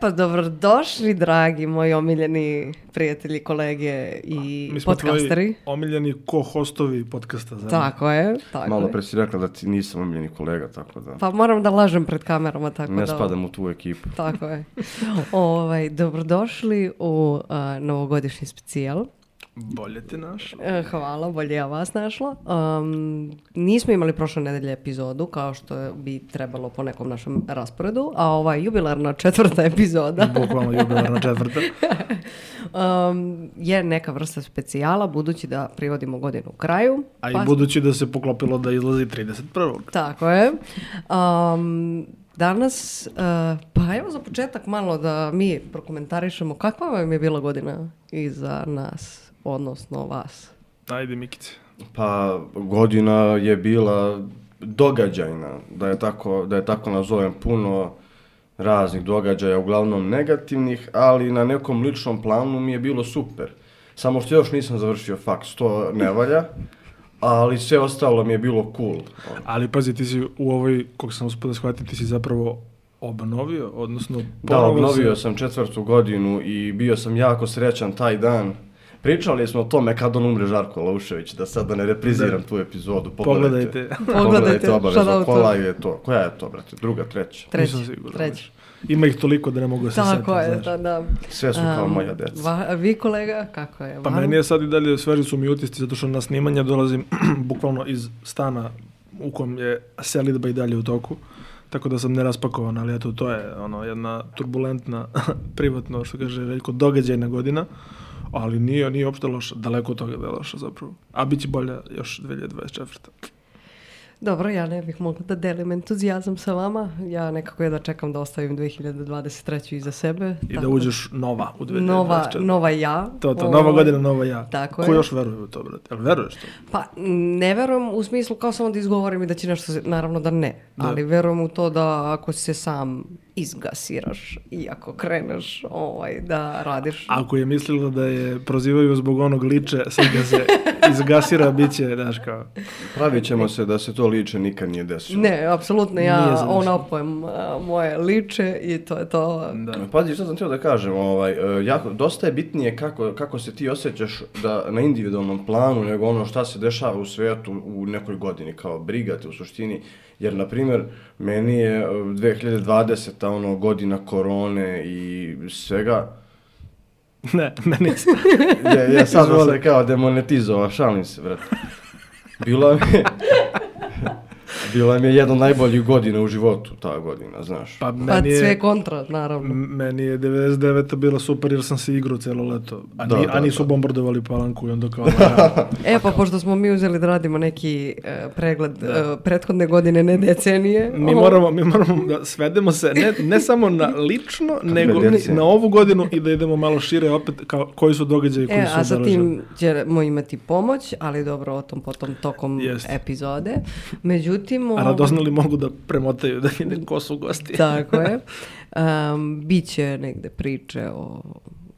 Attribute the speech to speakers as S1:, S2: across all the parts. S1: pa dobrodošli, dragi moji omiljeni prijatelji, kolege i
S2: Mi smo
S1: podcasteri.
S2: tvoji Da. omiljeni ko-hostovi podcasta. Zar? ne?
S1: Tako je, tako
S3: Malo
S1: je.
S3: pre si rekla da ti nisam omiljeni kolega, tako da
S1: Pa moram da lažem pred kamerama, tako
S3: ne
S1: da...
S3: spadam u tu ekipu.
S1: Tako je. Ovaj, dobrodošli u a, novogodišnji specijal.
S2: Bolje ti naš.
S1: E, Hvala, bolje ja vas našla. Um, nismo imali prošle nedelje epizodu, kao što je- bi trebalo po nekom našem rasporedu, a ova jubilarna četvrta epizoda
S2: Bukvalno jubilarna četvrta.
S1: um, je neka vrsta specijala, budući da privodimo godinu kraju.
S2: A i
S1: Pa-
S2: budući da se poklopilo da izlazi 31.
S1: Tako je. Um, danas, uh, pa evo za početak malo da mi prokomentarišemo kakva vam je bila godina iza nas, odnosno vas.
S2: Ajde, Mikice.
S3: Pa godina je bila događajna, da je tako, da je tako nazovem puno raznih događaja, uglavnom negativnih, ali na nekom ličnom planu mi je bilo super. Samo što još nisam završio faks, to ne valja, ali sve ostalo mi je bilo cool. Ono.
S2: Ali pazi, ti si u ovoj, kog sam uspio da shvatim, ti si zapravo obnovio, odnosno...
S3: Da,
S2: ponovo
S3: obnovio
S2: si-
S3: sam četvrtu godinu i bio sam jako srećan taj dan. Pričali smo o tome kad on umre Žarko Laušević, da sada ne repriziram tu epizodu.
S2: Pogledajte.
S1: Pogledajte,
S3: Pogledajte
S1: shout
S3: obavezno,
S1: out.
S3: koja je to? Koja je to, brate? Druga, treća?
S1: Treći,
S2: Nisam siguran,
S1: treći.
S2: Ima ih toliko da ne mogu da se setim,
S1: Tako je,
S2: znaš.
S1: da, da.
S3: Sve su kao
S1: Um,
S3: moja deca.
S1: va- a vi kolega, kako je?
S2: Pa
S1: vama?
S2: meni je sad i dalje sveži su mi utisci zato što na snimanja dolazim bukvalno iz stana u kom je selidba i dalje u toku. Tako da sam neraspakovan, ali eto to je ono jedna turbulentna privatno što kaže Veljko događajna godina. Ali nije, nije uopšte loša, daleko od toga da je loša zapravo. A bit će bolja još 2024.
S1: Dobro, ja ne bih mogla da delim entuzijazam sa vama. Ja nekako je da čekam da ostavim 2023. iza sebe.
S2: I da
S1: tako
S2: uđeš nova u 2024.
S1: Nova, nova ja.
S2: To, to,
S1: Ovo-
S2: nova godina, nova ja.
S1: Tako
S2: Ko
S1: je.
S2: još veruje u to, brate? Jel veruješ to?
S1: Pa ne verujem u smislu kao samo da izgovorim i da će nešto, se- naravno da ne,
S2: Da.
S1: ali verujem u to da ako se sam izgasiraš i ako kreneš ovaj, da radiš.
S2: Ako je mislila da je prozivaju zbog onog liče, sad ga se izgasira, bit će, znaš kao,
S3: Pravit ćemo se da se to liče nikad nije desilo.
S1: Ne, apsolutno,
S2: Nije
S1: ja
S2: za nešto.
S1: onapujem a, moje liče i to je to.
S2: da.
S3: Pazi, što sam htio da kažem, ovaj, e, jako, dosta je bitnije kako, kako se ti osjećaš da, na individualnom planu, nego ono šta se dešava u svetu u nekoj godini, kao briga te u suštini, jer, na primjer, meni je e, 2020. ono, godina korone i svega,
S2: Ne, meni je
S3: Ja, ja sad sam
S2: Izvoli.
S3: se kao demonetizovao, šalim se, brate. Bila mi je... Bila mi je jedna od najboljih godina u životu, ta godina, znaš.
S2: pa
S1: Pa
S2: meni
S1: sve
S2: je,
S1: kontra, naravno.
S2: m- meni je 99. bila super jer sam se igrao celo leto, a,
S3: Da,
S2: ni,
S3: da,
S2: a nisu bombardovali palanku i onda kao, ja,
S1: E pa pošto smo mi uzeli da radimo neki e, pregled e, prethodne godine, ne decenije.
S2: Da. mi
S1: o,
S2: moramo, mi moramo da svedemo se, ne, ne samo na lično, nego
S3: decenije.
S2: na ovu godinu i da idemo malo šire opet, kao, koji su događaji koji
S1: E,
S2: su
S1: a sa
S2: obeležili.
S1: tim ćemo imati pomoć, ali dobro, o tom potom tokom
S2: Jeste.
S1: epizode. Međutim...
S2: A
S1: ovaj,
S2: radoznali mogu da premotaju, da vide ko su gosti.
S1: Tako je. Um, Biće negde priče o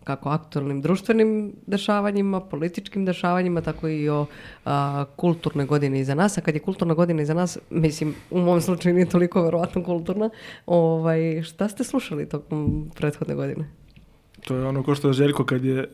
S1: kako aktualnim društvenim dešavanjima, političkim dešavanjima, tako i o a, kulturnoj godini iza nas. A kad je kulturna godina iza nas, mislim, u mom slučaju nije toliko verovatno kulturna. Ovaj, šta ste slušali tokom prethodne godine?
S2: To je ono ko što je Željko kad je,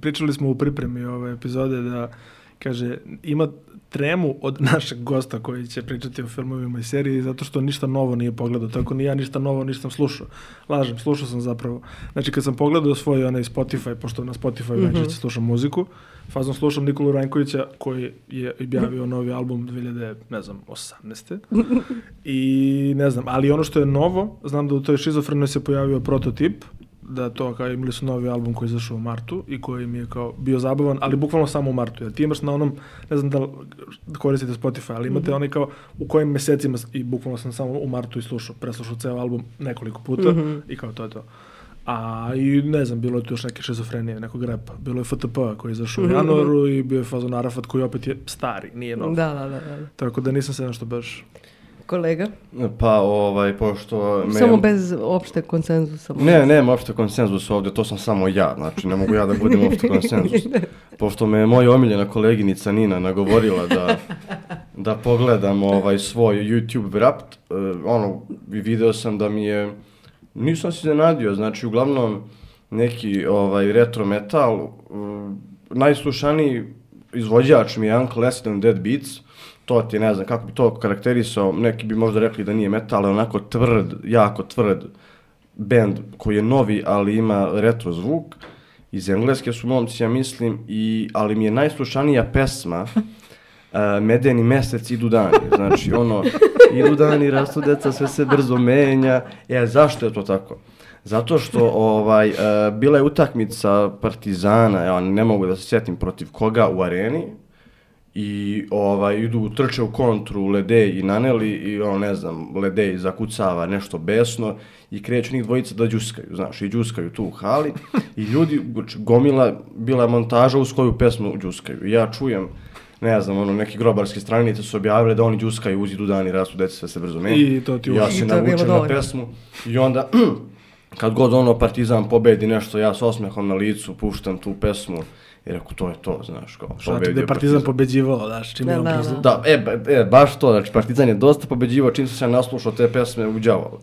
S2: pričali smo u pripremi ove epizode da kaže ima tremu od našeg gosta koji će pričati o filmovima i seriji zato što ništa novo nije pogledao, tako ni ja ništa novo nisam slušao. Lažem, slušao sam zapravo. Znači kad sam pogledao svoj onaj Spotify, pošto na Spotify mm najčešće slušam muziku, fazom slušam Nikolu Rankovića koji je objavio novi album 2000, ne znam, 18. I ne znam, ali ono što je novo, znam da u toj šizofrenoj se pojavio prototip, da to kao imali su novi album koji je izašao u martu i koji mi je kao bio zabavan, ali bukvalno samo u martu. Jer ti imaš na onom, ne znam da li koristite Spotify, ali
S1: Mhm.
S2: imate onaj kao u kojim mesecima s- i bukvalno sam samo u martu i slušao, preslušao ceo album nekoliko puta
S1: Mhm.
S2: i kao to je to. A i ne znam, bilo je tu još neke šizofrenije, nekog repa. Bilo je FTP koji je izašao u
S1: Mhm.
S2: januaru i bio je fazon Arafat koji opet je stari, nije nov.
S1: Da, da, da. da.
S2: Tako da nisam se nešto baš
S1: Kolega?
S3: Pa, ovaj, pošto... me-
S1: Samo bez opšte konsenzusa.
S3: Ne, nema opšte konsenzus ovde, to sam samo ja, znači ne mogu ja da budem opšte konsenzus. Pošto me je moja omiljena koleginica Nina nagovorila da, da pogledam ovaj svoj YouTube Wrapped, e, ono, i video sam da mi je Nisam se iznenadio, znači uglavnom neki ovaj retro metal, mm, najslušaniji izvođač mi je Uncle Acid and Dead Beats, to ti ne znam kako bi to karakterisao, neki bi možda rekli da nije metal, ali onako tvrd, jako tvrd bend koji je novi, ali ima retro zvuk. Iz Engleske su momci, ja mislim, i, ali mi je najslušanija pesma Uh, medeni mesec idu dani, znači ono, idu dani, rastu deca, sve se brzo menja. E, zašto je to tako? Zato što ovaj, uh, bila je utakmica Partizana, ja ne mogu da se sjetim protiv koga u areni, i ovaj, idu, trče u kontru Lede i Naneli i ono, ne znam, Lede zakucava nešto besno i kreću njih dvojica da đuskaju, znaš, i đuskaju tu u hali i ljudi, znači, gomila, bila je montaža uz koju pesmu đuskaju. I ja čujem, ne znam, ono, neki grobarske stranice su objavile da oni đuskaju uz idu dani rastu deca sve se brzo meni.
S2: I to ti
S3: ja
S2: uđe.
S3: se
S1: I to je bilo
S3: navučem na
S1: dovoljno.
S3: pesmu i onda kad god ono Partizan pobedi nešto, ja s osmehom na licu puštam tu pesmu i reku to je to, znaš, kao
S2: Šta ti da
S3: pa
S2: je Partizan pobeđivao, znaš, čim
S1: Da,
S2: je on
S1: da,
S2: priznao.
S1: da.
S3: Da, e, ba- e, baš to, znači Partizan je dosta pobeđivao čim sam se naslušao te pesme u đavolu.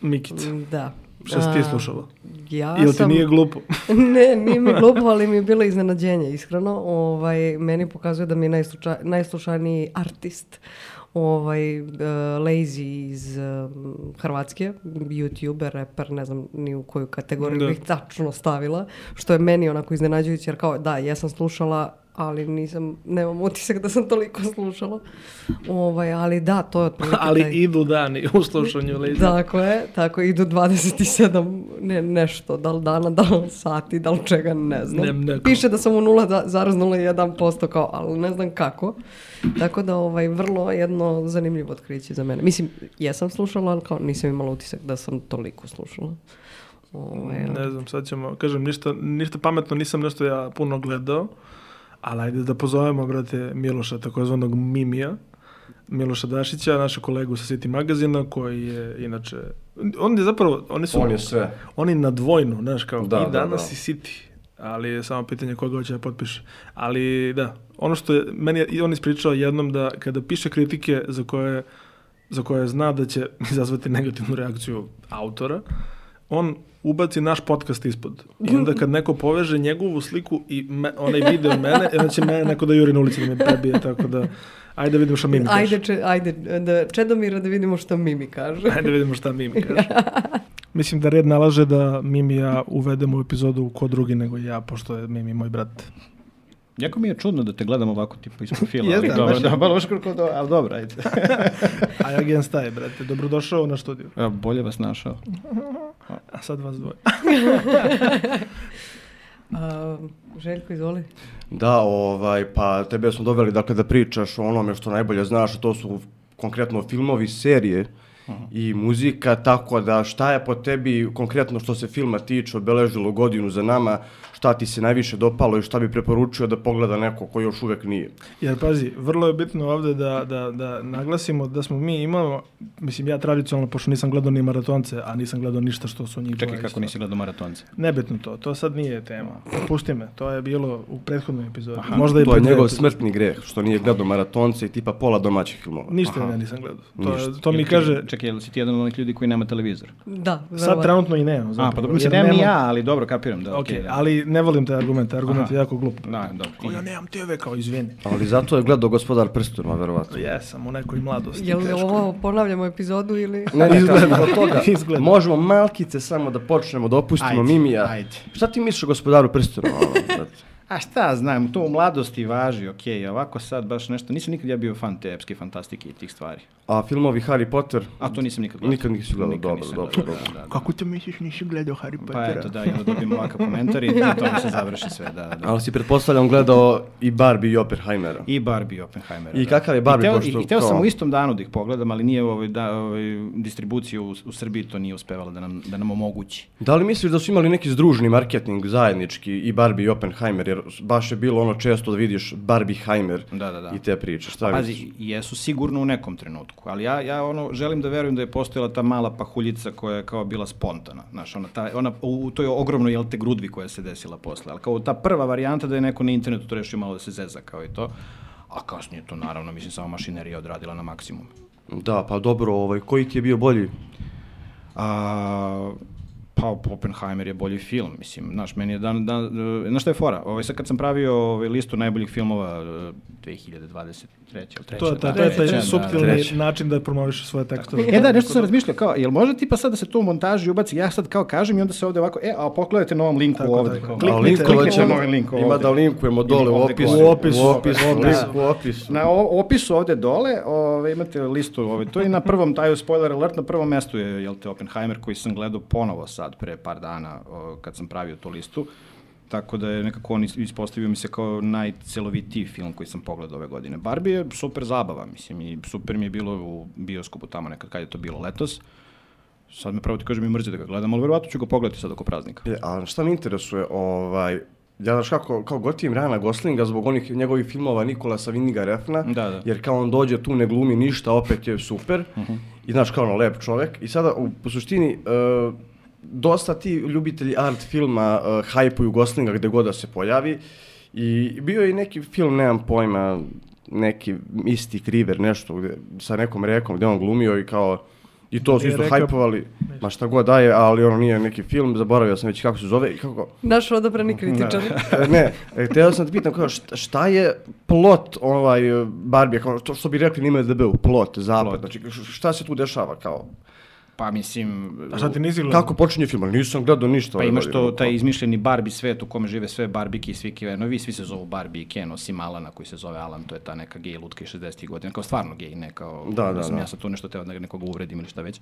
S2: Mikica,
S1: Da.
S2: šta si ti
S1: A,
S2: slušala?
S1: Ja
S2: Ili ti
S1: sam...
S2: nije glupo?
S1: ne, nije mi glupo, ali mi je bilo iznenađenje, iskreno. Ovaj, meni pokazuje da mi je najsluča, najslušaniji artist ovaj, uh, Lazy iz um, Hrvatske, youtuber, reper, ne znam ni u koju kategoriju
S2: Da.
S1: bih tačno stavila, što je meni onako iznenađujuće, jer kao da, ja sam slušala, ali nisam, nemam utisak da sam toliko slušala. Ovaj, ali da, to je otprilike taj- Da.
S2: Ali idu dani u slušanju Lady.
S1: tako je, tako idu 27 ne, nešto, da li dana, da li sati, da li čega, ne znam.
S2: Ne, ne, kao-
S1: Piše da sam u 0,01% kao, ali ne znam kako. Tako da ovaj, vrlo jedno zanimljivo otkriće za mene. Mislim, jesam slušala, ali kao nisam imala utisak da sam toliko slušala. Ovaj,
S2: Ne znam, sad ćemo, kažem, ništa, ništa pametno nisam nešto ja puno gledao, ali ajde da pozovemo, brate, Miloša, takozvanog Mimija, Miloša Dašića, našu kolegu sa City magazina, koji je, inače, on je zapravo, oni su,
S3: On je sve.
S2: oni na dvojnu, znaš, kao,
S3: Da,
S2: i
S3: da,
S2: danas
S3: da.
S2: i City, ali je samo pitanje koga hoće da potpiše. Ali, da, ono što je, meni je i on ispričao jednom da kada piše kritike za koje za koje zna da će izazvati negativnu reakciju autora, on ubaci naš podcast ispod. I onda kad neko poveže njegovu sliku i me, onaj video mene, onda će mene neko da juri na ulici da me prebije, tako da ajde da vidimo šta Mimi kaže.
S1: Ajde, če, ajde da, Čedomira da vidimo što Mimi kaže.
S2: Ajde da vidimo šta Mimi kaže. Mislim da red nalaže da Mimi i ja uvedemo u epizodu ko drugi nego ja, pošto je Mimi moj brat.
S4: Jako mi je čudno da te gledam ovako tipa iz profila,
S2: Jeste,
S4: ali dobro,
S2: baš-
S4: da, baš kako do, ali dobro, ajde.
S2: A ja gen staje, brate. Dobrodošao na studiju.
S4: E, Bolje vas našao.
S2: A sad vas dvoje.
S1: A, Željko, izvoli.
S3: Da, ovaj, pa tebe smo doveli dakle da pričaš o onome što najbolje znaš, a to su konkretno filmovi, serije i muzika, tako da šta je po tebi konkretno što se filma tiče obeležilo godinu za nama, šta ti se najviše dopalo i šta bi preporučio da pogleda neko ko još uvek nije.
S2: Jer pazi, vrlo je bitno ovde da, da, da naglasimo da smo mi imamo, mislim ja tradicionalno, pošto nisam gledao ni maratonce, a nisam gledao ništa što su njih
S4: Čekaj
S2: dvoje
S4: kako
S2: isto.
S4: nisi gledao maratonce.
S2: Nebitno to, to sad nije tema. Pusti me, to je bilo u prethodnoj epizodi.
S4: Aha,
S2: Možda i da-
S3: to je
S2: pred
S3: njegov
S2: epizod-
S3: smrtni greh, što nije gledao maratonce i tipa pola domaćih filmova.
S2: Ništa ja nisam gledao. To, je-
S3: Ništa.
S2: to mi
S4: Jel ti-
S2: kaže,
S4: Čekaj, jel si ti jedan od onih ljudi koji nema televizor?
S1: Da,
S2: sad
S1: verovatno.
S2: trenutno i nemam.
S4: A,
S2: zapravo,
S4: pa dobro, mislim,
S2: jer
S4: nemam ni
S2: nemam-
S4: ja, ali dobro, kapiram, da,
S2: Ok,
S4: okej. da.
S2: ali ne volim te argumente, argument
S4: Aha.
S2: je jako glup.
S4: Da, dobro.
S2: Ko ja nemam TV kao, izvini.
S3: Ali zato je gledao gospodar prstima, verovatno.
S2: Jesam u nekoj mladosti.
S1: Jel
S2: teško.
S1: ovo ponavljamo epizodu ili...
S3: Ne, ne,
S2: Izgleda.
S3: izgleda. Od toga,
S2: Izgleda.
S3: možemo malkice samo da počnemo, da opustimo
S4: Ajde,
S3: Mimija.
S4: ajde.
S3: Šta ti misliš o gospodaru prstima? ono, brate?
S4: A šta znam, to u mladosti važi, okej, ovako sad baš nešto, nisam nikad ja bio fan te epske fantastike i tih stvari.
S3: A filmovi Harry Potter?
S4: A to nisam nikad gledao.
S3: Nikad nisi gledao,
S4: Nikad
S3: dobro,
S4: nisam
S3: dobro,
S4: gledao,
S3: dobro.
S4: da, da, da.
S2: Kako to misliš, nisi gledao Harry Pottera?
S4: Pa eto, da, i onda dobijem ovakav komentar i na tome se završi sve, da, da.
S3: Ali si pretpostavljam gledao i Barbie i Oppenheimera.
S4: I Barbie i Oppenheimera.
S3: I
S4: da.
S3: kakav je Barbie,
S4: I hteo,
S3: pošto
S4: i, i hteo sam
S3: kao-
S4: u istom danu da ih pogledam, ali nije ovaj, da, ovaj, distribuciju u, u Srbiji to nije uspevala da nam, da nam omogući.
S3: Da li misliš da su imali neki združni marketing zajednički i Barbie i Oppenheimer? Jer baš je bilo ono često da vidiš Barbieheimer
S4: Da, da, da.
S3: i te priče. Šta misliš?
S4: Pazi, jesu sigurno u nekom trenutku, ali ja, ja ono, želim da verujem da je postojala ta mala pahuljica koja je kao bila spontana, znaš, ona, ta, ona u u toj ogromnoj, jel te, grudvi koja se desila posle, ali kao ta prva varijanta da je neko na internetu to rešio malo da se zeza kao i to, a kasnije to naravno, mislim, samo mašinerija odradila na maksimum.
S3: Da, pa dobro, ovaj, koji ti je bio bolji?
S4: A, pa Oppenheimer je bolji film, mislim, znaš, meni je dan, dan, eh, znaš šta je fora, ovaj, sad kad sam pravio ovaj, listu najboljih filmova eh, 2023. ili treće,
S2: To je,
S4: da,
S2: ta, to je taj
S4: treće, da,
S2: suptilni
S3: treće.
S2: način da promoviš svoje tekstove.
S4: E da, nešto sam razmišljao, kao, jel može ti pa sad da se tu u montaži ubaci, ja sad kao kažem i onda se ovde ovako, e, a pogledajte na ovom linku
S2: Tako,
S4: ovde.
S2: tako.
S4: Kliknite,
S3: A linkovat
S4: kliknite na
S3: ćemo-
S4: ovaj link ovde.
S3: Ima da linkujemo dole u
S4: ovde
S3: opisu. da.
S4: gore.
S2: U opisu,
S3: U opisu,
S2: u
S4: opisu.
S3: u opisu.
S4: Na o- opisu ovde dole ove, imate listu ove, to i na prvom, taj spoiler alert, na prvom mestu je jel te, Oppenheimer koji sam gledao ponovo sad pre par dana o, kad sam pravio tu listu. Tako da je nekako on is- ispostavio mi se kao najcelovitiji film koji sam pogledao ove godine. Barbie je super zabava, mislim, i super mi je bilo u bioskopu tamo nekad, kad je to bilo letos. Sad me pravo ti kažem i mrzi da ga gledam, ali verovatno ću ga pogledati sad oko praznika.
S3: E, A šta me interesuje, ovaj, ja znaš kako, kao gotivim Rana Goslinga zbog onih njegovih filmova Nikolasa Vindiga Refna,
S4: Da, Mhm. da.
S3: jer kao on dođe tu ne glumi ništa, opet je super, i znaš kao ono lep čovek, i sada u, po suštini e, dosta ti ljubitelji art filma e, hajpuju Goslinga gde god da se pojavi, i bio je i neki film, nemam pojma, neki Mystic River, nešto, gde, sa nekom rekom gde on glumio i kao, i to su
S2: Je
S3: isto
S2: reka-
S3: hajpovali, ma šta god daje, ali ono nije neki film, zaboravio sam već kako se zove i kako...
S1: Naš odabrani kritičar.
S3: E, ne, e, htio sam te pitam kao šta, šta je plot ovaj e, Barbie, kao to što bi rekli na IMDb-u, plot, zapad,
S4: Plot.
S3: znači š- šta se tu dešava kao?
S4: Pa mislim...
S2: A šta ti nisi gledao?
S3: Kako počinje film? Ali Nisam gledao ništa. ovaj,
S4: Pa
S3: ove
S4: imaš
S3: godine,
S4: to, taj izmišljeni Barbie svet u kome žive sve Barbike i svi Kevenovi, svi se zovu Barbie i Ken, osim Alana koji se zove Alan, to je ta neka gej lutka iz 60. godina, kao stvarno gej, ne kao
S3: Da, da,
S4: sam
S3: da.
S4: ja sad tu nešto teo da nekoga uvredim ili šta već.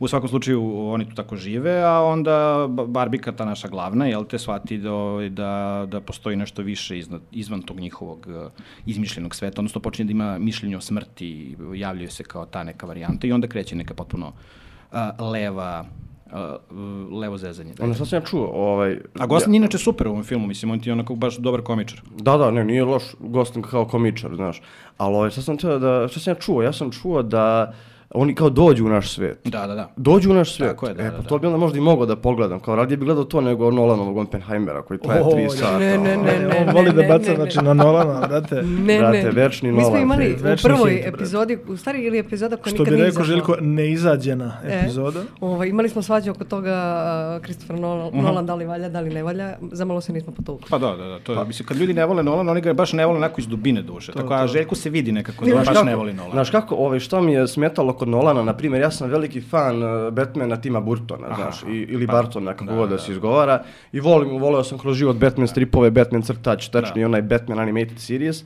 S4: U svakom slučaju oni tu tako žive, a onda Ba- Barbika, ta naša glavna, jel te shvati da, ovaj, da, da postoji nešto više iznad, izvan tog njihovog eh, izmišljenog sveta, odnosno počinje da ima mišljenje o smrti, javljaju se kao ta neka varijanta i onda kreće neka potpuno a, leva a, levo zezanje. da
S3: Ono sad sam ja čuo, ovaj...
S4: A Gosling je inače super u ovom filmu, mislim, on ti je onako baš dobar komičar.
S3: Da, da, ne, nije loš Gosling kao komičar, znaš. Ali ovaj, sad sam teo da, šta sam ja čuo? Ja sam čuo da oni kao dođu u naš svet.
S4: Da, da, da.
S3: Dođu u naš svet.
S4: Tako je, da,
S3: e,
S4: da,
S3: pa
S4: da.
S3: to bi onda možda i mogao da pogledam. Kao radije bi gledao to nego Nolanovog Oppenheimera koji traje
S2: O,
S3: tri
S2: ne,
S3: sata.
S1: ne, ne,
S3: ono.
S1: ne,
S2: E, on voli da
S1: ne,
S2: baca
S1: ne,
S2: znači,
S1: ne.
S2: na Nolana, brate.
S1: Ne,
S3: Brate,
S1: ne.
S3: večni
S1: Mi smo
S3: Nolan,
S1: imali
S2: bre.
S1: u
S2: Večni
S1: prvoj
S2: hit, brate.
S1: epizodi, u stvari ili epizoda koja
S2: Što
S1: nikad
S2: bi
S1: nije
S2: rekao
S1: izašla.
S2: Željko, neizađena
S1: E,
S2: epizoda.
S1: ovaj, imali smo svađu oko toga uh, Christopher Nolan, Nolan da li valja, da li ne valja. Zamalo se nismo potukli.
S4: Pa da, da, da, to je, mislim, kad ljudi ne vole Nolan, oni ga baš ne vole onako iz dubine duše. tako, a Željko se vidi nekako da on baš ne voli Nolan.
S3: Znaš kako, ovaj, šta mi je smetalo kod Nolana, na primjer, ja sam veliki fan eh, Batmana Tima Burtona, znaš, i, ili
S4: pa,
S3: Bartona, kako god da, se izgovara, i volim, voleo sam kroz život Batman stripove, Batman crtač,
S4: Da.
S3: tačnije onaj Batman animated series,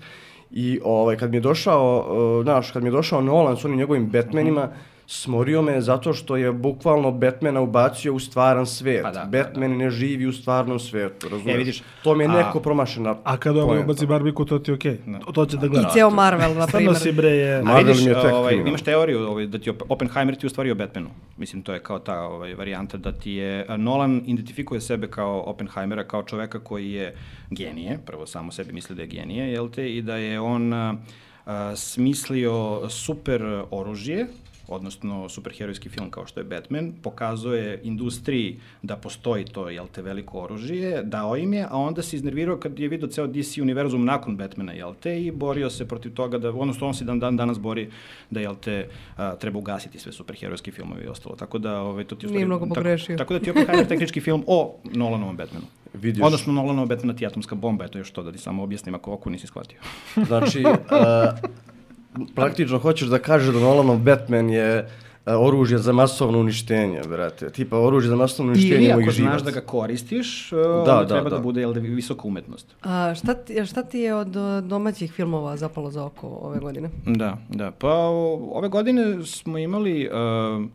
S3: i ovaj, kad mi je došao, eh, znaš, kad mi je došao Nolan s onim njegovim
S4: Mhm.
S3: Batmanima, smorio me zato što je bukvalno Batmana ubacio u stvaran svet.
S4: Pa da, da, da. E,
S3: Batman ne živi u stvarnom svetu, razumiješ?
S4: vidiš,
S3: to mi je
S4: a-
S3: neko promašena
S2: A kada on
S3: poenta.
S2: ubaci Barbiku, to ti je okej. To- To će da
S1: I
S2: gleda.
S1: ceo Marvel, na
S2: Stvarno
S1: primjer.
S2: si bre je...
S3: Ma- Marvel
S4: vidiš,
S3: mi je tek
S4: ovaj,
S3: kriminal.
S4: imaš teoriju ovaj, da ti Op- Oppenheimer ti je u stvari o Batmanu. Mislim, to je kao ta ovaj, varijanta da ti je... a, Nolan identifikuje sebe kao Oppenheimera, kao čoveka koji je genije, prvo samo sebi misli da je genije, jel te, i da je on a, a, smislio super oružje, odnosno superherojski film kao što je Batman, pokazuje industriji da postoji to, jel te, veliko oružje, dao im je, a onda se iznervirao kad je vidio ceo DC univerzum nakon Batmana, jel te, i borio se protiv toga da, odnosno on se dan, dan danas bori da, jel te, a, treba ugasiti sve superherojski filmove i ostalo. Tako da, ovaj, to ti u
S1: Nije
S4: stvari-
S1: mnogo
S4: tako-
S1: pogrešio.
S4: Tako, da ti je Oppenheimer tehnički film o Nolanovom Batmanu.
S3: Vidiš.
S4: Odnosno, Nolanova Batmana ti je atomska bomba, eto još to da ti samo objasnim ako oku nisi shvatio.
S3: Znači, e, praktično hoćeš da kažeš da Nolanov Batman je e, oružje za masovno uništenje, brate. Tipa oružje za masovno uništenje
S4: Ili
S3: mojih
S4: ako
S3: živaca.
S4: znaš da ga koristiš, da,
S3: Da,
S4: onda
S3: da,
S4: treba da,
S3: da.
S4: bude jel, da, visoka umetnost.
S1: A, šta, ti, šta ti je od uh, domaćih filmova zapalo za oko ove godine?
S4: Da, da. Pa o- ove godine smo imali, uh,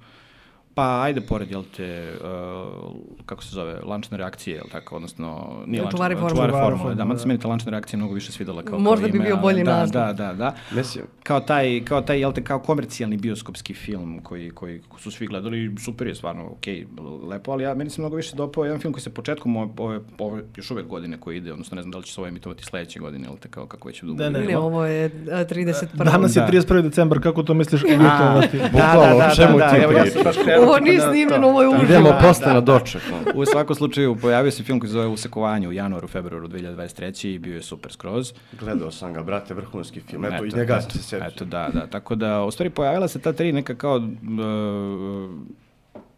S4: pa ajde pored, jel te, uh, kako se zove, lančne reakcije, jel tako, odnosno, nije lančne,
S1: Čuvari formule.
S2: Čuvari
S4: Čuvari formule, da,
S2: formule,
S4: mada se meni ta lančna reakcija mnogo više svidela kao,
S1: Možda
S4: kao
S1: bi
S4: ime,
S1: bio
S4: ali
S1: bolji
S4: da,
S1: naslov.
S4: Da, da, da.
S3: Mislim,
S4: Kao taj, kao taj, jel te, kao komercijalni bioskopski film koji, koji su svi gledali, i super je stvarno, okej, lepo, ali ja, meni se mnogo više dopao jedan film koji se početkom ove, ove, ove još uvek godine koji ide, odnosno ne znam da li će se ovo emitovati sledeće godine, jel te, kao kako već dugo.
S2: Da, ne,
S1: Ne,
S2: ma-
S1: ovo je uh, 31.
S2: Danas je
S4: Da.
S2: 31. decembar, kako to misliš emitovati?
S3: bukvalno, o čemu ti
S4: Da, evo, ja
S3: pričaš?
S4: sam baš krenuo
S1: Ovo
S4: tako
S1: nije
S4: da-
S1: snimljeno, ovo je
S4: da.
S1: uživo.
S3: idemo
S1: Da,
S3: posle na doček. ono.
S4: U svakom slučaju, pojavio se film koji se zove Usekovanje u januaru, februaru 2023. i bio je super skroz.
S3: Gledao sam ga, brate, vrhunski film. Eto, i
S4: Eto,
S3: njega
S4: eto,
S3: sam se sjetio.
S4: Eto, da, da. Tako da, u stvari, pojavila se ta tri neka kao... e,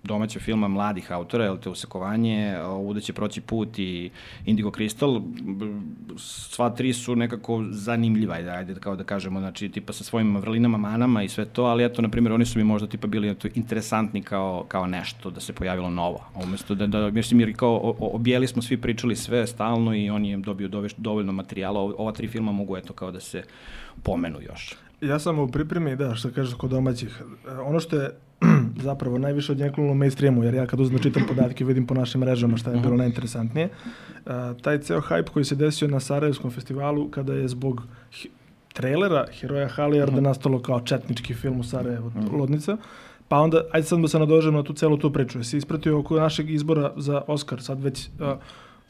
S4: domaća filma mladih autora, jel te usekovanje, ovuda će proći put i Indigo Crystal, sva tri su nekako zanimljiva, ajde, ajde kao da kažemo, znači tipa sa svojim vrlinama, manama i sve to, ali eto, na primjer, oni su mi možda tipa bili eto, interesantni kao, kao nešto, da se pojavilo novo, a umesto da, da mislim, jer kao o, o, objeli smo svi pričali sve stalno i on je dobio doveš, dovoljno materijala, O- ova tri filma mogu eto kao da se pomenu još.
S2: Ja sam u pripremi, da, što kažeš kod domaćih. E, Ono što je zapravo najviše od njega u mainstreamu, jer ja kad uzmem čitam podatke vidim po našim mrežama šta je bilo najinteresantnije. E, taj ceo hype koji se desio na Sarajevskom festivalu kada je zbog hi- trailera Heroja Halijarda nastalo kao četnički film u Sarajevu, Lodnica. Pa onda, ajde sad da se nadožemo na tu celu tu priču. Jesi ispratio oko našeg izbora za Oscar, sad već, e,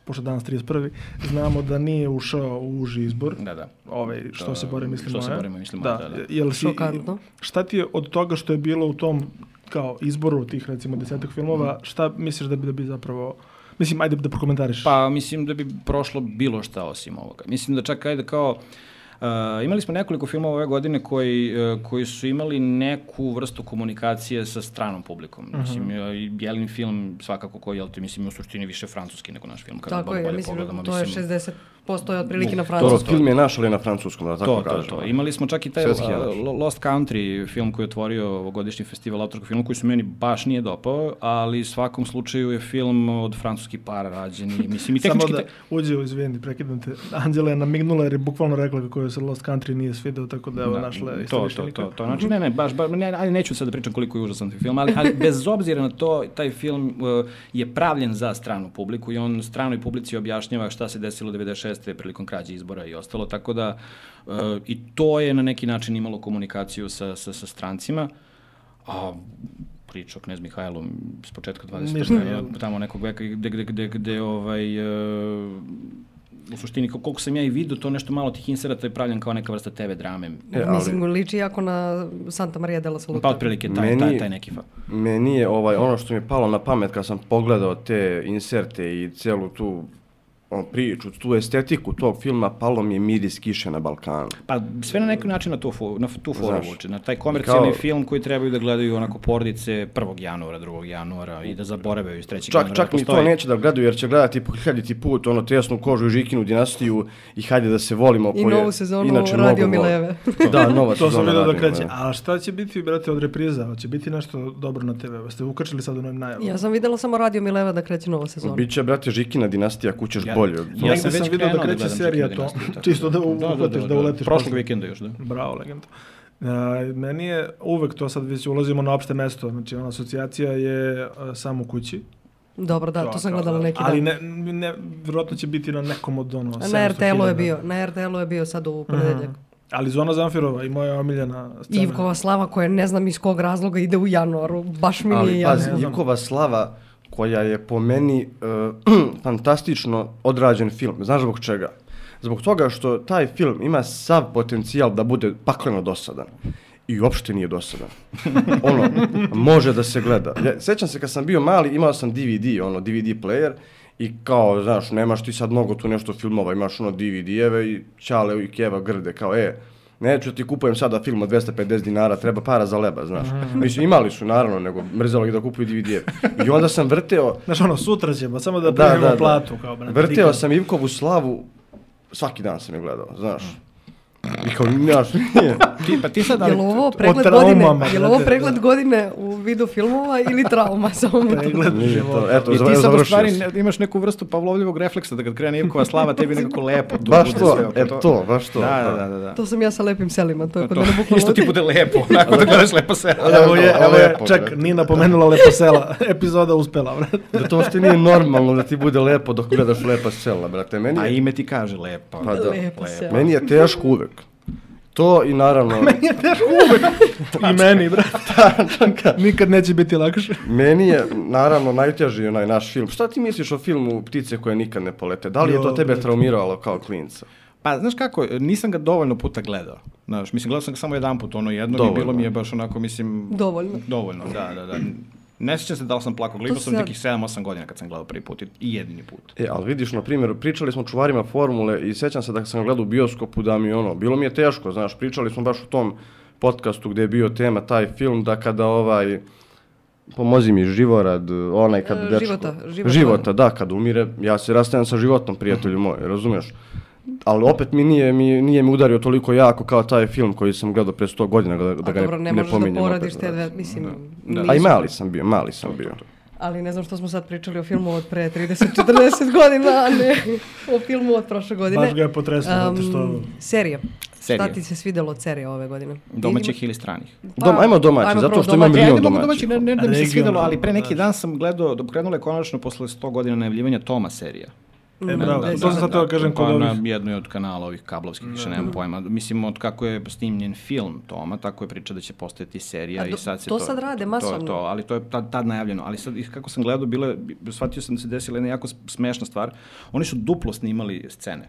S2: pošto je danas 31. znamo da nije ušao u uži izbor
S4: Da, da.
S2: ovaj, što
S4: To-
S2: se bore mislimo.
S4: što se
S2: e?
S4: borimo i mislimo, da, da.
S2: Jel si,
S1: Šokantno.
S2: Šta ti je od toga što je bilo u tom kao izboru tih recimo desetak filmova,
S4: Mhm.
S2: šta misliš da bi, da bi zapravo, mislim, ajde da prokomentariš.
S4: Pa mislim da bi prošlo bilo šta osim ovoga. Mislim da čak ajde kao Uh, imali smo nekoliko filmova ove godine koji, e, koji su imali neku vrstu komunikacije sa stranom publikom.
S1: Mhm.
S4: Mislim, e, i Bjelin film svakako koji, jel te, mislim, je u suštini više francuski nego naš film. Kada
S1: Tako
S4: bolje-
S1: je,
S4: bolje
S1: mislim, da
S4: pogledamo,
S1: to je
S4: mislim.
S1: 60% je otprilike na
S3: Dobro,
S1: francuskom.
S3: film je naš, ali na francuskom, da tako
S4: to,
S3: kažem.
S4: To, to. Imali smo čak i taj
S3: Svetski
S4: a,
S3: jadaš.
S4: Lo- Lost Country film koji je otvorio ovogodišnji festival autorskog filma koji se meni baš nije dopao, ali u svakom slučaju je film od francuskih para rađen i mislim
S2: Samo
S4: i tehnički
S2: da
S4: te-
S2: uđe, izvini, prekidam te. Anđela je namignula jer je bukvalno rekla kako joj se Lost Country nije svideo, tako da evo
S4: Da,
S2: našla je
S4: to, to, to, to. Znači, ne, ne, baš, baš ne, ajde, neću sad da pričam koliko je užasan taj film, ali, ali bez obzira na to, taj film uh, je pravljen za stranu publiku i on stranoj publici objašnjava šta se desilo 96. prilikom krađe izbora i ostalo, tako da uh, i to je na neki način imalo komunikaciju sa, sa, sa strancima, a priča o Knez Mihajlu s početka 20.
S2: Ništa,
S4: veka,
S2: jel?
S4: tamo nekog veka gde, gde, gde, gde ovaj, uh, u suštini kol- koliko sam ja i vidio, to nešto malo tih inserata je pravljen kao neka vrsta TV drame.
S3: E, ali-
S1: Mislim, liči jako na Santa Maria della Salute.
S4: Pa otprilike taj,
S3: Meni-
S4: taj, taj neki fa.
S3: Meni je ovaj, ono što mi je palo na pamet kad sam pogledao te inserte i celu tu on, priču, tu estetiku tog filma, palo mi je miris kiše na Balkanu.
S4: Pa sve na neki način na tu, fo, na tu foru
S3: Znaš.
S4: vuče, na taj komercijalni
S3: Kao-
S4: film koji trebaju da gledaju onako porodice 1. januara, 2. januara i da zaborave iz 3.
S3: Čak,
S4: januara.
S3: čak
S4: da
S3: ni to
S4: postoji.
S3: neće da gledaju jer će gledati po hiljaditi put ono tesnu kožu i žikinu dinastiju i hajde da se volimo.
S1: I
S3: ko je
S1: novu sezonu
S3: inače mnogo
S1: Radio
S3: vole.
S1: Mileve.
S3: Da, nova
S2: To sam
S3: sezona
S2: vidio da
S3: Radio
S2: kreće.
S3: Mileve.
S2: A šta će biti, brate, od repriza? Hoće biti nešto dobro na TV? Ste ukačili sad u novim najavama?
S1: Ja sam videla samo Radio Mileva da kreće nova sezona.
S3: Biće, brate, žikina dinastija, kućeš
S4: Ja-
S3: bolje.
S4: Ja
S2: Negde
S4: sam već
S2: video
S4: krenuo
S2: da
S4: da
S2: kreće
S4: gledam
S2: serija
S4: Čekanje
S2: to.
S4: dinastije, tako
S2: Čisto da
S4: da. Da, da,
S2: uhvatiš,
S4: da,
S2: da
S4: da.
S2: uletiš.
S4: Prošlog
S2: posle.
S4: vikenda još, da.
S2: Bravo, legenda. E, meni je uvek to sad već ulazimo na opšte mesto, znači ona asocijacija je e, sam u kući.
S1: Dobro, da, to sam
S2: kao,
S1: gledala
S2: da.
S1: neki
S2: Ali
S1: dan.
S2: ne, ne, vjerojatno će biti na nekom od ono...
S1: na
S2: 700.000.
S1: RTL-u je bio, na RTL-u je bio sad u ponedeljak.
S2: Ali Zona Zamfirova i moja omiljena scena.
S1: Ivkova slava koja ne znam iz kog razloga ide u januaru, baš mi nije
S3: Ali, pazi,
S1: jasno.
S3: Ivkova slava koja je po meni eh, fantastično odrađen film. Znaš zbog čega? Zbog toga što taj film ima sav potencijal da bude pakleno dosadan. I uopšte nije dosadan. ono, može da se gleda. Ja, sećam se kad sam bio mali, imao sam DVD, ono, DVD player, i kao, znaš, nemaš ti sad mnogo tu nešto filmova, imaš ono DVD-eve i Ćale i Keva grde, kao, e, Neću ti kupujem sada film od 250 dinara, treba para za leba, znaš. Mislim, imali su naravno, nego mrzelo ih da kupuju DVD-e. I onda sam vrteo,
S2: Znaš ono, sutra ćemo, samo da primimo platu. Kao, brate,
S3: Vrteo
S2: nikad.
S3: sam Ivkovu slavu, svaki dan sam je gledao, znaš. I kao, znaš, nije.
S4: Ti, pa ti sad, ali,
S1: Jel ovo
S2: o
S1: pregled godine,
S2: traumama,
S1: jel ovo
S2: brate,
S1: pregled
S2: da.
S1: godine u vidu filmova ili trauma samo?
S2: Pregled
S3: Nije to.
S2: života.
S3: Eto,
S4: i ti sad u
S3: završio
S4: stvari
S3: sam.
S4: ne- imaš neku vrstu Pavlovljivog refleksa da kad krene Ivkova slava tebi nekako lepo. tu
S3: Baš
S4: bude
S3: to,
S4: sve oko
S3: e to, baš to.
S4: Da, da, da, da.
S1: To sam ja sa lepim selima, to je kod
S4: To,
S1: mene bukvalno...
S4: isto ti bude lepo, onako da gledaš lepo se.
S2: Evo je,
S3: Ovo
S2: evo
S3: je
S2: je,
S3: lepo,
S2: čak
S3: brate.
S2: nije napomenula Lepo sela, epizoda uspela, brate.
S3: Da to uopšte nije normalno da ti bude lepo dok gledaš lepa sela, brate. Meni
S4: A
S3: je,
S4: ime ti kaže lepo.
S3: Pa da.
S1: Lepo selo.
S3: meni je teško uvek. To i naravno,
S2: I meni, brate. Nikad neće biti lakše.
S3: meni je naravno najteži onaj naš film. Šta ti misliš o filmu Ptice koje nikad ne polete? Da li je to
S2: Jo,
S3: tebe
S2: brate.
S3: traumiralo kao klinca?
S4: Pa, znaš kako, nisam ga dovoljno puta gledao. Znaš, mislim, gledao sam ga samo jedan put, ono jedno i
S3: Dovoljno.
S4: bilo mi je baš onako, mislim...
S1: Dovoljno.
S4: Dovoljno, da, da, da. Ne sjećam se da li sam plakao, gledao sam
S1: sad-
S4: nekih 7-8 godina kad sam gledao prvi put i- i jedini put.
S3: E, ali vidiš, na primjer, pričali smo o čuvarima formule i sećam se da sam gledao u bioskopu da mi ono, bilo mi je teško, znaš, pričali smo baš u tom podcastu gde je bio tema taj film da kada ovaj Pomozi mi, Živorad, onaj kad
S1: E,
S3: dečko...
S1: Života, Života.
S3: da, kad umire, ja se rastajem sa životom, prijatelju moj, razumeš? Ali opet mi nije, mi nije mi udario toliko jako kao taj film koji sam gledao pre 100 godina, da, da
S1: A
S3: ga
S1: dobro,
S3: ne,
S1: ne,
S3: ne,
S1: možeš da
S3: pominjem.
S1: poradiš
S3: opet,
S1: te
S3: da.
S1: dve, mislim,
S3: A i
S1: nisu- Pa
S3: mali sam bio, mali sam bio.
S1: Ali ne znam što smo sad pričali o filmu od pre 30-40 godina, a ne o filmu od prošle godine.
S2: Baš ga je potreslo, zato
S1: Em,
S2: što-
S1: Serije.
S4: Serije.
S1: Šta ti se svidelo od serije ove godine?
S4: Domaćih ili stranih.
S1: Pa,
S3: Dom, ajmo domaći,
S1: ajmo
S3: zato
S1: prvo
S3: što ima
S1: domaći.
S4: Ja
S3: milion
S4: ne mogu
S3: domaćih.
S4: domaći, ne, ne da mi se
S2: Regionalno,
S4: svidelo, ali pre neki
S2: znaš.
S4: dan sam gledao, da krenula je konačno posle 100 godina najavljivanja Toma serija.
S2: E, bravo,
S4: Da,
S2: to
S4: da,
S2: sam sad
S4: da,
S2: teo kažem
S4: pa
S2: kod ovih. Da,
S4: Na jednoj od kanala ovih kablovskih, više nemam pojma. Mislim, od kako je snimljen film Toma, tako je priča da će postojati serija
S1: A do-
S4: i sad se
S1: to
S4: to...
S1: sad rade
S4: to je
S1: masovno.
S4: To, ali to je tad, tad najavljeno. Ali sad, kako sam gledao, bilo je, shvatio sam da se desila jedna jako smešna stvar. Oni su duplo snimali scene.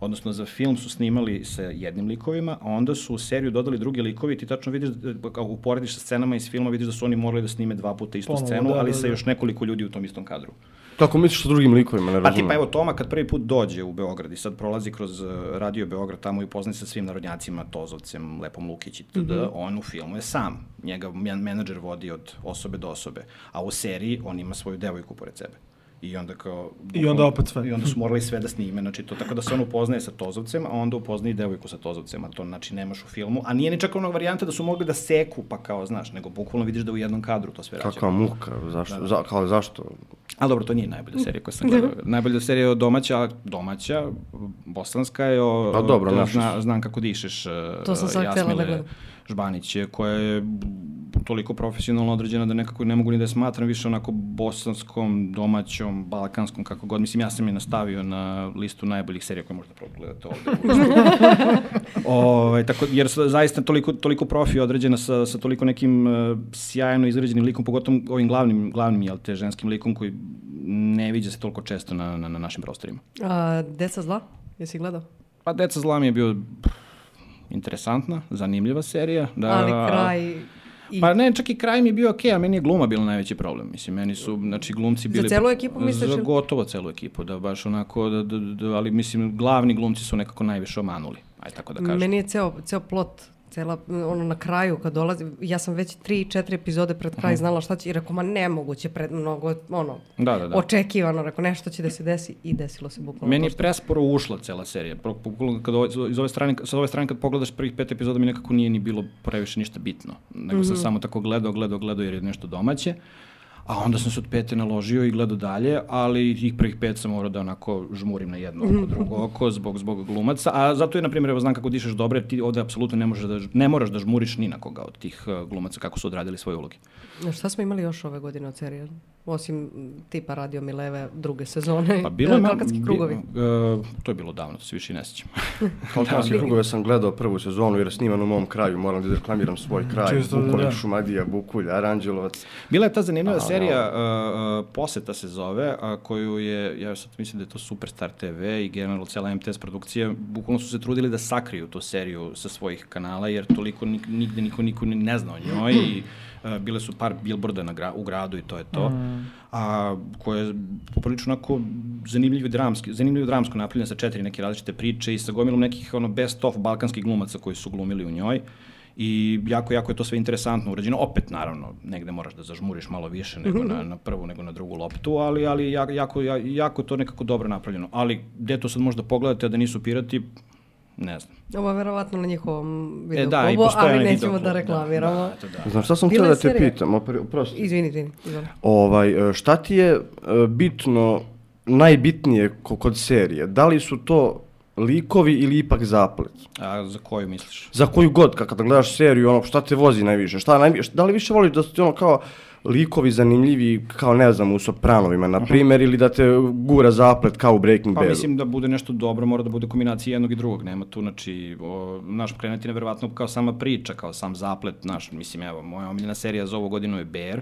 S4: Odnosno, za film su snimali sa jednim likovima, a onda su u seriju dodali drugi likovi i ti tačno vidiš, da- ako uporediš sa scenama iz filma, vidiš da su oni morali da snime dva puta istu
S2: Ponovo,
S4: scenu,
S2: da,
S4: ali
S2: da,
S4: sa
S2: da.
S4: još nekoliko ljudi u tom istom kadru.
S3: Kako misliš sa drugim likovima, ne
S4: Pa
S3: razumem.
S4: tipa evo Toma kad prvi put dođe u Beograd i sad prolazi kroz eh, radio Beograd tamo i upoznaje se sa svim narodnjacima, Tozovcem, Lepom Lukić i td.
S2: Mhm.
S4: On u filmu je sam. Njega men- menadžer vodi od osobe do osobe. A u seriji on ima svoju devojku pored sebe. I onda kao...
S2: I onda opet sve.
S4: I onda su morali sve da snime, znači to tako da se on upoznaje sa Tozovcem, a onda upoznaje i devojku sa Tozovcem, a to znači nemaš u filmu. A nije ni čak onog varijanta da su mogli da seku, pa kao, znaš, nego bukvalno vidiš da u jednom kadru to sve rađe.
S3: Kakva muka, zašto, za, kao zašto?
S4: Ali dobro, to nije najbolja serija koju sam gledao. najbolja serija je domaća, a domaća, bosanska je o...
S3: Pa dobro,
S4: da
S3: naša
S4: zna, znam kako dišeš. e,
S1: To sam sad htjela da
S4: Jasmile
S1: gledam.
S4: Žbanić je, koja je toliko profesionalno određena da nekako ne mogu ni da je smatram više onako bosanskom, domaćom, balkanskom, kako god. Mislim, ja sam je nastavio na listu najboljih serija koje možda progledate ovde. Ovaj, tako, jer su zaista toliko, toliko profi određena sa, sa toliko nekim uh, sjajno izrađenim likom, pogotovo ovim glavnim, glavnim jel te, ženskim likom koji ne viđa se toliko često na, na, na našim prostorima.
S1: A, Deca zla? Jesi gledao?
S4: Pa Deca zla mi je bio pff, interesantna, zanimljiva serija. Da,
S1: Ali kraj... I
S4: Pa ne, čak i kraj mi je bio okej, a meni je gluma bila najveći problem. Mislim, meni su, znači, glumci bili...
S1: celu ekipu misliš
S4: Za
S1: ili?
S4: gotovo celu ekipu, da baš onako, da, da, da, ali mislim, glavni glumci su nekako najviše omanuli. Aj tako da kažem.
S1: Meni je ceo, ceo plot, cela, ono na kraju kad dolazi, ja sam već tri, četiri epizode pred kraj
S4: Mhm.
S1: znala šta će i rekao, ma nemoguće, pred mnogo, ono,
S4: Da, da, da.
S1: očekivano, rekao, nešto će da se desi i desilo se bukvalno.
S4: Meni je
S1: to što-
S4: presporo ušla cela serija. Pro- Bukvalno kad ovo, iz ove strane, sa ove strane kad pogledaš prvih pet epizoda mi nekako nije ni bilo previše ništa bitno. Nego sam samo tako gledao, gledao, gledao jer je nešto domaće. A onda sam se od pete naložio i gledao dalje, ali tih prvih pet sam morao da onako žmurim na jedno oko, drugo oko, zbog, zbog glumaca. A zato je, na primjer, evo znam kako dišeš dobro, jer ti ovde apsolutno ne, možeš da, ž- ne moraš da žmuriš ni na koga od tih eh, glumaca kako su odradili svoje uloge.
S1: Šta smo imali još ove godine od serije? Osim m, tipa Radio Mileve druge sezone,
S4: Pa bilo je... ma-
S1: Kalkanski
S4: bi-
S1: e, krugovi.
S4: eh, to je bilo davno, to se više i ne sjećam.
S2: Da,
S3: Kalkanske krugove sam gledao prvu sezonu jer je sniman u mom kraju, moram da reklamiram svoj kraj,
S2: Čisto da,
S3: Buković,
S2: da.
S3: Šumadija, Bukulj, Aranđelovac.
S4: Bila je ta zanimljiva serija uh, uh, Poseta se zove, a, koju je, ja sad mislim da je to Superstar TV i generalno cela MTS produkcija, bukvalno su se trudili da sakriju tu seriju sa svojih kanala, jer toliko nik, nigde niko, niko ni ne zna o njoj i uh, bile su par billboarda na gra, u gradu i to je to. A koja je poprilično onako zanimljivo dramski, zanimljivo dramsko napravljena sa četiri neke različite priče i sa gomilom nekih ono best of balkanskih glumaca koji su glumili u njoj. I jako, jako je to sve interesantno urađeno. Opet, naravno, negde moraš da zažmuriš malo više nego
S1: Mhm.
S4: na, na prvu, nego na drugu loptu, ali, ali ja- jako, ja- jako je to nekako dobro napravljeno. Ali, gde to sad možda pogledate, a da nisu pirati, ne znam.
S1: Ovo je verovatno na njihovom
S4: E,
S1: videoklubu,
S4: da, i postoje
S1: ali
S4: onaj
S1: nećemo da
S4: videoklub,
S1: reklamiramo.
S4: Da, eto, da.
S3: Znam šta sam
S1: Bila je
S3: htio da te
S1: serija.
S3: pitam, opri, oprosti.
S1: Izvini, izvini, izvini.
S3: Ovaj, e, šta ti je e, bitno, najbitnije ko- kod serije? Da li su to likovi ili ipak zaplet?
S4: A za koju misliš?
S3: Za koju god, ka- kada gledaš seriju, ono, šta te vozi najviše? Šta najvi- šta- da li više voliš da su ti ono kao likovi zanimljivi, kao ne znam, u Sopranovima, na primjer, ili da te gura zaplet kao u Breaking
S4: Mhm. Pa
S3: Badu?
S4: mislim da bude nešto dobro, mora da bude kombinacija jednog i drugog, nema tu, znači, o, naš krenet je neverovatno kao sama priča, kao sam zaplet, naš, mislim, evo, moja omiljena serija za ovu godinu je Bear,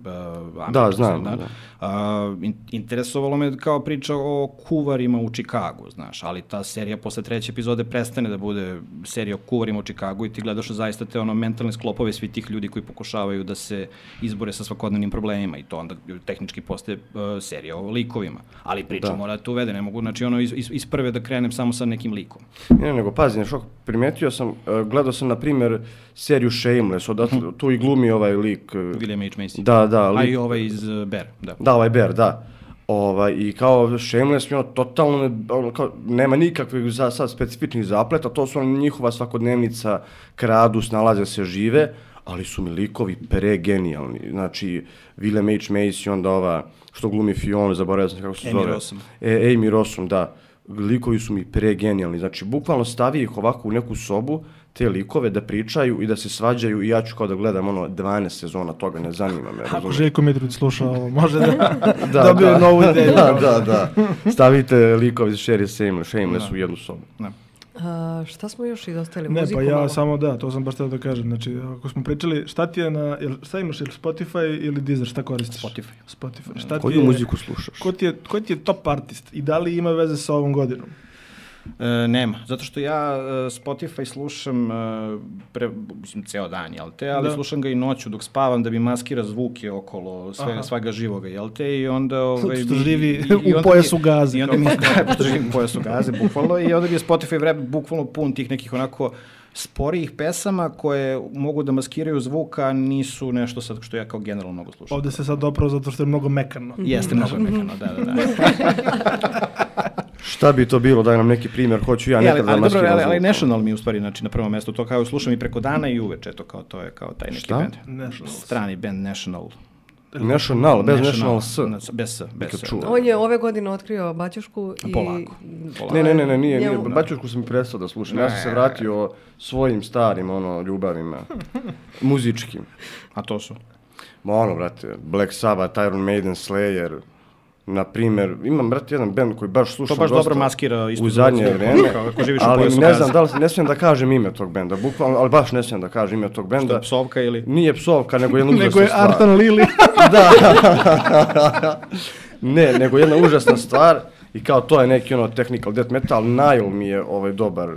S4: Uh, američka
S3: znam,
S4: serija,
S3: da.
S4: Uh, in, interesovalo me kao priča o kuvarima u Čikagu, znaš, ali ta serija posle treće epizode prestane da bude serija o kuvarima u Čikagu i ti gledaš zaista te ono mentalne sklopove svi tih ljudi koji pokušavaju da se izbore sa svakodnevnim problemima i to onda tehnički postaje uh, serija o likovima, ali priča
S3: Da.
S4: mora da te uvede, ne mogu, znači ono iz, iz, iz prve da krenem samo sa nekim likom.
S3: Ne, nego pazi, nešto primetio sam, e, gledao sam na primjer seriju Shameless, odatle, tu i glumi ovaj lik. e,
S4: Mhm. William H. Macy.
S3: Da, da,
S4: A
S3: lik-
S4: i ovaj iz eh, Ber, da.
S3: Da, ovaj Bear, da. Ovaj, I kao Shameless mi je ono totalno, ne- ono, kao, nema nikakvih za, sad specifičnih zapleta, to su ono njihova svakodnevnica, kradu, snalaze se, žive, ali su mi likovi pregenijalni. Znači, Willem H. Macy, onda ova, što glumi Fion, zaboravio sam kako se
S4: Amy
S3: zove.
S4: Rossum.
S3: E, Amy Rossum, da. Likovi su mi pregenijalni. Znači, bukvalno stavi ih ovako u neku sobu, te likove da pričaju i da se svađaju i ja ću kao da gledam ono 12 sezona toga, ne zanima me.
S2: Ako
S3: razumeš?
S2: Željko Mitrović sluša ovo, može da...
S3: da,
S2: Dobio je
S3: da.
S2: novu ideju.
S3: da, da, da. Stavite likove iz Sherry Shameless, Shameless u jednu sobu.
S4: da.
S1: A, šta smo još izostavili?
S2: Ne,
S1: Muziku
S2: pa ja
S1: malo?
S2: samo da, to sam baš teo da kažem. Znači, ako smo pričali, šta ti je na, jel, šta imaš, ili Spotify ili Deezer, šta koristiš?
S4: Spotify.
S2: Spotify. Šta ti
S3: Koju
S2: je,
S3: muziku slušaš?
S2: Ko ti, je, ko ti je top artist i da li ima veze sa ovom godinom?
S4: E, nema, zato što ja e, Spotify slušam e, pre, mislim, ceo dan, jel te, ali
S2: Da.
S4: slušam ga i noću dok spavam da mi maskira zvuke okolo sve,
S2: Aha.
S4: svaga živoga, jel te, i onda... Ovaj,
S2: Zato što
S4: mi-
S2: živi
S4: i- i
S2: u
S4: onda mi-
S2: pojasu gaze,
S4: I onda mi, da, pošto živim u pojasu gaze, bukvalno, i onda mi je Spotify vreme bukvalno pun tih nekih onako sporijih pesama koje mogu da maskiraju zvuka, a nisu nešto sad što ja kao generalno mnogo slušam.
S2: Ovde Mhm. se sad oprao zato što je mnogo mekano.
S4: Jeste mnogo mekano, da, da, da.
S3: Šta bi to bilo, daj nam neki primjer, hoću ja
S4: E, ali,
S3: nekad da
S4: ali, dobro,
S3: maskiram
S4: ali, ali
S3: zvuk.
S4: National mi je u stvari znači, na prvom mestu, to kao slušam i preko dana i uveče, eto kao to je kao taj neki
S3: Šta?
S4: band.
S2: National.
S4: Strani band National.
S3: National, bez National S.
S4: na S. Bez S, bez S.
S3: čuo.
S4: da.
S1: On je ove godine otkrio Baćušku i...
S4: Polako, polako.
S3: Ne, ne, ne, ne, nije, nije.
S1: Njemu-
S3: Bačušku sam prestao da slušam. Ja sam se vratio svojim starim, ono, ljubavima. Muzičkim.
S4: A to su.
S3: Ma ono, brate, Black Sabbath, Iron Maiden, Slayer, na primer, imam, brate, jedan band koji baš
S4: To
S3: slušam
S4: baš
S3: dosta
S4: dobro maskira isto.
S3: u
S4: zvuk,
S3: zadnje
S4: kao-
S3: vreme,
S4: kao Ako živiš u
S3: ali
S4: pojasu
S3: ne znam
S4: gaze.
S3: da li, ne smijem da kažem ime tog benda, bukvalno, ali baš ne smijem da kažem ime tog benda.
S4: Psovka ili...
S3: Nije psovka, nego jedna
S2: Nego
S3: užasna
S2: je
S3: stvar.
S2: Artan Lili.
S3: Da. ne, nego jedna užasna stvar i kao to je neki ono technical death metal, Nile mi je ovaj dobar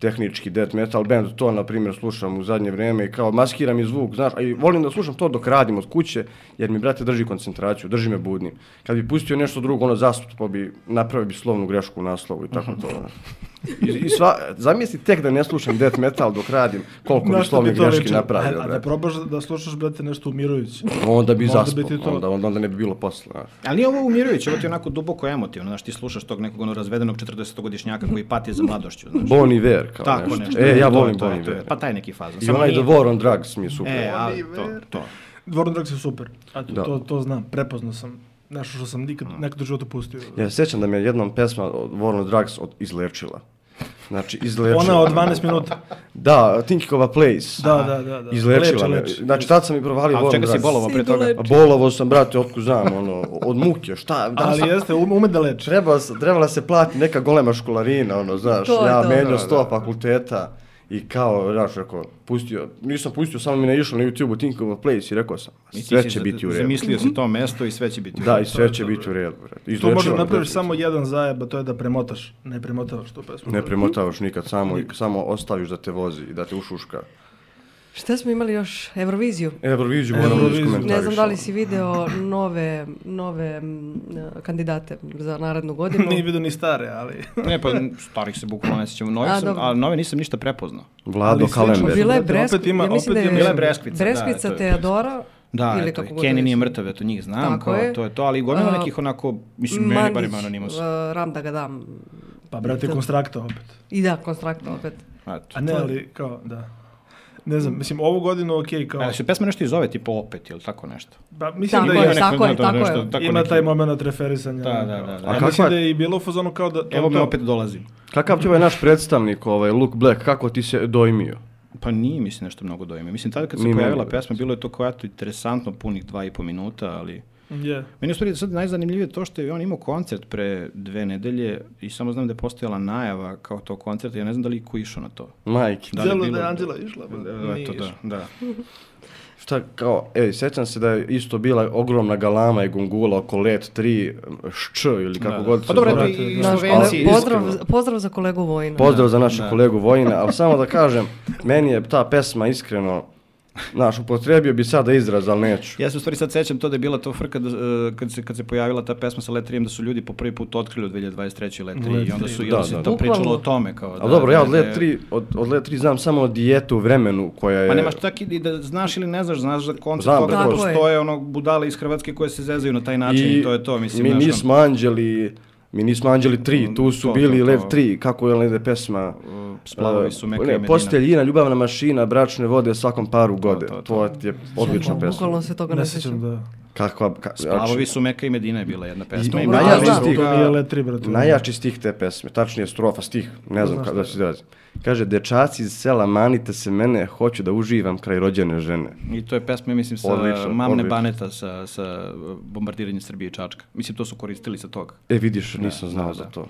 S3: tehnički death metal band, to na primjer slušam u zadnje vrijeme i kao maskiram i zvuk, znaš, a i volim da slušam to dok radim od kuće, jer mi brate drži koncentraciju, drži me budnim. Kad bi pustio nešto drugo, ono zastupao bi, napravio bi slovnu grešku u naslovu i tako to. znaš. I, i sva, zamisli tek da ne slušam death metal dok radim, koliko bi
S2: Na što
S3: slovnih
S2: to
S3: greški
S2: liči?
S3: napravio,
S2: A, a da
S3: brate.
S2: probaš da slušaš, brate, nešto umirujuće.
S3: Onda bi
S2: Možda bi
S3: zaspao,
S2: ti to-
S3: onda, onda, onda ne bi bilo posla. znaš.
S4: Ali nije ovo umirujuće, ovo ti je onako duboko emotivno, znaš, ti slušaš tog nekog ono razvedenog 40-godišnjaka koji pati za mladošću, znaš.
S3: Bon Iver, kao
S4: Tako
S3: nešto.
S4: nešto.
S3: E, ja
S4: To je
S3: volim
S4: to,
S3: Bon
S4: to je.
S3: Iver.
S4: Pa taj neki fazon.
S3: I
S4: samo
S3: onaj The
S4: nije-
S3: War on Drugs mi je super.
S4: E, a, to, to.
S2: Dvoran Drags je super. A
S3: Da.
S2: to, to, to znam, prepoznao sam. Nešto što sam nikad, nekad u životu pustio.
S3: Ja se sjećam da me jednom pesma od War on Drugs od, izlečila. Znači, izlečila.
S2: Ona od 12 minuta.
S3: Da, Thinking of a Place.
S2: Da, da, da. da.
S3: Izlečila
S2: Leče,
S3: me.
S2: leče.
S3: Znači, tad sam i provalio
S4: A
S3: War
S4: od
S3: on
S4: čega
S3: Drugs.
S4: si bolovao pre toga?
S3: A Bolovo sam, brate, otku znam, ono, od muke, šta? Da,
S2: Ali jeste, ume, ume da leče.
S3: Treba, se- trebala se plati neka golema školarina, ono, znaš,
S1: To je
S3: ja
S1: to.
S3: menio
S1: Da,
S3: sto fakulteta i kao, znaš, rekao, pustio, nisam pustio, samo mi ne išlo na YouTube-u Thinking of a Place i rekao sam,
S4: I ti
S3: sve
S4: si
S3: će
S4: za-
S3: biti u redu.
S4: Zamislio si to mesto i sve će biti u
S3: Da,
S4: redu.
S3: i sve će biti u redu, brate.
S2: To
S3: Izlečila
S2: možda
S3: me,
S2: napraviš
S3: definitivno.
S2: samo jedan zajeb, a to je da premotavaš. Ne premotavaš tu pesmu.
S3: Ne premotavaš nikad, samo, samo ostaviš da te vozi i da te ušuška.
S1: Šta smo imali još? Euroviziju?
S3: Euroviziju moramo da
S2: Euroviziju.
S3: iskomentarišemo.
S1: Ne znam da li si video nove, nove m, kandidate za narednu godinu.
S2: Nije vidio ni stare, ali...
S4: Ne, pa starih se bukvalno ne sjećam. Novi
S1: A,
S4: sam,
S1: dobro.
S4: a nove nisam ništa prepoznao.
S3: Vlado
S2: Ali slično
S3: Kalember.
S1: Bila je
S2: Opet
S1: Bresk,
S2: ima-
S1: ja mislim da
S2: opet
S1: je
S2: ima-
S4: Bila je Breskvica, da,
S1: Breskvica,
S4: to je
S1: Teodora,
S4: Da,
S1: ili
S4: eto,
S1: kako god
S4: Kenny
S1: već.
S4: nije mrtav, eto njih znam,
S1: Tako
S4: kao
S1: je.
S4: to je to, ali gomila
S1: A,
S4: nekih onako, mislim, meni barem anonimus.
S1: e, Ram da ga dam.
S2: Pa, brate, konstrakta opet.
S1: I da, konstrakta opet.
S4: Eto.
S2: A ne, ali kao, da. Ne znam, mislim, ovu godinu, okej, kao...
S4: Ali se pesma nešto i zove, tipo opet, ili tako nešto.
S2: Pa, mislim
S1: Tako
S2: da
S1: je,
S2: ima,
S4: neko-
S1: tako je,
S4: da,
S1: tako je.
S4: nešto- tako
S2: ima
S4: neki-
S2: taj moment referisanja.
S4: Da, da, da, da.
S2: A
S3: A kakva
S2: mislim
S3: je-
S2: da je i bilo u fazonu kao da... to-
S4: Evo me
S2: to-
S4: opet dolazim.
S3: Kakav ti je ovaj naš predstavnik, ovaj Luke Black, kako ti se dojmio?
S4: Pa nije, mislim, nešto mnogo dojme. Mislim, tada kad se
S3: Ni meni,
S4: pojavila
S3: brate.
S4: pesma, bilo je to koja to interesantno, punih dva i po minuta, ali...
S2: Je.
S4: Meni je u stvari sad najzanimljivije to što je on imao koncert pre dve nedelje i samo znam da je postojala najava kao tog koncerta, ja ne znam da li je ko išao na to.
S3: Majke.
S4: Da
S2: Da
S4: li je
S2: Zelo da
S4: bilo-
S2: je Anđela išla. ba, nije
S4: Eto, da,
S2: išla.
S4: da.
S3: Šta kao, ej, sjećam se da je isto bila ogromna galama i gungula oko let 3 šč ili kako
S4: Da, da.
S3: god se
S4: Pa dobro,
S3: zove.
S4: eto i
S1: Naš
S4: Slovenci,
S1: kole- pozdrav,
S3: iskreno.
S1: pozdrav za kolegu Vojna.
S4: da.
S3: da Pozdrav za našeg kolegu Vojina, ali samo da kažem, meni je ta pesma iskreno Znaš, upotrebio bi sada izraz, ali neću.
S4: Ja se u stvari sad sećam to da je bila to frka da, e, kad, se, kad se pojavila ta pesma sa Letrijem da su ljudi po prvi put otkrili u 2023. Letri i onda su i onda
S3: da,
S4: se
S3: da.
S4: to pričalo
S1: Bukvalno.
S4: o tome. Kao, da,
S3: Ali dobro, ja od
S4: da je-
S3: Let 3, od, od Let 3 znam samo dijetu vremenu koja je...
S4: Pa nemaš čak i da znaš ili ne znaš, znaš za koncept
S3: Znam,
S4: toga da
S3: tako je.
S4: postoje ono budale iz Hrvatske koje se zezaju na taj način i, to je to, mislim.
S3: Mi
S4: znaš, ono.
S3: nismo anđeli, mi nismo anđeli 3, tu su
S4: To, to,
S3: bili
S4: to.
S3: Lev 3, kako je negde pesma...
S4: Uh, Splavovi su meka i
S3: eh, ne,
S4: medina.
S3: posteljina, ljubavna mašina, bračne vode svakom paru gode.
S4: to,
S3: To,
S4: to.
S3: je odlična pesma.
S1: Bukvalno se toga
S2: Ne
S1: ne
S2: sjećam
S1: sjećam.
S2: da...
S3: Kakva... Ka, znači,
S4: Splavovi su Da, meka i medina je bila jedna pesma. I,
S1: Dobro,
S4: Meka
S1: ja
S4: i
S1: znam.
S4: Medina.
S2: To nije Let 3, brate. Pa
S3: Najjači stih te pesme, tačnije strofa, stih, ne znam kako da se izrazim. Kaže, dečaci iz sela, manite se mene, hoću da uživam kraj rođene žene.
S4: I to je pesma, mislim, sa
S3: Odlično,
S4: Mamne
S3: odlično.
S4: Baneta sa, sa bombardiranjem Srbije i Čačka. Mislim, to su koristili sa toga.
S3: E, vidiš, nisam znao za to.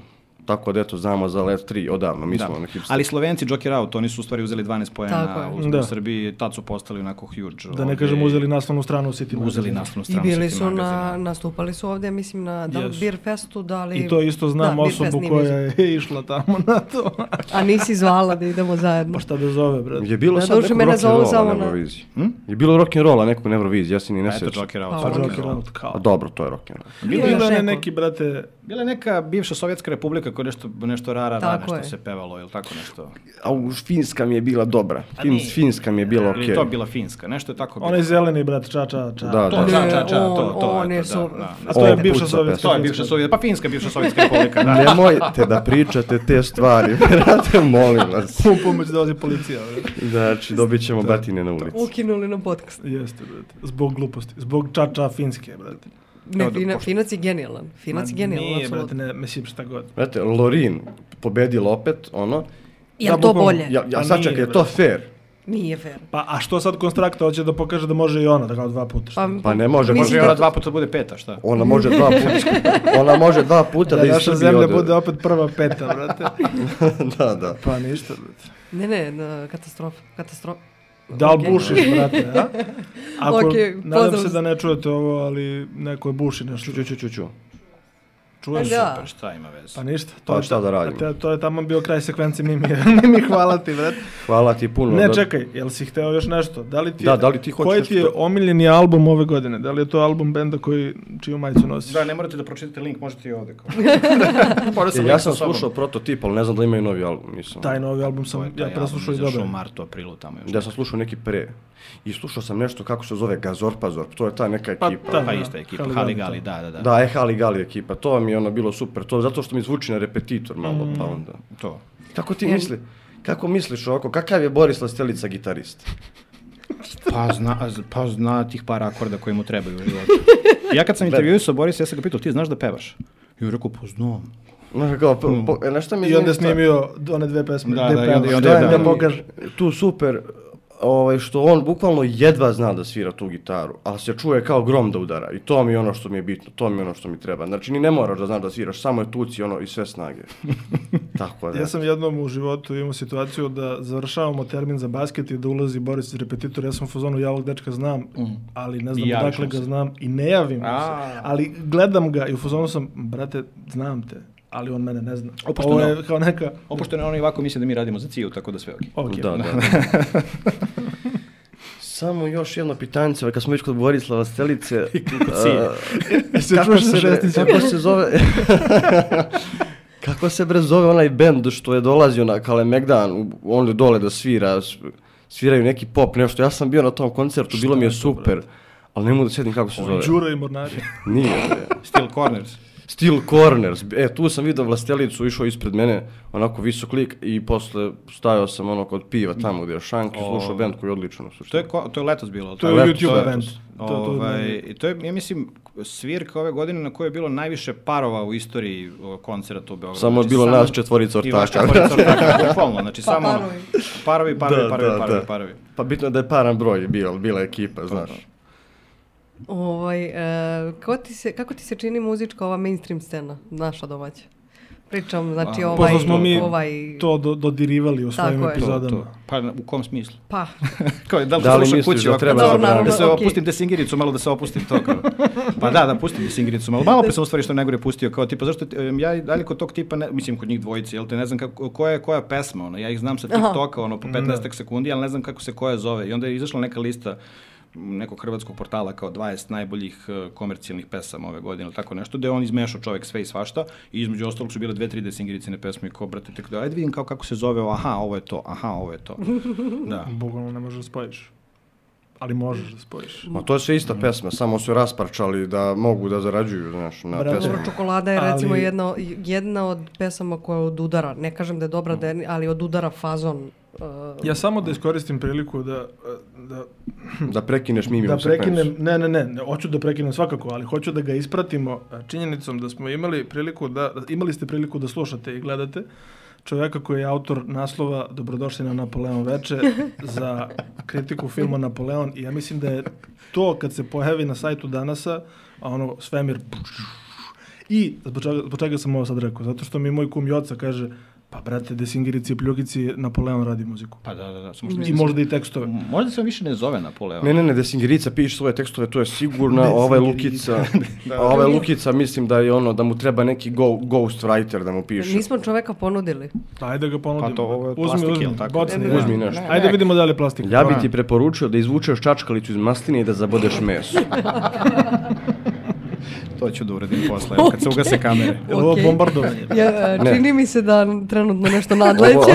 S3: Tako da, eto, znamo za Let 3 odavno, mi smo
S4: Da.
S3: ono hipster.
S4: Ali Slovenci Joker Out, oni su u stvari uzeli 12
S1: Tako
S4: pojena
S1: je.
S4: u, u
S2: Da.
S4: Srbiji, tad su postali onako huge.
S2: Da ne
S4: ovde
S2: kažem
S4: i
S2: uzeli naslovnu stranu u City
S4: uzeli
S2: magazinu.
S4: naslovnu
S1: I
S4: stranu
S1: bili
S4: City
S1: su na,
S4: magazina.
S1: nastupali su ovdje, mislim, na da,
S2: Jesu.
S1: Beer Festu, da li...
S2: I to isto znam
S1: Da, Beer Fest
S2: osobu
S1: nije
S2: koja
S1: bio.
S2: je išla tamo na to.
S1: A nisi zvala da idemo zajedno.
S2: Pa šta da zove, brate?
S3: Je bilo
S1: Na
S3: sad
S1: dušu
S3: nekog
S1: mene zovu
S3: rock'n'rolla
S1: samo
S3: na
S1: na-
S3: Euroviziji? Je bilo rock'n'rolla nekog na Euroviziji, ja se ni ne
S4: Hm? Eto,
S3: sjećam.
S4: Joker Out.
S1: Pa,
S4: Joker
S2: Pa Joker
S4: Out.
S2: Out,
S3: A
S2: kao.
S3: dobro, to je rock'n'roll.
S2: Bilo
S1: Bilo
S2: je
S1: je
S2: da je
S1: neko.
S2: neki, brate,
S4: Bila je neka bivša Sovjetska republika koja nešto, nešto rara, rara,
S1: Tako
S4: nešto
S1: je.
S4: se pevalo ili tako nešto.
S3: A u Finska mi je bila dobra. Fin, Finska mi je bila
S4: Ili je
S3: okej.
S4: to bila Finska, nešto je tako bilo.
S2: onaj zeleni, brate, ča, ča, ča.
S3: Da,
S4: To,
S3: da.
S4: ča, ča, ča,
S1: Ne,
S4: to, to,
S1: on
S4: eto,
S1: je
S4: da,
S1: su-
S4: da, da.
S2: A to je
S3: O,
S2: bivša
S3: puca
S2: sovjetska.
S3: pesma.
S4: To je bivša Sovjetska, pa Finska bivša Sovjetska republika, da.
S3: Nemojte da pričate te stvari, brate, molim vas.
S2: U pomoć da dolazi policija, brate.
S3: Znači, dobit ćemo batine na ulici.
S1: Ukinuli nam podcast.
S2: Jeste, brate. Zbog gluposti. Zbog ča, ča, finske, brate.
S4: Evo
S1: Ne,
S4: da
S1: fina,
S4: pošto-
S1: Finac je genijalan. Finac je
S2: Ma
S1: genijalan,
S2: Nije, brate,
S1: apsolutno.
S2: ne, mislim šta god.
S3: Brate, Lorin pobedila opet, ono.
S1: Je
S2: Da,
S1: li to
S2: bukvalno.
S1: bolje?
S3: Ja,
S2: Pa
S3: ja sad čekaj,
S2: nije,
S3: je to
S2: brate.
S3: fair?
S1: Nije fair.
S2: Pa, a što sad konstrakta hoće da pokaže da može i ona, da kao dva puta? Šta?
S3: Pa ne može,
S1: mislim
S4: Može i
S1: da-
S4: ona dva puta bude peta, šta?
S3: Ona može dva puta, ona može dva puta da,
S2: da
S3: iz
S2: naša
S3: Srbije
S2: zemlja
S3: ode.
S2: bude opet prva peta, brate.
S3: da, da.
S2: Pa ništa, brate.
S1: Ne, ne, da, na- katastrofa. Katastrofa.
S2: Da li
S1: Okej.
S2: bušiš, brate, a? Ako,
S1: Okej,
S2: nadam
S1: pozdrav.
S2: se da ne čujete ovo, ali neko je buši nešto.
S3: Ču, ču, ču, ču.
S2: Čuješ?
S1: Da.
S4: Pa šta ima veze?
S2: Pa ništa.
S3: Pa
S2: je
S3: šta da radimo?
S2: To, to je tamo bio kraj sekvencije Mimija. Mimi, hvala ti, brate.
S3: Hvala ti puno.
S2: Ne,
S3: da-
S2: čekaj, jel si hteo još nešto? Da li ti, je-
S3: Da, da li ti hoćeš
S2: Koji ti je
S3: nešto?
S2: omiljeni album ove godine? Da li je to album benda koji, čiju majicu nosiš?
S4: Da, ne morate da pročitate link, možete i ovde. Kao. da
S3: E, ja sam slušao prototip, ali ne znam da imaju novi album, nisam.
S2: Taj novi album sam ja preslušao i dobro.
S4: u martu, aprilu tamo još.
S3: Ja Da sam slušao neki pre. I slušao sam nešto kako se zove Gazorpazorp, to je ta neka
S2: Pa,
S3: ekipa.
S2: da.
S4: Pa ista ekipa,
S2: Haligali,
S4: Haligali, da, da, da.
S3: Da, e, Hali Gali ekipa, to mi je ono bilo super, to zato što mi zvuči na repetitor malo,
S2: Mm.
S3: pa onda.
S4: To.
S3: Kako ti misli? Kako misliš ovako, kakav je Boris Lastelica gitarist?
S4: Pa zna, a z- pa zna tih par akorda koji mu trebaju u životu. Ja kad sam intervjuo sa Boris, ja sam ga pitao, ti znaš da pevaš? I on je rekao, pa znam.
S3: Znaš kao, po, po, e, znaš šta mi je
S2: I onda je
S3: zanimljivo?
S2: snimio one dve pesme.
S4: Da,
S2: gde
S4: da, i
S2: peva.
S4: onda- i onda
S3: Šta
S4: je
S3: je
S4: da,
S3: da
S4: da.
S3: pokaže tu super ovaj, što on bukvalno jedva zna da svira tu gitaru, ali se čuje kao grom da udara i to mi je ono što mi je bitno, to mi je ono što mi treba. Znači ni ne moraš da znaš da sviraš, samo je tuci ono i sve snage. Tako da.
S2: Ja sam jednom u životu imao situaciju da završavamo termin za basket i da ulazi Boris iz repetitora. Ja sam u fazonu, ja ovog dečka znam, ali ne
S4: Mhm. I
S2: znam
S4: javiš
S2: odakle
S4: mu
S2: ga
S4: se.
S2: znam i ne javim mu
S4: A.
S2: se. Ali gledam ga i u fazonu sam, brate, znam te, ali on mene ne zna.
S4: Opušteno.
S2: Ovo je kao neka...
S4: Opušteno on i ovako misle da mi radimo za ciju, tako da sve okej.
S2: Ok,
S3: Da, da. Samo još jedno pitanje, kad smo već kod Borislava Stelice, a,
S2: Se
S3: kako,
S2: čuješ
S3: se bre-
S2: šestica?
S3: kako se zove... kako se bre zove onaj bend što je dolazio na Kalemegdan, u- on je dole da svira, s- sviraju neki pop, nešto. Ja sam bio na tom koncertu, bilo mi je super, ali ne mogu da sjetim kako se zove.
S2: Đuro i Mornari.
S3: Nije, bre.
S4: Steel Corners.
S3: Steel Corners. E, tu sam vidio vlastelicu, išao ispred mene, onako visok lik i posle stajao sam ono kod piva tamo gdje je Šank i slušao bend koji je odličan. u suštini.
S4: To je, ko- to je letos bilo. ali
S2: To je
S3: Lepo,
S2: YouTube
S3: to
S4: je-
S2: event. To, to, da.
S4: Ovaj, i to je, ja mislim, svirka ove godine na kojoj je bilo najviše parova u istoriji o, koncerata u Beogradu. Znači,
S3: Samo je bilo nas četvorica
S4: i vas
S3: ortaka.
S4: četvorica ortaka, bukvalno. Znači,
S1: Pa
S4: samo ono,
S1: parovi.
S3: Da,
S4: parovi, parovi, parovi,
S3: da,
S4: parovi,
S3: da.
S4: parovi. Pa da.
S3: Pa bitno je da je paran broj bio, bila je ekipa, znaš.
S1: Ovaj, e, kako, ti se, kako ti se čini muzička ova mainstream scena, naša domaća? Pričam, znači
S4: Pa,
S1: ovaj...
S2: Pošto smo mi
S1: ovaj...
S2: to do, dodirivali u svojim
S1: Tako je.
S2: epizodama.
S4: Pa u kom smislu?
S1: Pa,
S4: Kao, je, da li,
S3: Da li
S4: slušam
S3: misliš
S4: kući
S3: da
S4: ovako,
S3: treba
S1: Dobro, zabraniti?
S4: da se
S1: naravno, okej.
S4: opustim desingiricu, malo da se opustim to kao. Pa da, da pustim desingiricu malo. Malo pre sam u stvari što je najgore pustio kao tipa zašto ti- em, ja i dalje kod tog tipa ne, mislim kod njih dvojice, jel te ne znam kako koja je koja pesma ono. Ja ih znam sa TikToka ono po
S3: Mm, da.
S4: 15 sekundi, ali ne znam kako se koja zove. I onda je izašla neka lista m, nekog hrvatskog portala kao 20 najboljih e, komercijalnih pesama ove godine ili tako nešto, gde je on izmešao čovek sve i svašta i između ostalog su bile dve, tri desingiricine pesme i kao, brate, tek da, ajde vidim kao kako se zove, ovo, aha, ovo je to, aha, ovo je to. Da.
S2: Bukvalno ne možeš da spojiš. Ali možeš da spojiš.
S3: Ma to je sve
S4: Mhm.
S3: ista pesma, samo su rasparčali da mogu da zarađuju, znaš, na
S2: Brate.
S1: dobro,
S3: pesmama.
S1: čokolada je
S2: Ali-
S1: recimo jedna, jedna od pesama koja odudara. Ne kažem da je dobra, da je, ali odudara fazon. Uh,
S2: Ja samo da iskoristim priliku da, da
S3: Da prekineš mimim
S2: da
S3: sekvencu.
S2: prekinem, ne, ne, ne, ne, hoću da prekinem svakako, ali hoću da ga ispratimo a, činjenicom da smo imali priliku da, da- imali ste priliku da slušate i gledate čovjeka koji je autor naslova Dobrodošli na Napoleon veče za kritiku filma Napoleon i ja mislim da je to kad se pojavi na sajtu danasa, a ono svemir i zbog čega, zbog čega sam ovo sad rekao, zato što mi moj kum Joca kaže pa brate, Desingirici i Pljugici Napoleon radi muziku.
S4: Pa da, da, da. Samo što
S2: I
S4: mislim,
S2: možda i tekstove.
S4: možda se on više ne zove Napoleon.
S3: Ne, ne, ne, Desingirica piše svoje tekstove, to je sigurno, a ovaj
S2: Desingirica.
S3: Lukica, a ovaj Lukica mislim da je ono, da mu treba neki go, ghost writer da mu piše.
S1: nismo čoveka ponudili.
S2: Ajde da ga ponudim.
S4: Pa to ovo je
S2: uzmi,
S4: plastik,
S2: uzmi,
S4: jel tako?
S2: bocni,
S1: Ne,
S3: Uzmi nešto.
S2: Ajde vidimo da li je plastik.
S3: Ja bi ti preporučio da izvučeš čačkalicu iz masline i da zabodeš meso.
S4: To ću da uradim posle, evo, kad se ugase kamere.
S2: Jel ovo
S1: Okej.
S2: bombardovanje?
S1: Ja, e,
S3: Ne.
S1: čini mi se da trenutno nešto nadleće.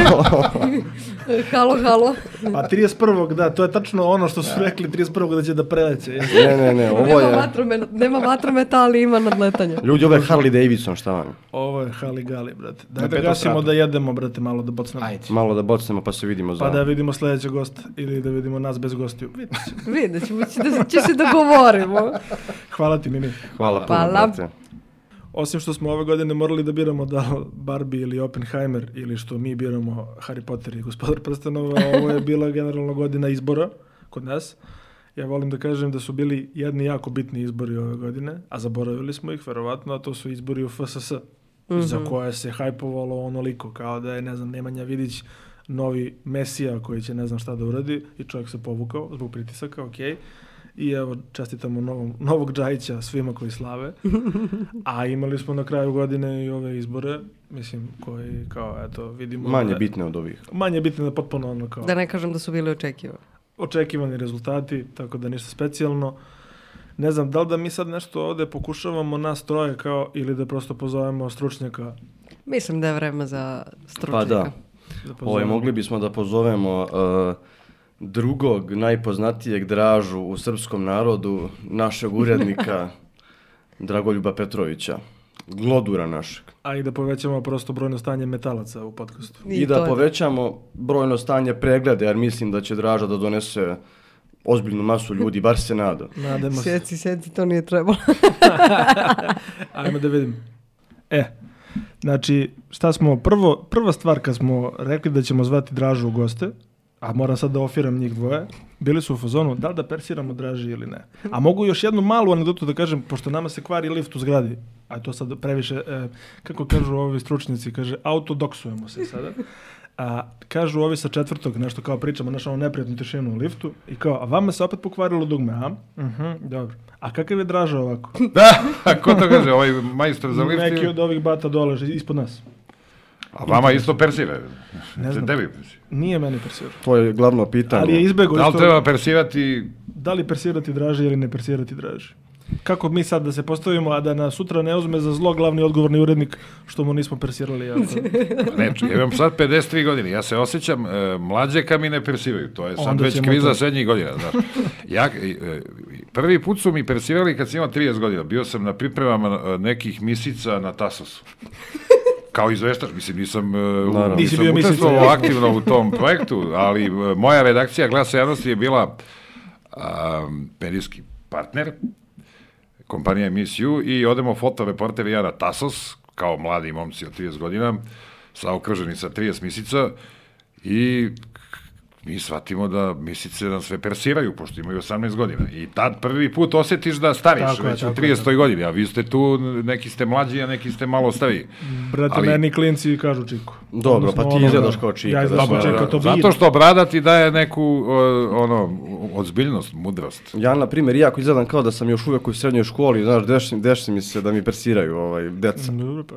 S1: halo, halo.
S2: Pa 31. da, to je tačno ono što su rekli 31. da će da preleće.
S3: ne, ne, ne, ovo
S1: Nema,
S3: je...
S1: vatrome- nema vatrometa, ali ima nadletanja.
S3: Ljudi, ovo je Harley Davidson, šta vam?
S2: Ovo je Hali Gali, brate. Daj
S4: Na
S2: da
S4: petom
S2: gasimo
S4: stratu.
S2: da jedemo, brate, malo da bocnemo.
S4: Ajde.
S3: Malo da bocnemo pa se vidimo za...
S2: Pa da vidimo sledećeg gosta ili da vidimo nas bez gostiju. Vidimo se.
S1: Vidjet ćemo, će da će se dogovorimo.
S2: Hvala ti, Mimi.
S3: Hvala puno,
S1: Hvala.
S3: brate.
S2: Osim što smo ove godine morali da biramo da li Barbie ili Oppenheimer ili što mi biramo Harry Potter i Gospodar prstenova, ovo je bila generalno godina izbora kod nas. Ja volim da kažem da su bili jedni jako bitni izbori ove godine, a zaboravili smo ih verovatno, a to su izbori u FSS, za koje se hajpovalo onoliko, kao da je, ne znam, Nemanja Vidić novi mesija koji će ne znam šta da uradi i čovjek se povukao zbog pritisaka, okej. I evo, čestitamo novom, novog Džajića svima koji slave. A imali smo na kraju godine i ove izbore, mislim, koji kao, eto, vidimo...
S3: Manje
S2: da-
S3: bitne od ovih.
S2: Manje bitne da potpuno ono kao
S1: Da ne kažem da su bili očekivani.
S2: očekivani rezultati, tako da ništa specijalno. Ne znam, da li da mi sad nešto ovde pokušavamo nas troje kao, ili da prosto pozovemo stručnjaka
S1: Mislim da je vreme za stručnjaka.
S3: Pa da.
S2: da pozovemo.
S3: Ovaj, mogli bismo da pozovemo eh, drugog najpoznatijeg dražu u srpskom narodu, našeg urednika Dragoljuba Petrovića, glodura našeg.
S2: A i da povećamo prosto brojno stanje metalaca u podcastu.
S3: I, da povećamo brojno stanje preglede, jer mislim da će draža da donese ozbiljnu masu ljudi, bar se nada.
S2: Nadamo se.
S1: Sjeci, sjeci, to nije trebalo.
S2: Ajmo da vidim. E, znači, šta smo, prvo, prva stvar kad smo rekli da ćemo zvati Dražu u goste, a moram sad da ofiram njih dvoje, bili su u fazonu da li da persiramo Draži ili ne. A mogu još jednu malu anegdotu da kažem, pošto nama se kvari lift u zgradi, a to sad previše, e, kako kažu ovi stručnjaci, kaže, autodoksujemo se sada. A, kažu ovi sa četvrtog, nešto kao pričamo, naš ono neprijatnu tišinu u liftu, i kao, a vama se opet pokvarilo dugme, a? Mhm, dobro. A kakav je Draža ovako?
S5: Da, ko to kaže, ovaj majstor za lift,
S2: Neki od ovih bata dole, ži- ispod nas.
S5: a vama isto persira.
S2: Ne
S5: Ne
S2: znam.
S5: znam. Tebi persira.
S2: Nije meni persirao.
S3: To je glavno pitanje.
S2: Ali je izbego
S5: Da
S2: isto,
S5: li treba persirati,
S2: da li persirati draži ili ne persirati draži. Kako mi sad da se postavimo, a da nas sutra ne uzme za zlo glavni odgovorni urednik, što mu nismo persirali jako.
S5: neče, Znači, ja imam sad 53 godine, ja se osjećam e, mlađe kad mi ne persiraju, to je sad
S2: Onda
S5: već
S2: ćemo
S5: kriza
S2: to.
S5: srednjih godina, znaš. Ja, e, e, prvi put su mi persirali kad sam imao 30 godina, bio sam na pripremama e, nekih misica na Tasosu. Kao izveštač, mislim, nisam, e, u-
S3: Naravno.
S2: Nisi
S5: nisam
S2: bio misica,
S5: učestvovao
S2: ja.
S5: aktivno u tom projektu, ali e, moja redakcija Glasa javnosti je bila um, perijski partner, kompanija Miss You, i odemo fotoreporter i ja na Tasos, kao mladi momci od 30 godina, sa okruženi sa 30 misica, i mi shvatimo da misice nam sve persiraju, pošto imaju 18 godina. I tad prvi put osjetiš da stariš,
S2: Tako je,
S5: već u
S2: tako
S5: 30. godini, a vi ste tu, neki ste mlađi, a neki ste malo stariji.
S2: Brate,
S5: Ali-
S2: meni klinci kažu Čiko.
S3: Dobro,
S2: Odnosno,
S3: pa ti
S2: ono,
S3: izgledaš kao Čika,
S2: Ja
S3: da
S2: izgledam kao
S3: smo-
S2: Čika, to bi...
S5: Zato što brada ti daje neku, o, ono, odzbiljnost, mudrost.
S3: Ja, na primjer, iako izgledam kao da sam još uvijek u srednjoj školi, znaš, deši, deši mi se da mi persiraju ovaj, deca.
S2: Dobro, pa...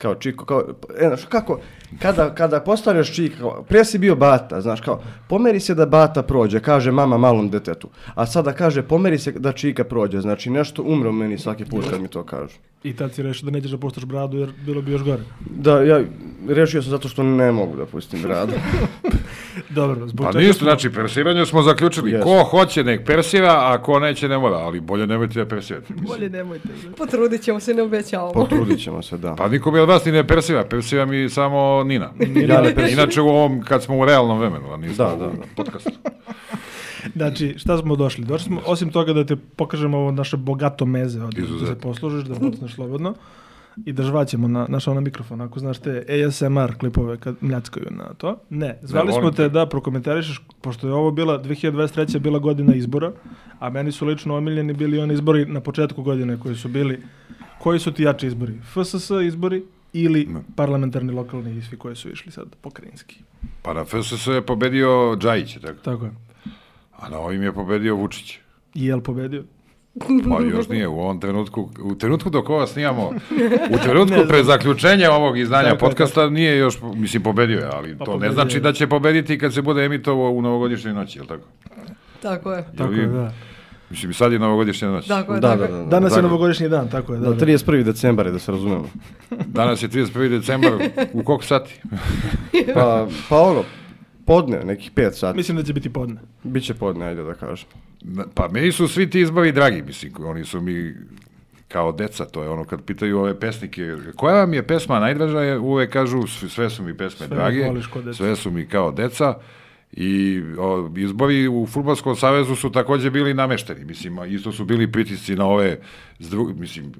S3: Kao čiko, kao, e, znaš, kako, kada, kada postaneš čika, kao, pre si bio bata, znaš, kao, pomeri se da bata prođe, kaže mama malom detetu, a sada kaže, pomeri se da čika prođe, znači, nešto umre u meni svaki put kad mi to kažu.
S2: I tad si rešio da nećeš da puštaš bradu jer bilo bi još gore.
S3: Da, ja rešio sam zato što ne mogu da pustim bradu.
S2: Dobro, zbog
S5: Pa
S2: čega
S5: ništa,
S2: smo-
S5: znači, persiranje smo zaključili.
S3: Jeste.
S5: Ko hoće, nek persira, a ko neće, ne mora. Ali bolje nemojte da persirate. mislim.
S2: Bolje nemojte. bre.
S1: Potrudit ćemo se, ne obećavamo.
S3: Potrudit ćemo se, da.
S5: Pa nikom od vas ni ne persira, persira mi samo Nina.
S3: Ja ne persiram.
S5: Inače u ovom, kad smo u realnom vremenu, a nismo
S3: Da, da,
S5: u
S3: da.
S5: podcastu.
S2: Znači, šta smo došli? Došli smo, osim toga da te pokažemo ovo naše bogato meze, od, da se
S5: Izuzetno.
S2: poslužiš, da bocneš slobodno, i da žvaćemo na, naš ono mikrofon, ako znaš te ASMR klipove kad mljackaju na to. Ne, zvali smo
S5: volim
S2: te
S5: te.
S2: da prokomentarišeš, pošto je ovo bila, 2023. je bila godina izbora, a meni su lično omiljeni bili oni izbori na početku godine koji su bili, koji su ti jači izbori? FSS izbori ili parlamentarni lokalni i svi koji su išli sad pokrajinski.
S5: Pa na FSS je pobedio Džajić, je tako?
S2: Tako je.
S5: a na ovim je pobedio Vučić.
S2: I je li pobedio?
S5: Pa još nije u ovom trenutku, u trenutku dok ovo snijamo, u trenutku prezaključenja ovog izdanja
S2: Tako je, Pa
S5: podcasta nije još, mislim, pobedio je, ali to
S2: pobedio
S5: ne znači
S2: je.
S5: da će pobediti kad se bude emitovao u novogodišnjoj noći, je li tako?
S1: Tako je.
S2: Tako
S5: Ili-
S2: je, da.
S5: Mislim, sad je novogodišnja noć.
S1: Tako je,
S3: Da, da,
S1: tako
S3: da.
S1: je.
S3: da.
S2: Danas je
S5: Zagreb.
S2: novogodišnji dan, tako je. Da,
S3: Da,
S2: da,
S3: 31. decembar je, da se razumemo.
S5: Danas je 31. decembar, u koliko sati?
S3: Pa, pa ono, podne, nekih 5 sati.
S2: Mislim da će biti podne.
S3: Biće podne, ajde da kažem.
S5: Na- Pa meni su svi ti izbori dragi, mislim, oni su mi kao deca, to je ono kad pitaju ove pesnike, koja vam je pesma najdraža, jer uvek kažu "Sv- sve su mi pesme
S2: Sve
S5: drage,
S2: voliš ko deca."
S5: sve su mi kao deca i o, izbori u Fudbalskom savezu su takođe bili namešteni, mislim, a isto su bili pritisci na ove, s dru- mislim,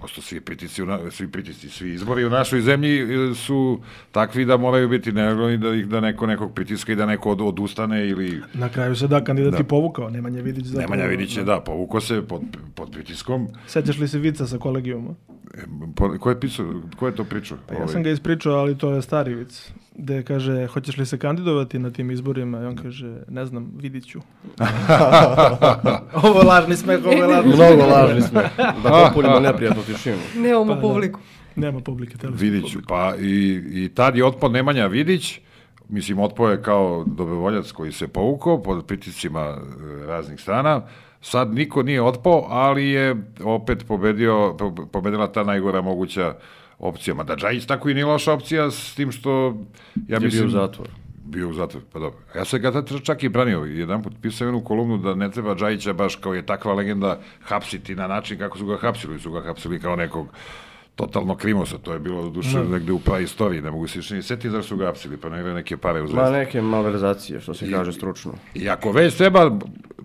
S5: posto svi pritisci, u na- svi pritisci, svi izbori u našoj zemlji e, su takvi da moraju biti nerealni, da, ih- da neko nekog pritiska i da neko od, odustane ili...
S2: Na kraju se da kandidat i povukao, Nemanja Vidić. zapravo-
S5: Nemanja Vidić je, da, povuko se pod, pod pritiskom.
S2: Sećaš li se vica sa kolegijuma?
S5: E, po- Ko je, pisao, ko je to pričao? Ovaj,
S2: Pa ja sam ga ispričao, ali to je stari vic. Gde kaže, hoćeš li se kandidovati na tim izborima? I on kaže, ne znam, vidit ću. ovo je lažni smeh, ovo je lažni smeh.
S3: Mnogo lažni smo, da popunimo neprijatnu tišinu.
S5: Pa
S1: Nemamo
S2: da.
S1: publiku.
S2: Nema publike, telefon.
S5: Vidiću, pa i, i tad je otpao Nemanja Vidić, mislim otpao je kao dobrovoljac koji se povukao pod pritiscima e, raznih strana, sad niko nije otpao, ali je opet pobedio, po- pobedila ta najgora moguća opcija. Mada Džajić tako i nije loša opcija s tim što, ja
S3: Je bio
S5: mislim...
S3: u zatvoru.
S5: Bio u zatvoru, pa dobro. Ja sam ga tad čak i branio. Jedan put pisao jednu kolumnu da ne treba Džajića baš kao je takva legenda hapsiti na način kako su ga hapsili. Su ga hapsili kao nekog totalno krimosa. To je bilo do duše negde u praistoriji. Ne mogu se više ni setiti zašto su ga hapsili. Pa ne neke pare uzeli.
S3: Ma neke malverzacije, što se kaže stručno.
S5: I ako već treba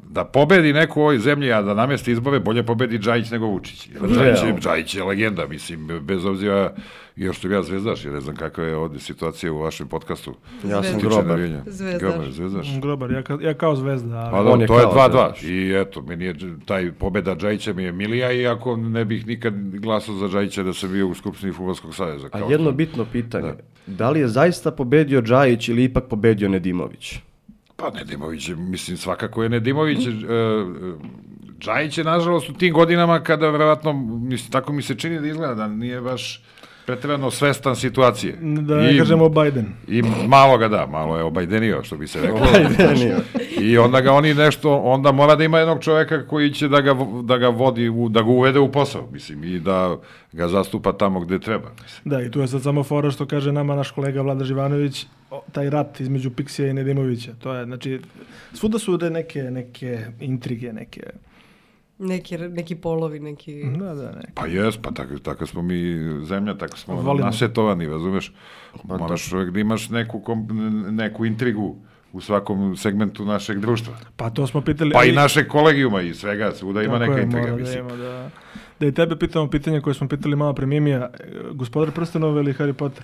S5: da pobedi neko u ovoj zemlji, a da namesti izbore, bolje pobedi Džajić nego Vučić. Jer Džajić, je,
S3: Realno.
S5: Džajić je legenda, mislim, bez obzira još što ga ja zvezdaš, jer ne znam kakva je ovdje situacija u vašem podcastu.
S3: Ja sam
S1: Zvezda.
S3: grobar.
S5: Tiče navijanja.
S1: Zvezdaš.
S5: Grobar, zvezdaš.
S2: Grobar, ja, ka- ja kao zvezda, ali...
S5: Pa
S3: On
S5: da,
S3: je
S5: to je
S3: kao
S5: 2-2.
S3: zvezdaš.
S5: I eto, meni je dž- taj pobeda Džajića mi je milija, iako ne bih nikad glasao za Džajića da sam bio u Skupštini Fudbalskog saveza.
S3: A
S5: kao
S3: jedno
S5: što-
S3: bitno pitanje, da. li je zaista pobedio Džajić ili ipak pobedio Nedimović?
S5: Pa Nedimović, je, mislim, svakako je Nedimović. e, e, Džajić je, nažalost, u tim godinama kada, verovatno, mislim, tako mi se čini da izgleda, da nije baš pretrano svestan situacije.
S2: Da ne kažemo Biden.
S5: I malo ga da, malo je obajdenio, što bi se reklo.
S3: Nije.
S5: I onda ga oni nešto, onda mora da ima jednog čoveka koji će da ga, vo- da ga vodi, u, da ga uvede u posao, mislim, i da ga zastupa tamo gde treba. mislim.
S2: Da, i tu je sad samo fora što kaže nama naš kolega Vlada Živanović, o, taj rat između Piksija i Nedimovića. To je, znači, svuda su te neke, neke intrige, neke...
S1: Neki, neki polovi, neki...
S2: Da, da, ne.
S5: Pa jes, pa tako, tako smo mi zemlja, tako smo
S2: Volimo. Pa
S5: nasetovani, razumeš? Moraš uvek da imaš neku, kom- neku intrigu u svakom segmentu našeg društva.
S2: Pa to smo pitali...
S5: Pa i
S2: ali-
S5: našeg kolegijuma i svega, svuda ima
S2: Tako
S5: neka
S2: je,
S5: intriga,
S2: mora da,
S5: mislim.
S2: ima, da, da i tebe pitamo
S5: Mhm.
S2: pitanje koje smo pitali malo pre Mimija, e, gospodar Prstenova ili Harry Potter?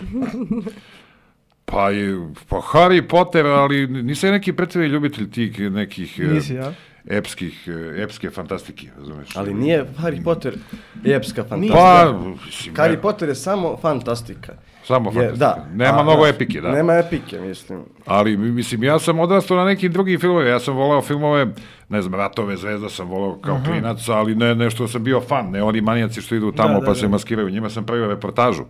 S5: Pa, i, pa Harry Potter, ali nisam neki pretvrni ljubitelj tih nekih... e,
S2: Nisi, ja?
S5: Epskih, e, epske fantastike, razumeš?
S3: Ali nije Harry Potter epska fantastika.
S5: Pa, mislim,
S3: Harry
S5: ne,
S3: Potter je samo fantastika.
S5: Samo
S3: Je,
S5: fantastika.
S3: da.
S5: Nema
S3: A,
S5: mnogo
S3: znaš,
S5: epike, da.
S3: Nema epike, mislim.
S5: Ali, mi- mislim, ja sam odrastao na nekim drugim filmove. Ja sam volao filmove, ne znam, Ratove zvezda sam volao kao
S2: Mhm.
S5: klinac, ali ne nešto sam bio fan. Ne oni manijaci što idu tamo
S2: da,
S5: pa
S2: da.
S5: se maskiraju. Njima sam pravio reportažu.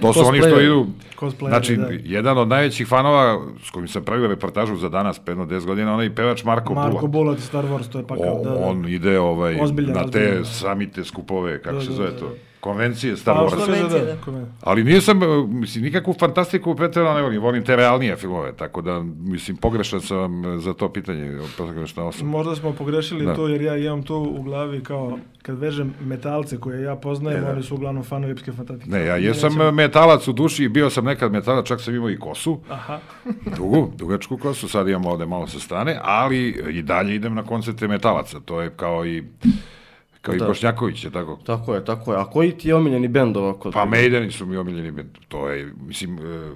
S5: To su oni što
S3: Cosplayeri.
S5: idu...
S2: Cosplayeri,
S5: znači,
S2: da.
S5: jedan od najvećih fanova s kojim sam pravio reportažu za danas, predno 10 godina, onaj pevač Marko,
S2: Marko
S5: Bulak.
S2: Bulat, Star Wars, to je pakao,
S5: O,
S2: da, da.
S5: On ide ovaj,
S2: Ozbiljan,
S5: na te
S2: ozbiljan.
S5: samite skupove, kako
S2: Da,
S5: se
S2: da,
S5: zove
S2: da,
S5: to?
S2: da.
S5: Konvencije Star
S2: Pa,
S5: Wars.
S2: što je,
S1: Konvencije,
S2: da,
S1: da.
S2: da. Konven-
S5: Ali nisam, e, mislim, nikakvu fantastiku pretjerano ne volim, volim te realnije filmove, tako da, mislim, pogrešan sam e, za to pitanje, pogrešna osoba.
S2: Možda smo pogrešili
S5: Da.
S2: to jer ja imam to u glavi kao kad vežem metalce koje ja poznajem, oni su uglavnom fanovi epske fantatike.
S5: E, da. Ne, ja jesam e,
S2: Nećemo-
S5: metalac u duši i bio sam nekad metalac, čak sam imao i kosu,
S2: Aha,
S5: dugu, dugačku kosu, sad imam ovde malo sa strane, ali i dalje idem na koncerte metalaca, to je kao i, kao i
S3: Da.
S5: Bošnjaković, je tako?
S3: Tako je, tako je. A koji ti je omiljeni bend ovako?
S5: Pa Maideni su mi omiljeni, bend. to je, mislim, e,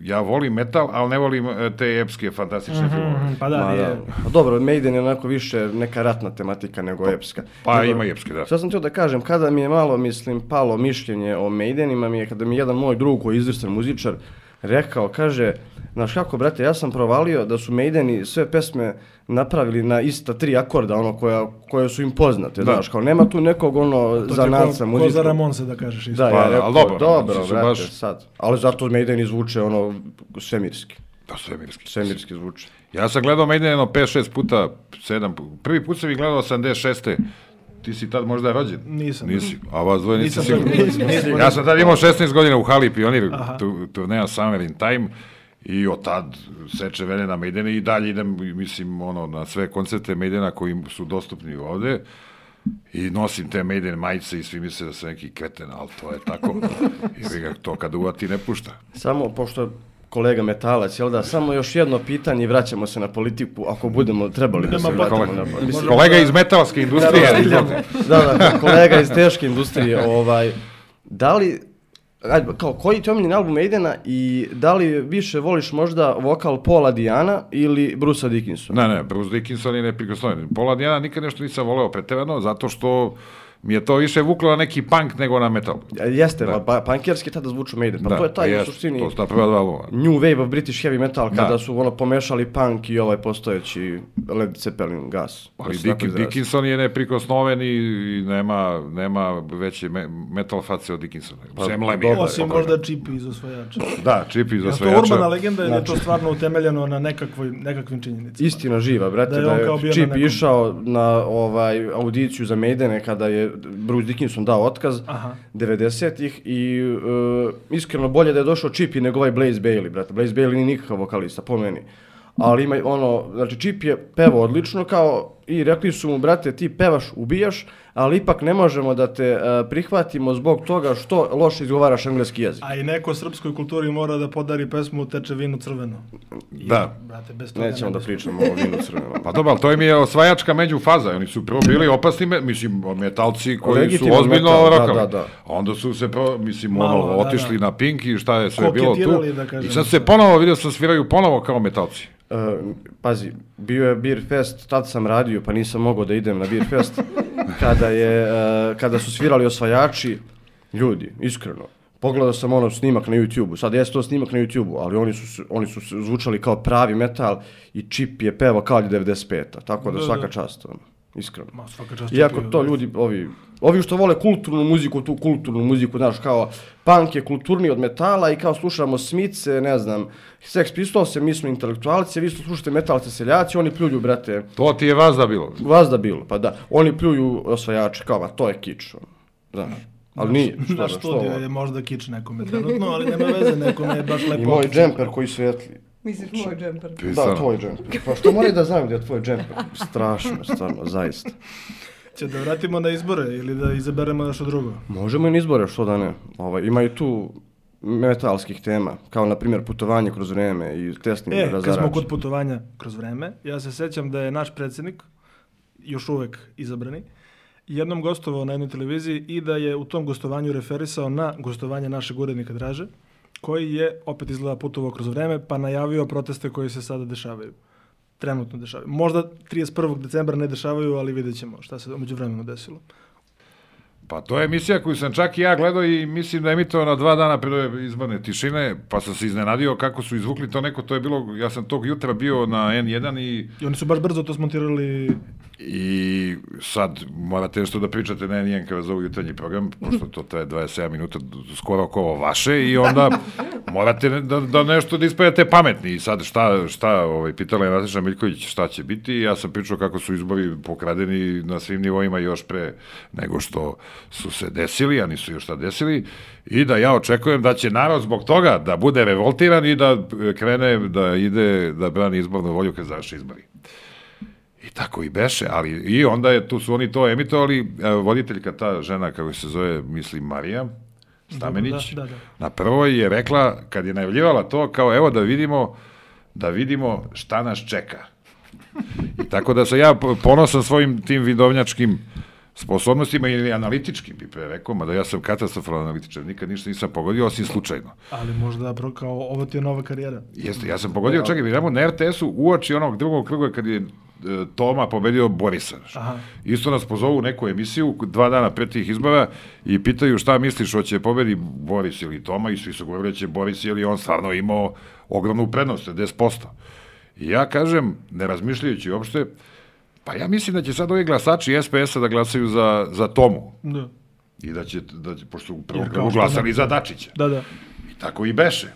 S5: ja volim metal, ali ne volim e, te epske, fantastične filmove.
S2: pa da,
S3: Ma,
S2: nije.
S3: da. Pa dobro, Maiden je onako više neka ratna tematika nego epska.
S5: Pa
S3: Nego-
S5: ima i epske, da.
S3: Šta sam htio da kažem, kada mi je malo, mislim, palo mišljenje o Maidenima, mi je, kada mi je jedan moj drug koji je izvrstan muzičar rekao, kaže, znaš kako, brate, ja sam provalio da su Maideni sve pesme napravili na ista tri akorda, ono, koja, koje su im poznate,
S5: Da.
S3: znaš, kao nema tu nekog, ono,
S2: To ti je
S3: zanadca
S2: ko, ko za
S3: muzičkog.
S2: Ramonse da kažeš isto.
S3: Da,
S5: Pa,
S3: ja
S5: ali
S3: rekao,
S5: dobro,
S3: dobro,
S5: znači su
S3: brate,
S5: baš-
S3: sad. Ali zato Maiden zvuče ono svemirski,
S5: Pa svemirski.
S3: svemirski zvuče.
S5: Ja sam gledao Maiden jedno 5-6 puta, 7 puta. Prvi put sam ih gledao 86. Ti si tad možda rođen?
S2: Nisam.
S5: Nisi. A vas dvoje niste
S2: Nisam
S5: sigurni.
S2: rođen, nisam, nisam.
S5: Ja sam tad imao 16 godina u Hali Pionir, tu, turneja Summer in Time. I od tad seče vene na Maidena i dalje idem, mislim, ono, na sve koncerte Maidena koji su dostupni ovde. I nosim te Maiden majice i svi misle da sam neki kreten, ali to je tako. I ga to kad uvati ne pušta.
S3: Samo, pošto je kolega Metalac, jel da, samo još jedno pitanje i vraćamo se na politiku, ako budemo trebali da
S2: Nema
S3: se vratimo
S5: Kolega,
S3: na politiku.
S5: kolega iz metalske industrije.
S3: Da, da, kolega iz teške industrije, ovaj, da li, ajde, kao, koji ti je omiljen album Maidena i da li više voliš možda vokal Paula Dijana ili Brusa Dickinsona?
S5: Ne, ne, Bruce Dickinson je neprikosnoven. Pola Dijana nikad nešto nisam voleo preterano, zato što mi je to više vuklo na neki punk nego na metal.
S3: Jeste, pa, pa, pankerski tada zvuču Maiden, pa to je taj u
S5: jest,
S3: suštini...
S5: To su ta prva dva albuma.
S3: New Wave of British Heavy Metal kada
S5: Da.
S3: su ono pomešali punk i ovaj postojeći Led Zeppelin gas.
S5: Ali
S3: Da se tako
S5: Dick,
S3: izrazim.
S5: Dickinson je neprikosnoven i, i nema, nema veće me, metal face od Dickinsona. Pa, Sem Lemi.
S3: dobro.
S2: Osim možda Chipi iz osvajača.
S5: Da, Chippy
S2: Je li
S5: iz
S2: to
S5: osvajača. znači.
S2: urbana legenda ili je to stvarno utemeljeno na nekakvoj, nekakvim činjenicama?
S3: Istina živa, brate,
S2: Da je
S3: da
S2: on
S3: je,
S2: kao bio na
S3: Chip
S2: nekom-
S3: išao na ovaj audiciju za Maidene kada je Bruce Dickinson dao otkaz
S2: Aha.
S3: 90-ih i e, iskreno bolje da je došao Chip nego ovaj Blaze Bailey, brate. Blaze Bailey nije nikakav vokalista, po meni. Ali ima ono, znači Chip je pevao odlično kao i rekli su mu, brate, ti pevaš, ubijaš, ali ipak ne možemo da te e, prihvatimo zbog toga što loše izgovaraš engleski jezik.
S2: A i neko srpskoj kulturi mora da podari pesmu Teče vino crveno.
S5: Da.
S2: Brate, bez toga
S3: Nećemo
S2: ne
S3: da
S2: bi-
S3: pričamo o vinu crvenom.
S5: Pa dobro, ali to im je osvajačka međufaza. Oni su prvo bili opasni, me, mislim, metalci koji
S3: Legitimno
S5: su ozbiljno
S3: metal, da,
S5: rokali.
S3: da, da.
S5: Onda su se, pro, mislim,
S2: Malo,
S5: ono,
S2: da,
S5: otišli
S2: da.
S5: na Pink i šta je sve bilo tu.
S2: Koketirali, da kažem.
S5: I sad se ponovo, vidio sam, sviraju ponovo kao metalci.
S3: E, pazi, bio je Beer Fest, tad sam radio pa nisam mogao da idem na Beer Fest. kada, je, e, kada su svirali osvajači, ljudi, iskreno, pogledao sam ono snimak na YouTube-u, sad jeste to snimak na YouTube-u, ali oni su, se- oni su se zvučali kao pravi metal i Chip je pevao kao 95-a, tako da,
S2: Da,
S3: svaka
S2: da.
S3: čast, ono, iskreno.
S2: Ma, svaka čast
S3: Iako
S2: Čipiju,
S3: Pa to
S2: da.
S3: ljudi, ovi, ovi što vole kulturnu muziku, tu kulturnu muziku, znaš, kao punk je kulturniji od metala i kao slušamo smice, ne znam, Sex Pistols, mi smo intelektualci, vi su slušate metalce seljaci, oni pljuju, brate,
S5: To ti je vazda bilo.
S3: vas da bilo, pa da, oni pljuju osvajače, kao, ma, to je kič, ono, znaš, ali nije, što, da,
S2: Naš
S3: što,
S2: studio je
S3: ovo?
S2: možda kič nekome trenutno, ali nema veze, nekome je baš lepo.
S3: i moj džemper koji svetli,
S1: Misliš moj džemper?
S5: Pisano.
S3: da, tvoj džemper, pa što moraju da znam gdje je tvoj džemper, strašno, stvarno, zaista.
S2: Će da vratimo na izbore ili da izaberemo nešto drugo.
S3: Možemo i na izbore, što da ne. Ovaj, ima i tu metalskih tema, kao na primjer putovanje kroz vreme i tesni
S2: E, kad smo
S3: razarač.
S2: kod putovanja kroz vreme, ja se sećam da je naš predsjednik, još uvek izabrani, jednom gostovao na jednoj televiziji i da je u tom gostovanju referisao na gostovanje našeg urednika Draže, koji je opet izgleda putovao kroz vreme, pa najavio proteste koji se sada dešavaju. Trenutno dešavaju. Možda 31. decembra ne dešavaju, ali vidjet ćemo šta se umeđu vremenu desilo.
S5: Pa to je emisija koju sam čak i ja gledao i mislim da je emitovana dva dana pred ove izborne tišine, pa sam se iznenadio kako su izvukli to neko, to je bilo, ja sam tog jutra bio na N1 i,
S2: I oni su baš brzo to smontirali
S5: i sad morate nešto da pričate na N1 kada zovu jutarnji program, pošto to traje 27 minuta, d- skoro oko ovo vaše i onda morate ne- da, da nešto da ispravite pametni i sad šta, šta ovaj, pitala je Nataša Miljković šta će biti, ja sam pričao kako su izbori pokradeni na svim nivoima još pre nego što su se desili, a nisu još šta desili, i da ja očekujem da će narod zbog toga da bude revoltiran i da e, krene da ide da brani izbornu volju kad završe izbori. I tako i beše, ali i onda je, tu su oni to emitovali, e, voditeljka ta žena kako se zove, mislim Marija, Stamenić,
S2: Dobro, da, da,
S5: na prvoj je rekla, kad je najavljivala to, kao evo da vidimo, da vidimo šta nas čeka. I tako da se ja po- ponosan svojim tim vidovnjačkim sposobnostima ili analitičkim bi pre rekao, mada ja sam katastrofalan analitičar, nikad ništa nisam pogodio, osim slučajno.
S2: ali možda pro- kao ovo ti je nova karijera.
S5: Jeste, ja sam pogodio, čekaj, vidimo na RTS-u uoči onog drugog kruga kad je e, Toma pobedio Borisa.
S2: Aha.
S5: Isto nas pozovu u neku emisiju dva dana pre tih izbora i pitaju šta misliš, hoće pobedi Boris ili Toma i svi su govorili da će Boris ili on stvarno imao ogromnu prednost, 10%. I ja kažem, ne razmišljajući uopšte, pa ja mislim da će sad ovi glasači SPS-a da glasaju za, za Tomu.
S2: Da,
S5: I da će, da će pošto u prvom
S2: Jer kao
S5: krugu
S2: što
S5: glasali za Dačića.
S2: da, da.
S5: I tako i beše.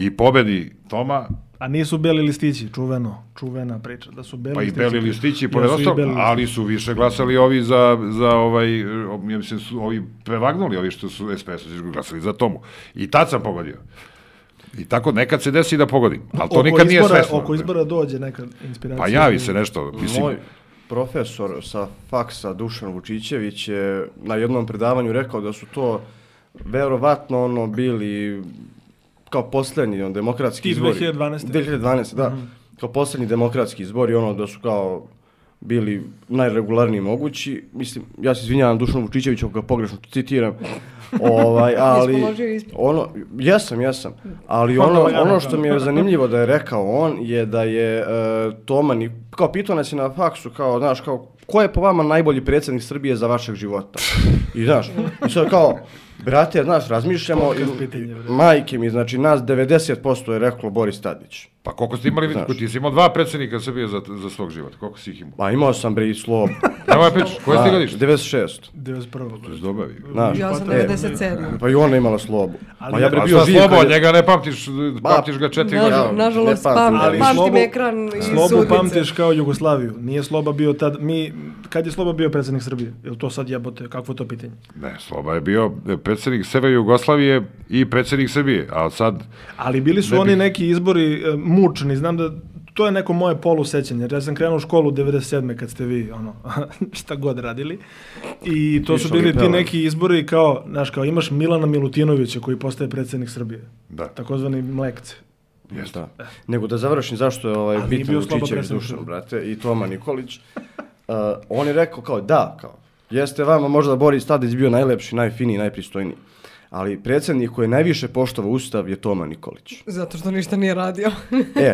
S5: I pobedi Toma,
S2: A nisu beli listići, čuveno, čuvena priča, da su beli
S5: Pa i
S2: listići.
S5: beli listići, pored
S2: Jesu i
S5: ostalog,
S2: beli listići.
S5: ali su više glasali ovi za, za ovaj, e, o- ja mislim, su ovi prevagnuli, ovi što su SPS su glasali za tomu. I tad sam pogodio. I tako nekad se desi da pogodim, ali to
S2: Oko
S5: nikad nije
S2: izbora-
S5: svesno.
S2: Oko izbora dođe neka inspiracija.
S5: Pa javi se nešto, mislim,
S3: Moj profesor sa faksa Dušan Vučićević je na jednom predavanju rekao da su to verovatno ono bili kao poslednji ono, demokratski
S2: Ti
S3: izbori.
S2: 2012..
S3: 2012, da. Kao poslednji demokratski izbori, ono da su kao bili najregularniji mogući. Mislim, ja se izvinjavam Dušanu Vučićeviću ako ga pogrešno citiram. ovaj, ali
S1: položio ispit?
S3: ono, jesam, jesam, ali
S2: Pa,
S3: ono,
S2: valjano.
S3: ono što mi je zanimljivo da je rekao on je da je e, Toma, Ni- kao pitao nas je na faksu, kao, znaš, kao, ko je po vama najbolji predsjednik Srbije za vašeg života? I znaš, i sad kao, brate, znaš, razmišljamo,
S2: Podcast
S3: i,
S2: pitanje, bre.
S3: majke mi, znači, nas 90% je reklo Boris Tadić.
S5: pa koliko ste imali,
S3: Znaš.
S5: Znaš. ti si imao dva predsednika Srbije za, za svog života, koliko si ih imao?
S3: Ma imao sam bre i slob.
S5: Evo je priča, koje ste
S3: Da,
S5: godište?
S3: 96.
S2: 91.
S5: To je dobavi.
S3: Znaš,
S1: Ja sam
S3: e,
S1: 97.
S3: Pa i ona je imala slobu.
S2: Ali-
S3: Ma ja bre
S5: A
S3: bio
S5: šta
S3: živ kad
S5: slobo,
S3: je-
S5: njega ne pamtiš,
S3: Ba,
S5: pamtiš ga četiri
S1: Nažal-
S5: godine.
S3: Ja,
S1: nažalost,
S3: ne pamtim,
S1: pam,
S3: ali
S1: pamtim
S2: slobu-
S1: ekran i
S2: Slobu
S1: sudice.
S2: pamtiš kao Jugoslaviju. Nije Sloba bio tad, mi, kad je Sloba bio predsjednik Srbije? Jel to sad jebote, kakvo je to pitanje?
S5: Ne, Sloba je bio predsednik Severa Jugoslavije i predsednik Srbije, ali sad
S2: Ali bili su
S5: Ne
S2: oni
S5: bih-
S2: neki izbori e, mučni, znam da to je neko moje polusećanje, jer ja sam krenuo u školu 97. kad ste vi, ono, šta god radili. I to su
S3: Išao bi
S2: bili ti
S3: pevan.
S2: neki izbori kao, znaš, kao imaš Milana Milutinovića koji postaje predsjednik Srbije.
S5: Da.
S2: Takozvani mlekce.
S5: Jeste.
S3: Da. Nego da završim zašto je ovaj
S2: Ali nije
S3: bitan
S2: bio sloba
S3: Vučićević
S2: predsjednik
S3: Dušan,
S2: Srbije.
S3: brate, i Toma Nikolić. Uh, on je rekao kao da, kao, jeste vama možda Boris Tadić bio najlepši, najfiniji, najpristojniji. Ali predsjednik koji je najviše poštova ustav je Toma Nikolić.
S1: Zato što ništa nije radio.
S3: E,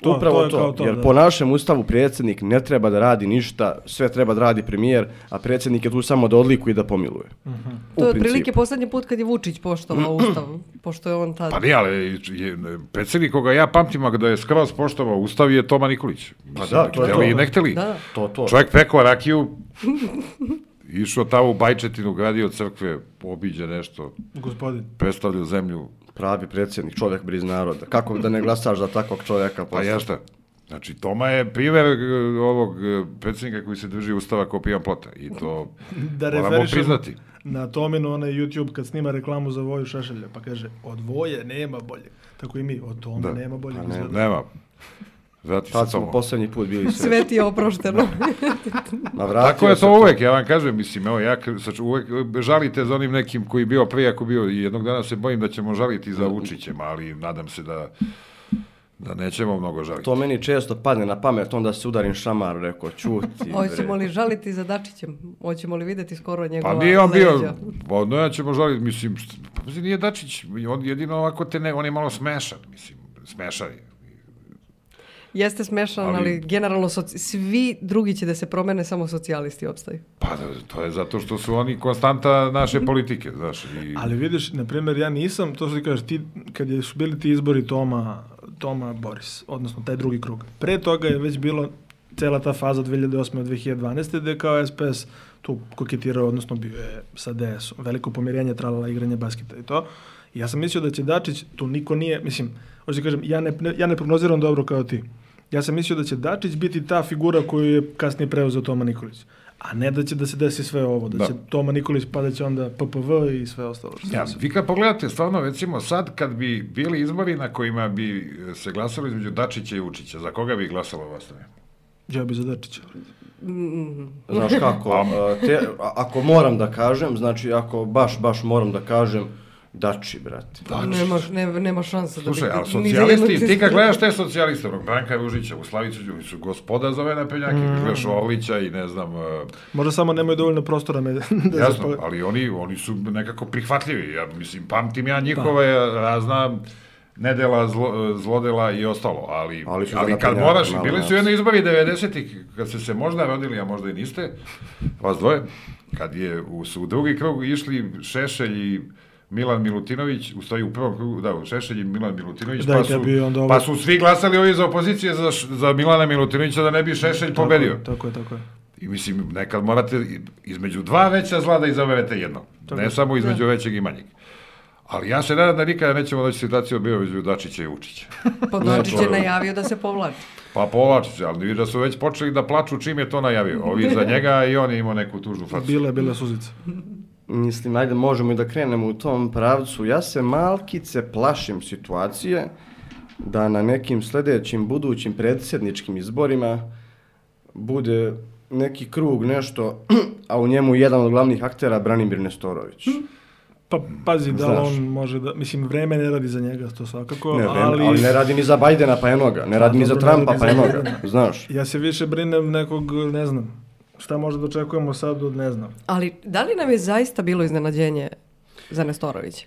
S2: O,
S3: to
S2: to
S3: upravo
S2: je
S3: to,
S2: kao to,
S3: jer
S2: da.
S3: po našem ustavu predsjednik ne treba da radi ništa, sve treba da radi premijer, a predsjednik je tu samo da odlikuje i da pomiluje. U
S2: Mhm.
S1: to je
S3: principu.
S1: otprilike posljednji put kad je Vučić poštovao Ustav, pošto je on tad...
S5: Pa nije, ali je, predsednik koga ja pamtim, a da je skroz poštovao Ustav je Toma Nikolić.
S3: Pa da, to je
S5: Hteli
S3: to.
S5: i ne hteli.
S1: Da.
S3: To, to.
S5: Čovjek pekao rakiju, išao tamo u Bajčetinu, gradio crkve, obiđe nešto,
S2: Gospodin.
S5: predstavljao zemlju,
S3: Pravi predsjednik, čovjek briz naroda. Kako da ne glasaš za takvog čovjeka?
S5: pa ja šta. Znači, Toma je primjer e, ovog e, predsjednika koji se drži Ustava kao pijan plota. I to
S2: Da
S5: moramo
S2: referišem
S5: priznati.
S2: na Tominu onaj YouTube kad snima reklamu za Voju Šešelja, pa kaže, od Voje nema bolje. Tako i mi, od Tome
S5: Da.
S2: nema bolje.
S5: Nema. Vrati se
S3: Tad smo
S5: Toma.
S3: posljednji put bili srećni.
S1: Sve ti je oprošteno.
S3: Ma vratio
S5: Tako je
S3: se
S5: to uvek, ja vam kažem, mislim, evo, ja k- sad ću uvek žalite za onim nekim koji je bio prije, ako bio, i jednog dana se bojim da ćemo žaliti za Vučićem, ali nadam se da, da nećemo mnogo žaliti.
S3: To meni često padne na pamet, onda se udarim šamar, rekao, čuti.
S1: Hoćemo
S3: bre.
S1: li žaliti za Dačićem? Hoćemo li videti skoro njegova
S5: Pa nije on bio,
S1: leđa?
S5: pa ne ćemo žaliti, mislim, št- Pazi, nije Dačić, on jedino ovako te ne, on je malo smešan, mislim, smešan je.
S1: Jeste smešan, ali,
S5: Ali-
S1: generalno soci- svi drugi će da se promene, samo socijalisti opstaju.
S5: Pa da, to je zato što su oni konstanta naše politike, znaš. I...
S2: Ali vidiš, na primjer, ja nisam, to što ti kažeš, ti, kad je- su bili ti izbori Toma, Toma Boris, odnosno taj drugi krug. Pre toga je već bilo cela ta faza 2008-2012, gde je kao SPS tu koketirao, odnosno bio je sa DS-om. Veliko pomirenje, tralala igranje basketa i to. I ja sam mislio da će Dačić, tu niko nije, mislim, hoću ti kažem, ja ne, ne- ja ne prognoziram dobro kao ti. Ja sam mislio da će Dačić biti ta figura koju je kasnije preuzeo Toma Nikolić. A ne da će da se desi sve ovo, da,
S5: Da.
S2: će Toma Nikolić pa da će onda PPV i sve ostalo. što
S5: Ja,
S2: se-
S5: vi kad pogledate, stvarno, recimo sad kad bi bili izbori na kojima bi e, se glasalo između Dačića i Vučića, za koga bi glasalo vas ne?
S2: Ja bi za Dačića.
S3: Znaš kako,
S5: Pa.
S3: a, te, a- ako moram da kažem, znači ako baš, baš moram da kažem, dači, brate.
S1: Nema, ne, nema šanse da
S5: Slušaj,
S1: bi-
S5: ali
S1: ni za jednu
S5: socijalisti, ti kad
S1: cestu.
S5: gledaš te socijaliste, onog Branka Vužića, u Slavicu, oni su gospoda za ove napenjake, mm. gledaš Orlića i ne znam, e,
S2: Možda samo nemaju dovoljno prostora me, da
S5: jasno,
S3: pa
S2: zapale.
S5: ali oni, oni su nekako prihvatljivi, ja mislim, pamtim
S2: Da.
S5: ja njihove razna nedela, zlo, zlodela i ostalo, ali,
S3: Ali
S5: ali,
S3: su za
S5: ali kad
S3: naprednjake,
S5: moraš,
S3: malo
S5: bili
S3: nas.
S5: su jedni izbori 90-ih, kad ste se možda rodili, a možda i niste, vas dvoje, kad je u, su u drugi krug išli Šešelj i Milan Milutinović, u stvari u prvom krugu, da, u Šešelj i Milan Milutinović,
S2: Da, i
S5: pa,
S2: kad
S5: su,
S2: bi onda ovo-
S5: pa su svi glasali ovi iz opozicije za, Š- za Milana Milutinovića da ne bi Šešelj pobedio.
S2: Tako je, tako je.
S5: I mislim, nekad morate između dva veća zla da izaberete jedno. Ne samo između većeg i manjeg. Ali ja se nadam da nikada nećemo doći u situaciju bio između Dačića i Vučića.
S1: Pa Dačić je najavio da se povlači.
S5: Pa povlači se, ali vidi da su već počeli da plaču čim je to najavio. Ovi za njega a i on je imao neku tužnu
S3: Pa-
S5: facu.
S2: Bila je, bila je suzica.
S3: Mislim, ajde, možemo i da krenemo u tom pravcu. Ja se malkice plašim situacije da na nekim sledećim budućim predsjedničkim izborima bude neki krug, nešto, a u njemu jedan od glavnih aktera Branimir Nestorović.
S2: Pa pazi da li
S3: Znaš.
S2: on može da... Mislim, vreme ne radi za njega, to svakako,
S3: Ne, vreme,
S2: ali...
S3: ali... ne radi ni za Bajdena, pa enoga. Ne radi ni za
S2: dobro, ne
S3: Trumpa,
S2: radi
S3: pa
S2: za
S3: enoga.
S2: Bidena.
S3: Znaš.
S2: Ja se više brinem nekog, ne znam, šta možda da očekujemo sad od, ne znam.
S1: Ali da li nam je zaista bilo iznenađenje za Nestorovića?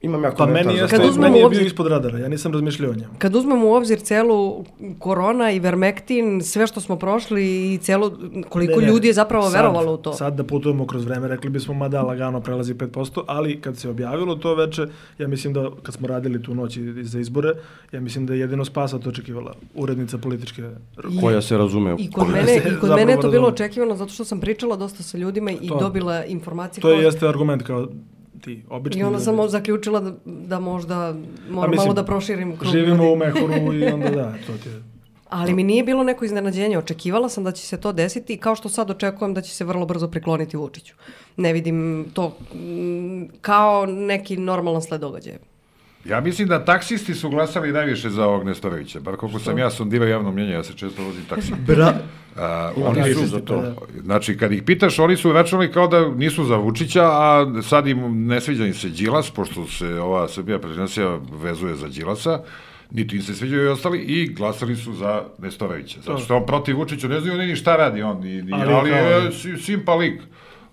S3: Imam ja
S2: Pa
S3: komentar.
S2: meni,
S3: za
S2: jeste,
S1: Kad
S3: to.
S1: uzmemo
S2: meni je bio
S1: obzir-
S2: ispod radara, ja nisam razmišljao o njemu.
S1: Kad uzmemo u obzir celu korona i vermektin, sve što smo prošli i celo koliko
S2: Ne, ne,
S1: ljudi je zapravo
S2: sad-
S1: verovalo u to.
S2: Sad da putujemo kroz vreme, rekli bismo, ma da, lagano prelazi 5%, ali kad se objavilo to veče, ja mislim da, kad smo radili tu noć i- za izbore, ja mislim da je jedino spasa to očekivala urednica političke...
S1: I-
S3: Koja se razume.
S1: I
S3: Koja
S1: kod mene,
S2: se
S1: i kod
S2: zapravo
S1: mene je to bilo
S2: razumem.
S1: očekivano zato što sam pričala dosta sa ljudima i
S2: To-
S1: dobila informacije.
S2: To
S1: kao-
S2: je, jeste argument kao ti, obični...
S1: I onda sam
S2: ljudi.
S1: o- zaključila da, da možda moram
S2: Pa mislim,
S1: malo da proširim krug.
S2: Živimo
S1: ljudi.
S2: u Mehuru i onda da, to ti je...
S1: Ali mi nije bilo neko iznenađenje. Očekivala sam da će se to desiti i kao što sad očekujem da će se vrlo brzo prikloniti Vučiću. Ne vidim to mm, kao neki normalan sled događaja.
S5: Ja mislim da taksisti su glasali najviše za ovog Nestorovića. Bar koliko sam ja sondirao javno mnjenje, ja se često vozim taksi.
S3: Bra...
S5: A,
S3: Oni
S5: oni
S3: su
S5: su
S3: za to. da.
S5: Znači, kad ih pitaš, oni su računali kao da nisu za Vučića, a sad im ne sviđa im se Đilas, pošto se ova Srbija prezidencija vezuje za Đilasa, niti im se sviđaju i ostali, i glasali su za Nestorovića. Zato što on protiv Vučića, ne znaju oni ni šta radi, on, ni, ni,
S2: Ali
S5: ali,
S2: kao-
S5: je si- simpa lik.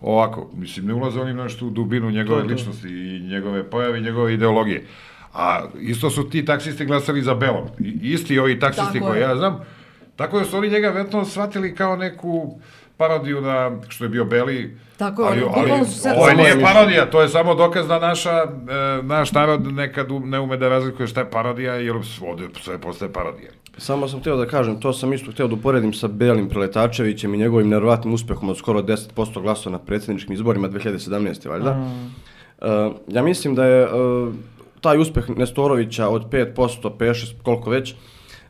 S5: Ovako, mislim, ne ulaze oni nešto u dubinu njegove ličnosti i njegove pojave i njegove ideologije. A isto su ti taksisti glasali za Belog. I, isti ovi taksisti
S1: Tako
S5: koje
S1: je.
S5: ja znam. Tako da su oni njega vjetno shvatili kao neku parodiju na, što je bio Beli,
S1: Tako je, ono, bukvalno su se-
S5: ovo
S1: Samo
S5: nije
S3: je
S5: parodija, to je samo dokaz da naša, e, naš narod nekad u- ne ume da razlikuje šta je parodija, jer ovde sve postaje parodija.
S3: Samo sam hteo da kažem, to sam isto hteo da uporedim sa Belim Preletačevićem i njegovim nerovatnim uspehom od skoro 10% glasova na predsjedničkim izborima 2017. valjda.
S2: Mm.
S3: E, ja mislim da je e, taj uspeh Nestorovića od 5%, 5-6, koliko već,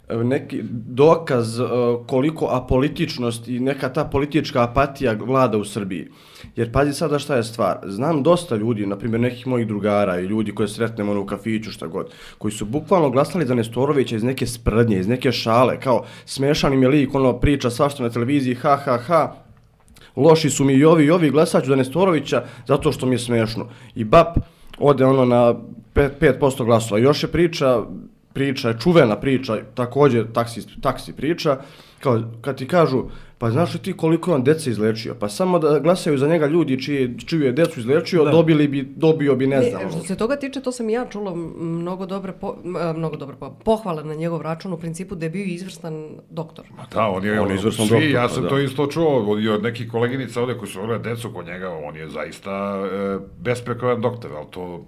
S3: e, neki dokaz e, koliko apolitičnost i neka ta politička apatija vlada u Srbiji. Jer pazi sada šta je stvar. Znam dosta ljudi, na primjer nekih mojih drugara i ljudi koje sretnemo ono, u kafiću, šta god, koji su bukvalno glasali za Nestorovića iz neke sprdnje, iz neke šale, kao smešan im je lik, ono priča svašta na televiziji, ha, ha, ha, loši su mi i ovi i ovi, glasat ću za Nestorovića zato što mi je smešno. I BAP ode ono na 5%, 5% glasova. Još je priča, priča je čuvena priča, takođe taksi, taksi priča, kao kad ti kažu, pa Pa znaš li ti koliko je on dece izlečio? Pa samo da glasaju za njega ljudi čije, čiju je decu izlečio, dobili bi, dobio bi ne znam.
S1: Ne, E, što se toga tiče, to sam i ja čula mnogo dobre, po, m, e, mnogo dobre po- pohvale na njegov račun, u principu da je bio izvrstan doktor.
S5: Ma da, on je,
S3: On
S5: on
S3: je izvrstan
S5: svi,
S3: doktor,
S5: ja
S3: pa
S5: sam
S3: da.
S5: to isto čuo od, i od nekih koleginica ovde koji su vrlo decu kod njega, on je zaista e, besprekoran doktor, ali to,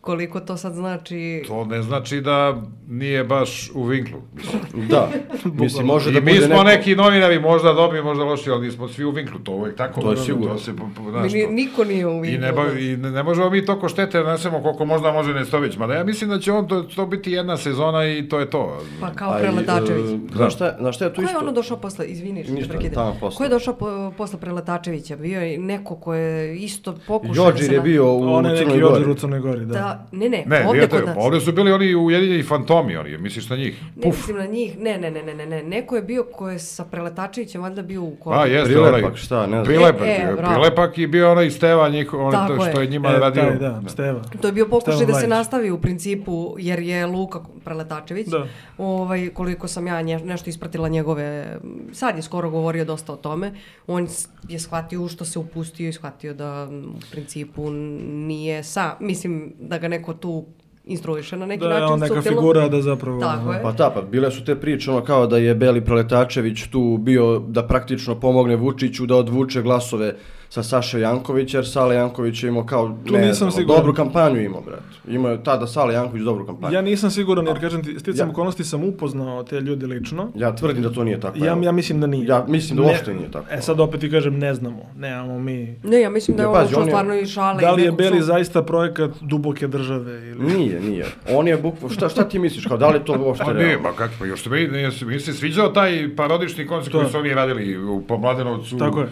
S1: Koliko to sad znači...
S5: to ne znači da nije baš u vinklu. Mislim,
S3: Da, mislim može
S5: I
S3: da
S5: mi
S3: bude
S5: smo
S3: neko...
S5: neki novinari, možda dobri, možda loši, ali nismo svi u vinklu, to uvek tako.
S3: To je
S5: ono,
S3: sigurno.
S5: To se, po- po-
S1: Mi
S5: znaš,
S1: ni-
S5: to-
S1: niko nije u
S5: I
S1: vinklu. da.
S5: ne, bavi, i ne, ne možemo mi toliko štete da nasemo koliko možda može Nestović. Mada ja mislim da će on to, to biti jedna sezona i to je to.
S1: Pa kao
S3: A i,
S1: Preletačević.
S3: e, Znaš šta, znaš šta je tu
S1: Ko je
S3: isto?
S1: ono došao posle, izvini što te
S3: Ništa,
S1: prekidam.
S3: tamo posle.
S1: Ko je došao po, posle Preletačevića? Bio je neko ko je isto pokušao... da
S3: Jođir
S1: se
S3: je
S1: na-
S3: bio u
S2: On je neki
S3: Crnoj
S2: Jođer u
S3: Gori.
S2: Crnoj Gori, da.
S1: Da, ne, ne,
S5: Ne,
S1: ovdje
S5: nije to-
S1: kod nas.
S5: ovde su bili oni ujedinjeni fantomi, oni, misliš na njih?
S1: Ne mislim na njih, ne, ne, ne, ne, ne, ne, neko je bio ko je sa Preletačevićem valjda bio u koru.
S5: A, pa, jeste,
S3: Prilepak,
S5: onaj-
S3: šta, ne znam.
S5: Prilepak,
S1: E,
S5: je,
S1: e, bravo.
S5: prilepak i bio onaj Steva njih, onaj
S1: Tako
S5: to što je
S1: je.
S5: njima
S2: E,
S5: radio.
S2: taj, da, Steva.
S1: To je bio pokušaj
S2: Stevan
S1: da se
S2: Vlajić.
S1: nastavi u principu, jer je Luka Preletačević,
S2: Da.
S1: ovaj, koliko sam ja nje- nešto ispratila njegove, sad je skoro govorio dosta o tome, on s- je shvatio u što se upustio i shvatio da m, u principu nije sa, mislim da ga neko tu instruiše na neki
S2: Da je
S1: način.
S2: on neka
S1: suptilno.
S2: figura da zapravo...
S1: Tako je.
S3: Pa da, pa bile su te priče ono kao da je Beli Preletačević tu bio da praktično pomogne Vučiću da odvuče glasove sa Saše Jankovića, jer Sale Janković je imao kao,
S2: Tu
S3: ne
S2: nisam
S3: znam,
S2: siguran.
S3: dobru kampanju imao, brat. Imao je tada Sale Janković dobru
S1: Da.
S3: kampanju.
S2: Ja
S3: Ja,
S2: nisam siguran, jer kažem ti, sticam
S3: Ja.
S2: okolnosti sam upoznao te ljude lično.
S3: tvrdim da to nije tako.
S2: Ja,
S3: evo.
S2: ja mislim da nije.
S3: Ja mislim da
S2: Ne-
S3: uopšte nije tako.
S2: E sad opet ti kažem, ne znamo. Nemamo mi...
S1: Ne, ja mislim da je
S3: Ja,
S1: on
S3: pazi,
S1: ušao
S3: on je-
S1: stvarno i šale.
S2: Da
S1: i
S2: li je
S1: nekog
S2: Beli
S1: svog-
S2: zaista projekat duboke države ili...
S3: Nije, nije. On je bukvo... Šta, šta ti misliš? Kao, da li je to uopšte
S5: Pa nije,
S3: realno?
S5: pa kako, pa još se meni, nije se- mi se sviđao taj parodični koncert koji su oni radili u Pomladenovcu.
S2: Tako je.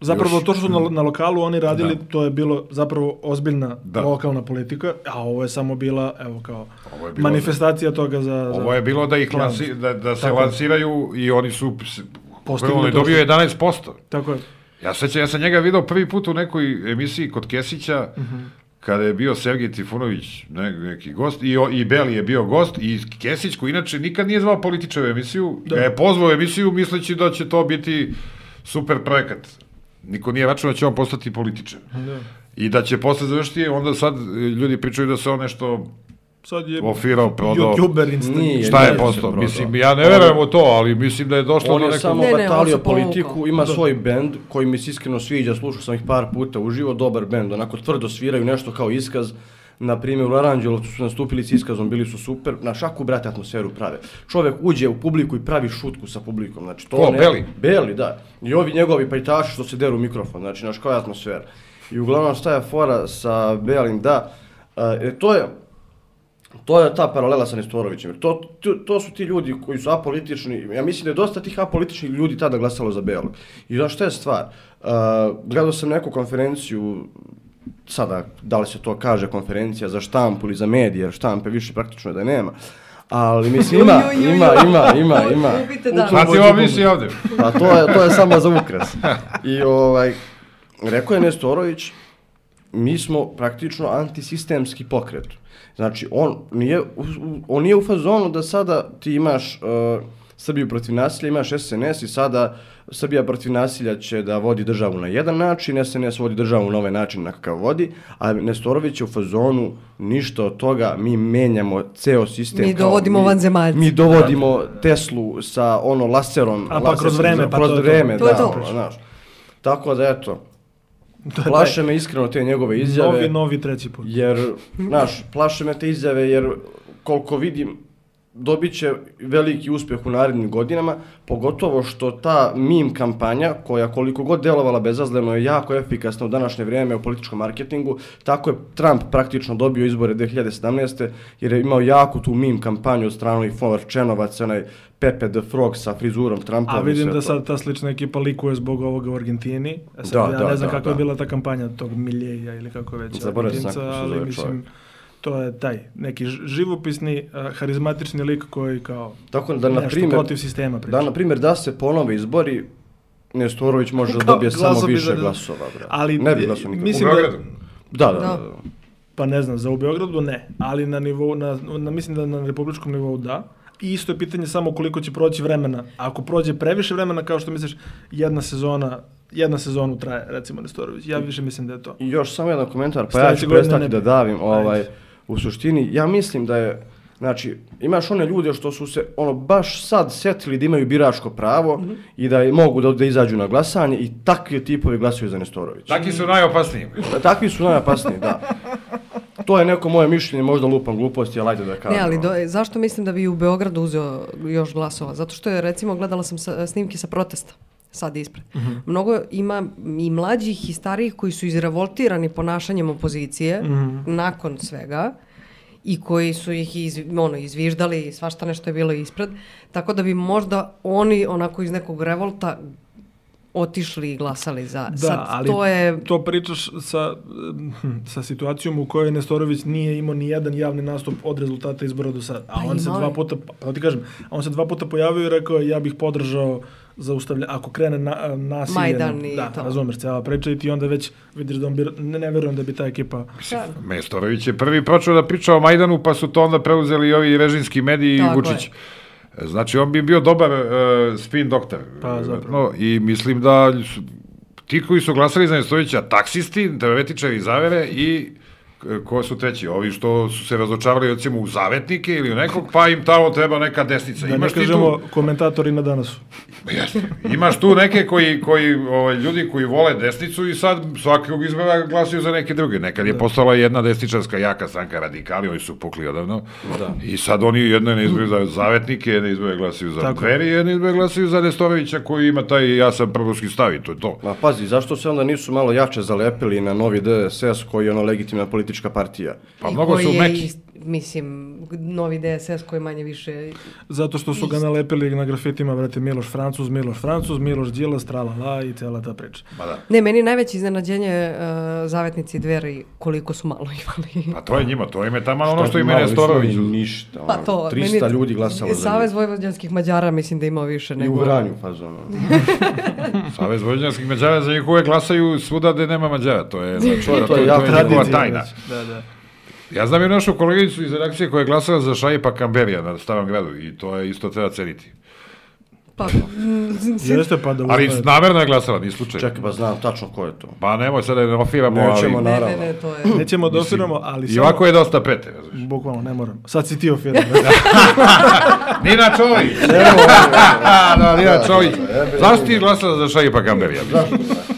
S2: Zapravo
S5: Još-
S2: to što su na, na lokalu oni radili,
S3: Da.
S2: to je bilo zapravo ozbiljna
S5: Da.
S2: lokalna politika, a ovo je samo bila, evo kao,
S5: Ovo je bilo-
S2: manifestacija toga za... za-
S5: Ovo je bilo da ih lansi, da, da se lansiraju i oni su ps-
S2: Postigli
S5: on je
S2: to
S5: dobio
S2: što-
S5: 11%.
S2: Tako je.
S5: Ja sećam, ja sam njega video prvi put u nekoj emisiji kod Kesića, kada je bio Sergij Trifunović ne, neki gost, i, o- i Beli je bio gost, i Kesić, koji inače nikad nije zvao političare u emisiju,
S3: Da.
S5: ga je pozvao u emisiju misleći da će to biti super projekat. Niko nije računao da će on postati političar. I da će posle završiti, onda sad e, ljudi pričaju da se on nešto
S2: Sad je
S5: ofirao, prodao.
S2: YouTuber instant.
S3: Nije,
S5: Šta je
S3: nije se
S5: postao?
S3: prodao.
S5: Mislim, ja ne verujem u to, ali mislim da je došlo
S3: On
S5: do
S3: je
S5: nekog... Da,
S3: samo
S1: Ne, ne, on se
S3: batalio
S1: povukao.
S3: politiku, ima svoj bend koji mi se iskreno sviđa, slušao sam ih par puta uživo, dobar bend, onako tvrdo sviraju nešto kao iskaz. Na primjer, u Aranđelovcu su nastupili s iskazom, bili su super, na šaku, brate, atmosferu prave. Čovek uđe u publiku i pravi šutku sa publikom, znači to
S5: Ko,
S3: ne...
S5: Beli?
S3: Beli, da. I ovi njegovi pajtaši što se deru u mikrofon, znači, znaš, koja je atmosfera. I uglavnom šta je fora sa Belim, da, e, to je, To je ta paralela sa Nestorovićem. jer To, to, to su ti ljudi koji su apolitični. Ja mislim da je dosta tih apolitičnih ljudi tada glasalo za Beolog. I znaš šta je stvar? Uh, gledao sam neku konferenciju, sada da li se to kaže konferencija za štampu ili za medije, jer štampe više praktično da nema. Ali mislim
S1: Ju,
S3: ima,
S1: ju, ju, ju.
S3: ima, ima, ima, ima.
S1: Ubite dan.
S5: Sad si ovo misli ovde.
S3: Pa to je, to je samo za ukras. I ovaj, rekao je Nestorović, mi smo praktično antisistemski pokret. Znači, on nije, u- u- on nije u fazonu da sada ti imaš uh, Srbiju protiv nasilja, imaš SNS i sada Srbija protiv nasilja će da vodi državu na jedan način, SNS vodi državu na ovaj način na kakav vodi, a Nestorović je u fazonu ništa od toga, mi menjamo ceo sistem.
S1: Mi dovodimo vanzemaljce.
S3: Mi dovodimo Teslu sa ono laserom.
S2: A pa kroz
S3: laserskim-
S2: vreme, pa
S3: kroz
S2: to je to.
S3: vreme,
S1: To je
S3: da,
S1: to.
S3: ono, znaš. Tako da, eto,
S2: To je
S3: plaše me iskreno te njegove
S2: taj
S3: izjave.
S2: Novi, novi treći put.
S3: Jer, znaš, plaše me te izjave jer koliko vidim dobit će veliki uspjeh u narednim godinama, pogotovo što ta meme kampanja, koja koliko god delovala bezazleno je jako efikasna u današnje vrijeme u političkom marketingu, tako je Trump praktično dobio izbore 2017. jer je imao jako tu meme kampanju od strane onih Fovarčenovaca, onaj Pepe the Frog sa frizurom Trumpa.
S2: A vidim da sad ta slična ekipa likuje zbog ovoga u Argentini. E sad,
S3: Da,
S2: ja
S3: da,
S2: ne znam
S3: da,
S2: kakva je
S3: da.
S2: bila ta kampanja tog Miljeja ili kako već
S3: Zaboravio sam
S2: Argentinca,
S3: kako se
S2: ali
S3: zove
S2: mislim,
S3: čovjek.
S2: to je taj neki ž- živopisni, eh, harizmatični lik koji kao
S3: Tako da, na
S2: nešto
S3: primjer,
S2: protiv sistema priča.
S3: da, na primjer, da se ponove izbori, Nestorović može da dobije samo
S2: Glasovi
S3: više
S2: za-
S3: glasova, brate.
S2: Ali,
S3: ne bi glasao nikad.
S2: mislim
S5: U
S2: da-
S5: Beogradu.
S3: Da, da,
S1: Da.
S3: da. da.
S2: Pa ne znam, za u Beogradu ne, ali na nivou, na, na, mislim da na republičkom nivou da. I isto je pitanje samo koliko će proći vremena. Ako prođe previše vremena, kao što misliš, jedna sezona, jedna sezonu traje, recimo Nestorović. Ja više mislim da je to.
S3: I još samo jedan komentar, pa ja
S2: Sledeće
S3: ću
S2: godine
S3: prestati
S2: ne-
S3: da davim. Ovaj,
S2: Ajde.
S3: u suštini, ja mislim da je, znači, imaš one ljude što su se ono baš sad setili da imaju biračko pravo
S2: Mhm.
S3: i da je- mogu da, da izađu na glasanje i takvi tipovi glasuju za Nestorovića.
S5: Taki su najopasniji.
S3: Da, Takvi su najopasniji, da. To je neko moje mišljenje, možda lupam gluposti, ali ajde da
S5: Pa
S3: kažem.
S1: Ne, ali
S3: ono.
S1: do, zašto mislim da bi u Beogradu uzeo još glasova? Zato što je, recimo, gledala sam sa, snimke sa protesta sad ispred.
S5: Mhm.
S1: Mnogo ima i mlađih i starijih koji su izrevoltirani ponašanjem opozicije
S5: Mhm.
S1: nakon svega i koji su ih iz, ono, izviždali i svašta nešto je bilo ispred. Tako da bi možda oni onako iz nekog revolta otišli i glasali za.
S2: Da,
S1: sad,
S2: ali
S1: to je...
S2: to pričaš sa, mm, sa situacijom u kojoj Nestorović nije imao ni jedan javni nastup od rezultata izbora do sada. A
S1: Pa
S2: on se
S1: imao
S2: dva
S1: je.
S2: puta, pa ti kažem, a on se dva puta pojavio i rekao je, ja bih podržao zaustavlja, ako krene na, nasilje.
S1: Majdan i
S2: da,
S1: to.
S2: razumeš, cijela priča i ti onda već vidiš da on bi, ne, ne verujem da bi ta ekipa
S5: Mestorović je prvi počeo da priča o Majdanu, pa su to onda preuzeli i ovi režimski mediji i
S1: Tako
S5: Vučić. Znači, on bi bio dobar e, spin doktor.
S2: Pa, zapravo.
S5: No, I mislim da su, ti koji su glasali za Nestorovića, taksisti, teoretičari zavere i e, ko su treći, ovi što su se razočarali recimo u zavetnike ili u nekog, pa im tamo treba neka desnica.
S2: Da ne
S5: Imaš ti tu-
S2: kažemo komentatori na danasu.
S5: Pa Jeste. Imaš tu neke koji, koji ovaj, ljudi koji vole desnicu i sad svakog izbora glasuju za neke druge. Nekad je postala jedna desničarska jaka stranka radikali, oni su pukli odavno. I sad oni jedno ne izbore za zavetnike, jedne izbore glasuju za
S2: Tako.
S5: dveri, jedne izbore glasuju za Nestorovića koji ima taj jasan prvoski stav i to je to.
S3: Ma pazi, zašto se onda nisu malo jače zalepili na novi DSS koji je ono legitimna politička partija?
S5: Pa
S1: i
S5: mnogo
S1: koji
S5: su
S1: je
S5: meki.
S1: ist- mislim, novi DSS koji manje više
S2: Zato što su ga nalepili na grafitima, brate, Miloš Francuz, Miloš Francuz, Miloš Đilas, tralala i cijela ta priča.
S5: Ma da.
S1: Ne, meni je najveće iznenađenje e, zavetnici dveri koliko su malo imali.
S5: Pa to je njima, to im je tamo ono što im je
S3: Malo više
S5: Nestorović.
S3: nije Ništa,
S1: Pa
S3: ono,
S1: to,
S3: 300
S1: meni-
S3: ljudi glasalo za
S1: Savez
S3: njih.
S1: vojvođanskih Mađara mislim da ima više
S3: I
S1: nego...
S3: u Vranju, pazi ono.
S5: Savez vođanskih Mađara za njih uvek glasaju svuda gde nema Mađara. To je, znači, to, to je znači.
S3: jako
S5: njihova
S3: tradicija,
S5: tajna.
S2: Da, da.
S5: Ja znam jednu našu koleginicu iz redakcije koja je glasala za Šaipa Kamberija na Starom gradu i to je isto treba ceniti.
S1: Pa, mm, si-
S2: Jeste pa da
S5: Ali
S2: uzme-
S5: namerno je glasala, ni slučajno.
S3: Čekaj, pa znam tačno ko je to.
S5: Pa nemoj sad da ne ofiramo,
S3: Nećemo,
S5: ali...
S1: ne,
S3: naravno.
S1: ne, ne, to je...
S2: Nećemo da osviramo, ali
S5: I ovako je Da. dosta pete, razumiješ.
S2: Bukvalno, ne moram. Sad si ti ofiran.
S5: Nina Čolić!
S3: Evo,
S5: A, da, Nina Čolić.
S3: jebe.
S5: Zašto ti je glasala za Šaipa Kamberija?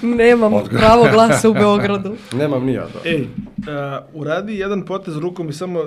S1: Nemam pravo glasa u Beogradu.
S3: nemam ni ja, da.
S5: E,
S2: Ej, uh, uradi jedan potez rukom i samo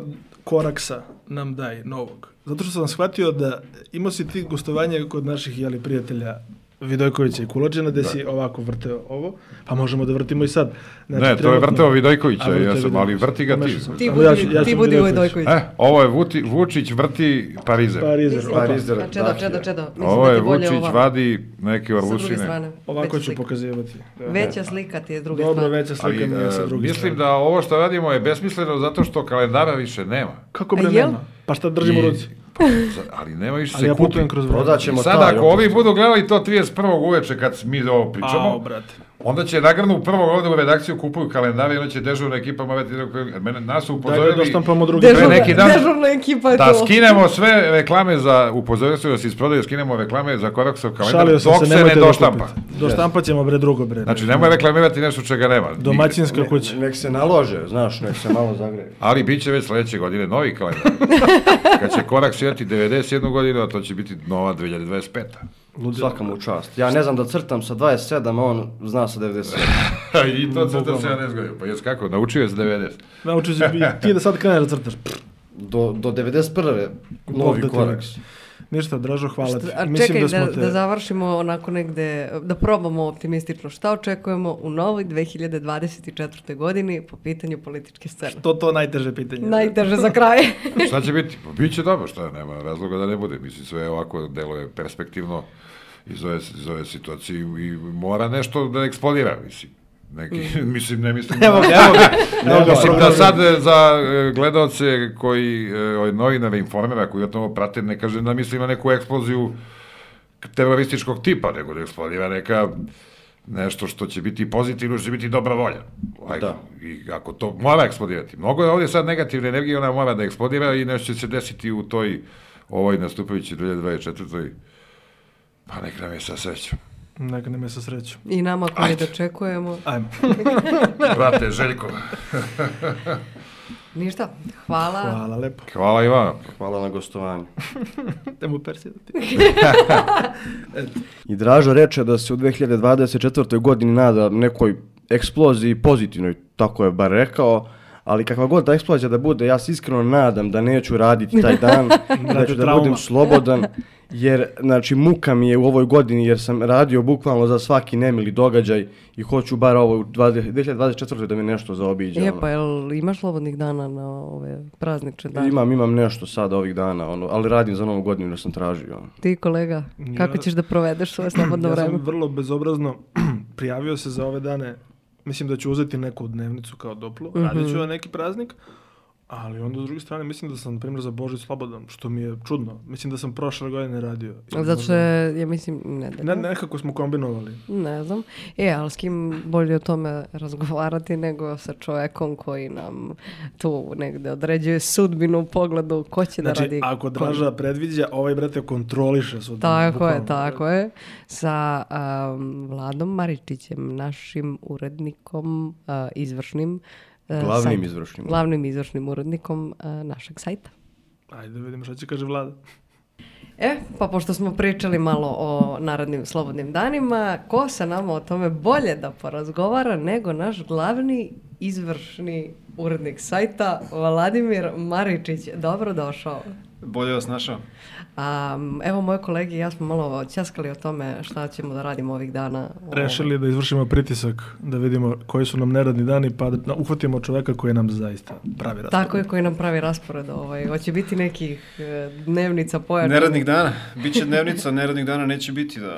S2: koraksa nam daj novog. Zato što sam shvatio da imao si ti gostovanje kod naših jeli, prijatelja Vidojkovića i Kulođena,
S5: Da.
S2: gde si ovako vrteo ovo, pa možemo da vrtimo i sad.
S5: Ne,
S3: Znači,
S5: to je
S2: trenutno-
S5: vrteo
S2: A,
S5: Vidojkovića,
S2: vrteo
S5: ja
S3: da
S5: sam, ali
S2: Vidojkovića.
S5: vrti ga ti.
S2: Pomešao sam.
S1: Ti
S2: Samo
S1: budi,
S2: ja ću- ja
S1: ti
S2: ću
S1: budi
S2: Vidojković.
S1: Vidojković.
S5: E, ovo je Vuti- Vučić vrti Parizer.
S2: Parizer,
S1: Mislim-
S2: opa.
S3: Parizer,
S1: A, Čedo,
S3: Dahija.
S1: čedo, čedo. Mislim
S5: Ovo
S1: da ti
S5: je
S1: je bolje
S5: Vučić
S1: ovako.
S5: vadi neke
S1: Sa druge strane.
S5: orlusine.
S2: Ovako
S1: Veća
S2: ću
S1: slika.
S2: pokazivati. Da.
S1: Veća slika ti je s druge
S2: Dobro,
S1: strane.
S2: veća slika mi je sa
S5: e,
S2: druge
S5: mislim
S2: strane.
S5: da ovo što radimo je besmisleno zato što kalendara više nema.
S2: Kako
S1: A
S2: bre
S1: jel?
S2: nema? Pa šta držimo u
S5: I-
S2: ruci?
S5: Pa, za- ali nema više
S2: Ali
S5: se
S2: ja
S5: kupi.
S2: putujem kroz vreme.
S3: Prodat ćemo
S5: I sad
S3: taj
S5: ako
S3: opet.
S5: ovi budu gledali to 31. uveče kad mi ovo pričamo,
S2: Au, Pa, brate.
S5: onda će nagrnu prvo ovde u redakciju kupuju kalendare i onda će dežurna ekipa morati da mene nas su
S2: Daj da
S5: upozorili
S2: doštampamo drugi.
S5: Dežurna-
S1: Dežurna,
S2: broj.
S5: neki dan-
S1: dežurna ekipa je
S5: da
S1: to.
S5: skinemo sve reklame za upozorili su da se isprodaju, skinemo reklame za Koraksov kalendar
S2: Šalio sam
S5: dok
S2: se,
S5: se ne
S2: nemojte
S5: doštampa.
S2: da kupite. Doštampat ćemo bre drugo bre.
S5: Znači nemoj reklamirati nešto čega nema. nigde.
S2: Domaćinska kuća.
S3: Nek se nalože, znaš, nek se malo zagreje.
S5: Ali bit će već sledeće godine novi kalendar. Kad će korak svijeti 91 godinu, a to će biti nova 2025.
S3: Svaka mu čast. Ja ne znam da crtam sa 27, a on zna sa 90.
S5: I to crta 70 godina. Pa jes kako, naučio je s 90.
S2: Naučio si i ti da sad kreneš da crtaš. Pff,
S3: Do, do 91. novi
S2: Bog da te
S3: korak.
S2: vidi. Ništa, Dražo, hvala ti.
S1: A čekaj
S2: Mislim
S1: da,
S2: da smo
S1: da,
S2: te...
S1: završimo onako negde, da probamo optimistično šta očekujemo u novoj 2024. godini po pitanju političke scene.
S2: To to najteže pitanje.
S1: Najteže za kraj.
S5: Šta će biti? Pa bit će dobro, šta nema razloga da ne bude. Mislim, sve ovako deluje perspektivno iz ove, iz ove situacije i mora nešto da eksplodira, mislim. Neki, mislim, ne mislim
S2: Evo
S5: da...
S2: ga, evo ga. Evo ga,
S5: Mislim da
S2: program.
S5: sad e, za e, gledaoce koji, e, ove novinare, informera koji o tome prate, ne kažem da mislim na neku eksploziju terorističkog tipa, nego da eksplodira neka nešto što će biti pozitivno, što će biti dobra volja. Ajde.
S3: Da.
S5: I ako to mora eksplodirati. Mnogo je ovdje sad negativne energije, ona mora da eksplodira i nešto će se desiti u toj ovoj nastupajući 2024. Pa nek nam je sa srećom.
S2: Neka nam je sa srećom.
S1: I nama koji dočekujemo.
S2: Ajmo.
S5: Brate, Željko,
S1: Ništa, hvala.
S2: Hvala lepo.
S5: hvala i vama.
S3: Hvala na gostovanju.
S2: Idemo Persija da ti.
S3: I Dražo reče da se u 2024. godini nada nekoj eksploziji pozitivnoj, tako je bar rekao, ali kakva god ta eksplozija da bude, ja se iskreno nadam da neću raditi taj dan, da ću da
S2: trauma.
S3: budem slobodan, jer znači muka mi je u ovoj godini jer sam radio bukvalno za svaki nemili događaj i hoću bar ovo u 20- 2024. da mi nešto zaobiđe.
S1: E
S3: ono.
S1: pa, jel imaš slobodnih dana na ove praznične dane?
S3: Imam, imam nešto sada ovih dana, ono, ali radim za novu godinu jer sam tražio. ono.
S1: Ti kolega, kako
S2: Ja-
S1: ćeš da provedeš svoje slobodno
S2: Ja sam
S1: vreme?
S2: vrlo bezobrazno prijavio se za ove dane. Mislim da ću uzeti neku dnevnicu kao doplu.
S1: Mhm.
S2: Radit ću na neki praznik. Ali onda s druge strane mislim da sam, na primjer, za Božić slobodan, što mi je čudno. Mislim da sam prošle godine radio.
S1: Zato što je, ja mislim, ne, da-
S2: Ne, nekako smo kombinovali.
S1: Ne znam. E, ali s kim bolje o tome razgovarati nego sa čovekom koji nam tu negde određuje sudbinu u pogledu ko će da
S2: Znači,
S1: radi.
S2: ako
S1: ko-
S2: Draža predviđa, ovaj brate kontroliše sudbinu.
S1: Tako je,
S2: bukvalno. da.
S1: tako je. Sa um, Vladom Maričićem, našim urednikom, uh, izvršnim. uh,
S3: Glavnim
S1: sajta.
S3: izvršnim.
S1: Glavnim izvršnim urednikom uh, našeg sajta.
S2: Ajde, da vidimo šta će kaže vlada.
S1: E, pa pošto smo pričali malo o narednim slobodnim danima, ko sa nama o tome bolje da porazgovara nego naš glavni izvršni urednik sajta, Vladimir Maričić. Dobrodošao.
S4: Bolje vas našao.
S1: Um, evo, moje kolege i ja smo malo ćaskali o tome šta ćemo da radimo ovih dana.
S2: Rešili da izvršimo pritisak, da vidimo koji su nam neradni dani, pa da uhvatimo čoveka koji nam zaista pravi raspored.
S1: Tako je koji nam pravi raspored. Ovaj. Hoće biti nekih eh, dnevnica pojača.
S6: Neradnih dana, bit će dnevnica, neradnih dana neće biti. Da.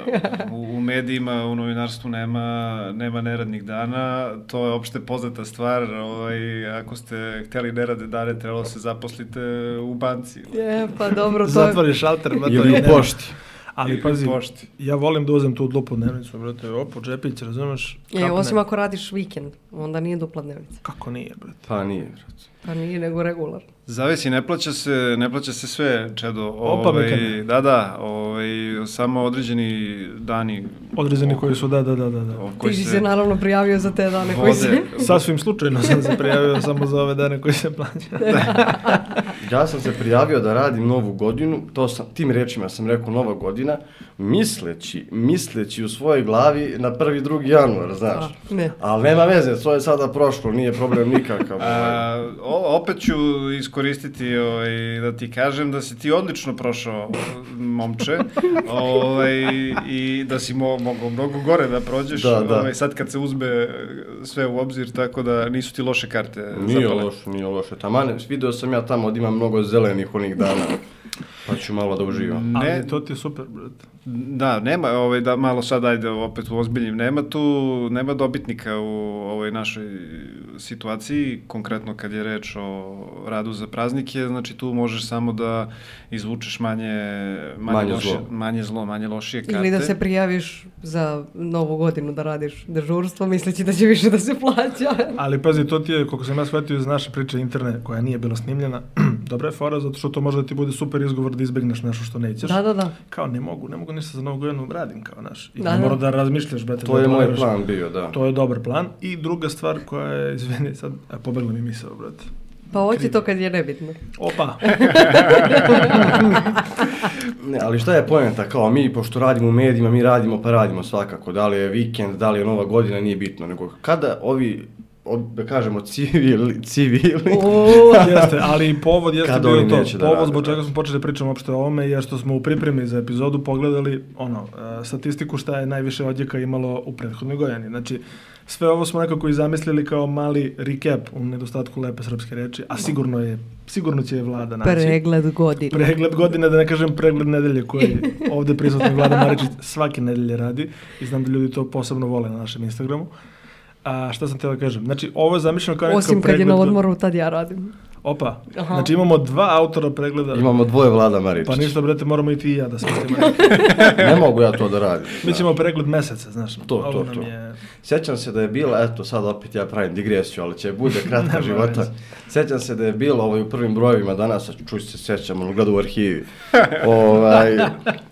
S6: U, u medijima, u novinarstvu nema, nema neradnih dana, to je opšte poznata stvar. Ovaj, ako ste hteli nerade dane, trebalo se zaposlite u banci.
S1: E, pa dobro, to je...
S2: Zatvoriš šalter, brate.
S3: Ili
S2: nema.
S3: u pošti.
S2: Ali
S6: Ili
S2: pazi,
S6: u pošti.
S2: ja volim da uzem tu duplu dnevnicu, brate, opo, džepić, razumeš?
S1: E,
S2: Kapne.
S1: osim ako radiš vikend, onda nije dupla dnevnica.
S2: Kako nije, brate?
S3: Pa nije, brate.
S1: Pa nije, nego regular.
S6: Zavisi, ne plaća se, ne plaća se sve, Čedo.
S2: Opa,
S6: Ovaj,
S2: Mikane.
S6: da, da, ovaj, samo određeni dani. Ovaj.
S2: Odrezani
S6: o-
S2: koji su, da, da, da, da. da.
S6: o-
S1: Ti si se naravno prijavio za te dane koji si...
S6: vode.
S2: Sasvim slučajno sam se prijavio samo za ove dane koji se plaća.
S3: Ja sam se prijavio da radim novu godinu, to sam, tim rečima sam rekao nova godina, misleći, misleći u svojoj glavi na prvi, drugi januar, znaš.
S1: A, ne.
S3: Ali nema veze, to je sada prošlo, nije problem nikakav. ovaj.
S6: A, o, opet ću iskoristiti ovaj, da ti kažem da si ti odlično prošao, momče, ovaj, i da si mo, mogao mnogo gore da prođeš,
S3: Da, da.
S6: Ovaj, sad kad se uzme eh, sve u obzir, tako da nisu ti loše karte
S3: Nije
S6: zapale.
S3: loše, nije loše. Tamane, video sam ja tamo da ima mnogo zelenih onih dana, pa ću malo da uživam.
S6: Ne.
S2: Ali to ti je super, brate.
S6: Da, nema, ovaj, da malo sad ajde opet u ozbiljnim, nema tu, nema dobitnika u ovoj našoj situaciji, konkretno kad je reč o radu za praznike, znači tu možeš samo da izvučeš manje, manje,
S3: Manje
S6: loše,
S3: zlo.
S6: manje zlo, manje lošije karte.
S1: Ili da se prijaviš za novu godinu da radiš dežurstvo, misleći da će više da se plaća.
S2: Ali pazi, to ti je, koliko sam ja shvatio iz naše priče interne, koja nije bila snimljena, dobra je fora, zato što to može da ti bude super izgovor da izbegneš nešto što nećeš.
S1: Da, da, da.
S2: Kao, ne mogu, ne mogu ništa za novu godinu, radim kao naš. I
S1: Da,
S2: da, mora
S1: da.
S2: da razmišljaš, brate.
S3: To
S2: da
S3: je moj
S2: planiraš.
S3: plan bio, da.
S2: To je dobar plan. I druga stvar koja je, izvini, sad e, pobegla mi misao, brate.
S1: Pa hoće to kad je nebitno.
S2: Opa!
S3: Ne, ali šta je poenta, kao mi, pošto radimo u medijima, mi radimo pa radimo svakako, da li je vikend, da li je nova godina, nije bitno, nego kada ovi, od, da kažemo, civili, civili,
S1: O,
S2: jeste, ali povod jeste
S3: Kad
S2: bio
S3: oni
S2: to.
S3: neće da
S2: povod
S3: rade,
S2: zbog
S3: brate.
S2: čega smo počeli da pričamo uopšte o ovome je što smo u pripremi za epizodu pogledali ono, e, statistiku šta je najviše odjeka imalo u prethodnoj godini. Znači, sve ovo smo nekako i zamislili kao mali recap u nedostatku lepe srpske reči, a sigurno je, sigurno će je vlada naći.
S1: pregled godine.
S2: Pregled godine, da ne kažem pregled nedelje koji ovde prisutni Vlada Maričić svake nedelje radi i znam da ljudi to posebno vole na našem Instagramu. A šta sam teo da kažem? Znači, ovo je zamišljeno kao
S1: Osim kad je
S2: pregled-
S1: na odmoru, tad ja radim.
S2: Opa,
S1: Aha.
S2: znači imamo dva autora pregleda.
S3: Imamo dvoje Vlada Maričić.
S2: Pa ništa, brate, moramo i ti i ja da smislimo. neki.
S3: Ne mogu ja to da radim.
S2: Mi ćemo pregled meseca, znaš.
S3: To,
S2: ovo
S3: to,
S2: nam
S3: to.
S2: je-
S3: Sjećam se da je bila, eto sad opet ja pravim digresiju, ali će bude kratka života. Sjećam se da je bilo ovaj, u prvim brojevima danas, a čuj se sjećam, ono gleda u arhivi, ovaj,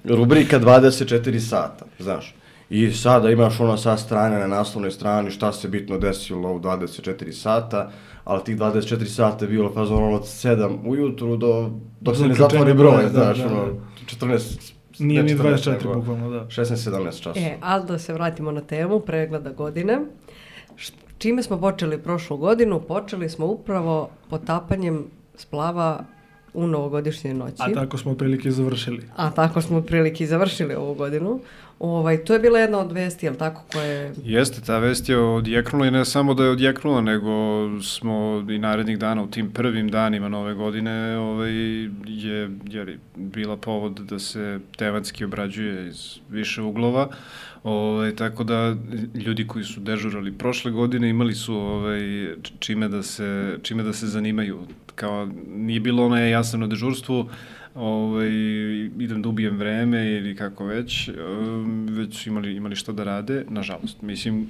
S3: rubrika 24 sata, znaš. I sada imaš ono sa strane, na naslovnoj strani, šta se bitno desilo u 24 sata, ali tih 24 sata je bilo fazon ono od 7 ujutru do, dok se ne
S2: Zaključenje
S3: zatvori broj,
S2: broja, da,
S3: znaš,
S2: da,
S3: ono, 14,
S2: Nije
S3: ne
S2: ni
S3: 14,
S2: 24
S3: nego
S2: bukvalno, da.
S3: 16-17 časova.
S1: E, ali da se vratimo na temu pregleda godine. Š- Čime smo počeli prošlu godinu? Počeli smo upravo potapanjem splava u novogodišnje noći.
S2: A tako smo otprilike završili.
S1: A tako smo otprilike i završili ovu godinu. Ovaj, to je bila jedna od vesti, jel tako, koje...
S6: Jeste, ta vest je odjeknula i ne samo da je odjeknula, nego smo i narednih dana u tim prvim danima nove godine ovaj, je jeli, bila povod da se tematski obrađuje iz više uglova. Ovaj, tako da ljudi koji su dežurali prošle godine imali su ovaj, č- čime, da se, čime da se zanimaju. Kao, nije bilo ono "E, ja sam na dežurstvu, ovaj, idem da ubijem vreme ili kako već, em, već su imali, imali šta da rade, nažalost. Mislim,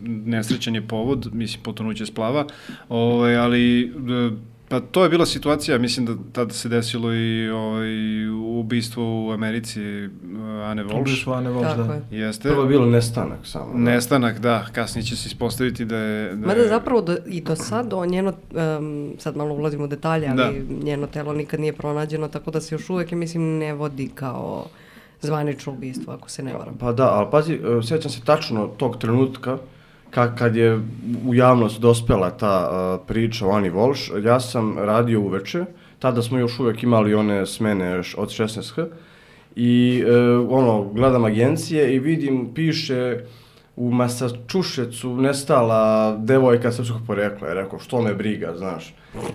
S6: nesrećan je povod, mislim, potonuće splava, ovaj, ali e, pa to je bila situacija, mislim da tada se desilo i ovaj, ubistvo u Americi e, Ane Volš.
S2: Volš, Vane Volš,
S1: Tako
S2: da.
S1: je.
S6: Jeste.
S3: Prvo je bilo nestanak samo. da.
S6: Nestanak, da, kasnije će se ispostaviti da je... Da
S1: Mada
S6: je-
S1: zapravo do, i do sad o njeno, em, sad malo ulazimo u detalje, ali
S3: Da.
S1: njeno telo nikad nije pronađeno, tako da se još uvijek, ja mislim, ne vodi kao zvanično ubistvo, ako se ne varam.
S3: Pa da, ali pazi, e, sjećam se tačno tog trenutka ka, kad je u javnost dospela ta e, priča o Ani Volš. Ja sam radio uveče, tada smo još uvek imali one smene š- od 16H i e, ono, gledam agencije i vidim, piše u Massachusettsu nestala devojka srpskog porekla. Ja rekao, što me briga, znaš.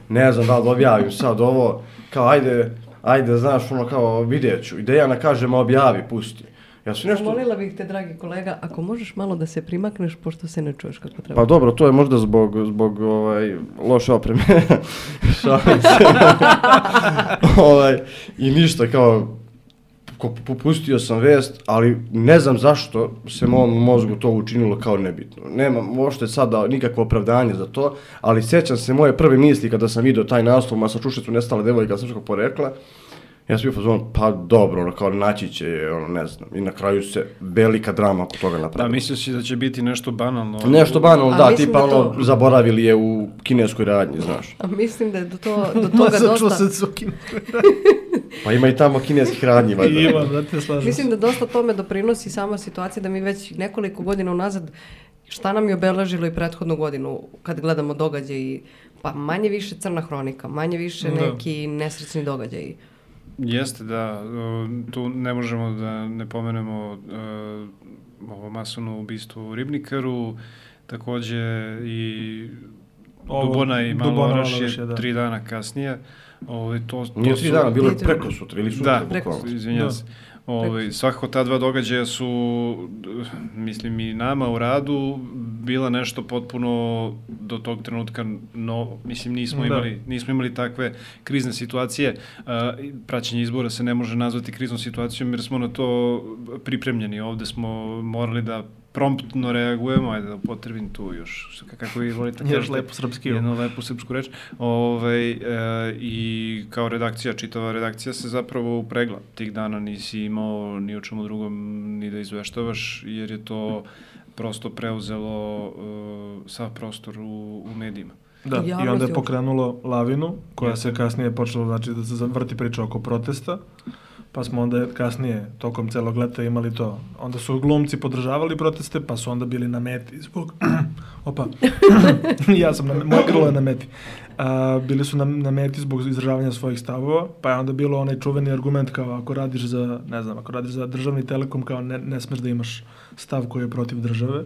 S3: Ne znam da li da objavim sad ovo, kao ajde, ajde, znaš, ono kao vidjet ću. I Dejana kaže, ma objavi, pusti. Ja sam Pa, nešto...
S1: Molila bih te, dragi kolega, ako možeš malo da se primakneš, pošto se ne čuješ kako treba.
S3: Pa dobro, to je možda zbog, zbog ovaj, loše opreme. Šalim se. ovaj, I ništa, kao, ko- popustio sam vest, ali ne znam zašto se mom mozgu to učinilo kao nebitno. Nemam uopšte sada nikakvo opravdanje za to, ali sjećam se moje prve misli kada sam vidio taj naslov Masačušecu nestala devojka srpskog porekla, ja sam bio fazon, pa dobro, ono, kao naći će, je, ono, ne znam. I na kraju se velika drama oko toga
S6: Da,
S3: napravila.
S6: mislio si da će biti nešto banalno.
S3: Nešto banalno,
S1: A
S3: da,
S1: mislim
S3: tipa
S1: da to-
S3: ono, zaboravili je u kineskoj radnji, znaš.
S1: A mislim da je do, to, do toga dosta...
S3: Pa ima i tamo kineskih radnji, valjda.
S2: I imam, da te slažem.
S1: Mislim da dosta tome doprinosi sama situacija da mi već nekoliko godina unazad šta nam je obeležilo i prethodnu godinu kad gledamo događaji, pa manje više crna hronika, manje više
S2: Da.
S1: neki nesrećni događaji.
S6: Jeste, da. e, Tu ne možemo da ne pomenemo e, ovo masovno ubistvo u Ribnikaru, takođe i
S2: Ovo,
S6: Dubona i
S2: Dubona,
S6: Malo Oraš je
S2: Malorašje, da.
S6: tri dana kasnije. Ovo, to, to
S3: Nije tri
S6: su-
S3: dana, bilo je
S1: Nije tri-
S3: preko sutra ili sutra,
S6: Da,
S1: preko
S3: bukvalno.
S6: izvinjam
S2: Da.
S6: se. Ove, svakako ta dva događaja su, d- mislim i nama u radu, bila nešto potpuno do tog trenutka novo. Mislim nismo,
S2: Da.
S6: imali, nismo imali takve krizne situacije. A, i praćenje izbora se ne može nazvati kriznom situacijom jer smo na to pripremljeni. Ovde smo morali da promptno reagujemo, ajde da potrebim tu još, kako vi volite.
S2: Još
S6: kažete,
S2: lepo srpski.
S6: Jednu lepu srpsku reč. Ove, e, I kao redakcija, čitava redakcija se zapravo upregla. Tih dana nisi imao ni o čemu drugom ni da izveštavaš, jer je to prosto preuzelo e, sav prostor u, u medijima.
S2: Da, i onda
S1: Javnosti
S2: je Mm. pokrenulo lavinu koja se kasnije počela znači da se zavrti priča oko protesta. Pa smo onda kasnije tokom celog leta imali to. Onda su glumci podržavali proteste, pa su onda bili na meti zbog Opa. ja sam na moje grlo je na meti. A, bili su na, na meti zbog izražavanja svojih stavova, pa je onda bilo onaj čuveni argument kao ako radiš za, ne znam, ako radiš za državni telekom kao ne, ne smeš da imaš stav koji je protiv države.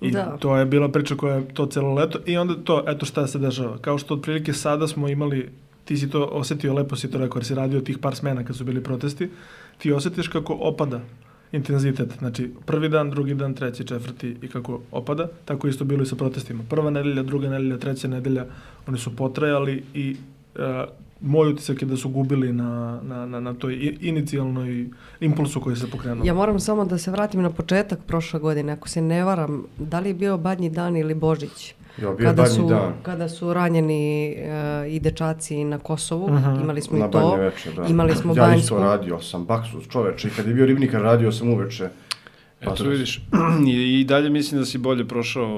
S2: I
S1: Da.
S2: to je bila priča koja je to celo leto i onda to, eto šta se dešava. Kao što otprilike sada smo imali, ti si to osetio, lepo si to rekao, jer si radio tih par smena kad su bili protesti, ti osetiš kako opada intenzitet. Znači, prvi dan, drugi dan, treći, četvrti i kako opada. Tako je isto bilo i sa protestima. Prva nedelja, druga nedelja, treća nedelja, oni su potrajali i e, moj utisak je da su gubili na, na, na, na toj i- inicijalnoj impulsu koji se pokrenuo.
S1: Ja moram samo da se vratim na početak prošle godine, ako se ne varam, da li je bio Badnji dan ili Božić?
S3: Ja, bio je Badnji
S1: su,
S3: dan.
S1: Kada su ranjeni e, i dečaci na Kosovu, imali smo
S3: Na
S1: i to,
S3: banje večer, da.
S1: imali smo
S3: ja
S1: banjsku.
S3: isto radio sam, baksuz čoveče, i kad je bio ribnikar radio sam uveče.
S6: Pa tu
S3: Patros.
S6: vidiš, i, i dalje mislim da si bolje prošao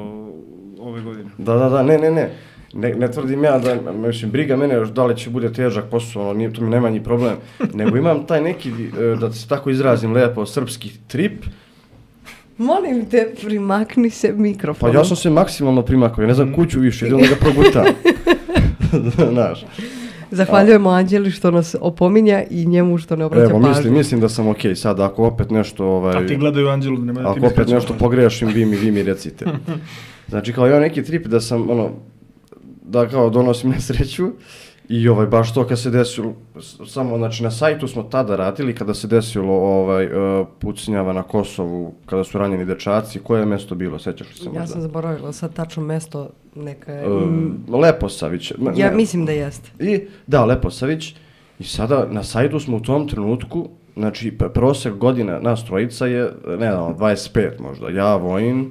S6: ove godine.
S3: Da, da, da, ne, ne, ne. Ne, ne tvrdim ja da, mislim, briga mene još da li će bude težak posao, ono, nije, to mi najmanji problem, nego imam taj neki, e, da se tako izrazim lepo, srpski trip,
S1: Molim te, primakni se
S3: pa
S1: mikrofon.
S3: ja sam se maksimalno primakao, ja ne znam kuću
S2: Mm.
S3: više, idem da ga progutam. Znaš,
S1: Zahvaljujemo Anđeli što nas opominja i njemu što ne obraća
S3: evo,
S1: pažnju.
S3: mislim, mislim da sam okej sad, ako opet nešto, ovaj...
S2: A ti gledaju Anđelu, nema da ti
S3: Ako
S2: ne
S3: opet
S2: skrećeš
S3: nešto
S2: pažnju.
S3: pogrešim, vi mi, vi mi recite. Znači, kao ja neki trip da sam, ono, da kao donosim nesreću i ovaj, baš to kad se desilo, s- samo, znači, na sajtu smo tada radili kada se desilo ovaj, e, pucnjava na Kosovu, kada su ranjeni dečaci, koje je mesto bilo, sećaš li se možda?
S1: Ja sam zaboravila sad tačno mesto neka je.
S3: E, Leposavić. ne-
S1: ja
S3: ne-
S1: mislim da jeste.
S3: I, da, Leposavić. I sada na sajtu smo u tom trenutku, znači p- prosek godina nas trojica je, ne znam, 25 možda, ja, Vojin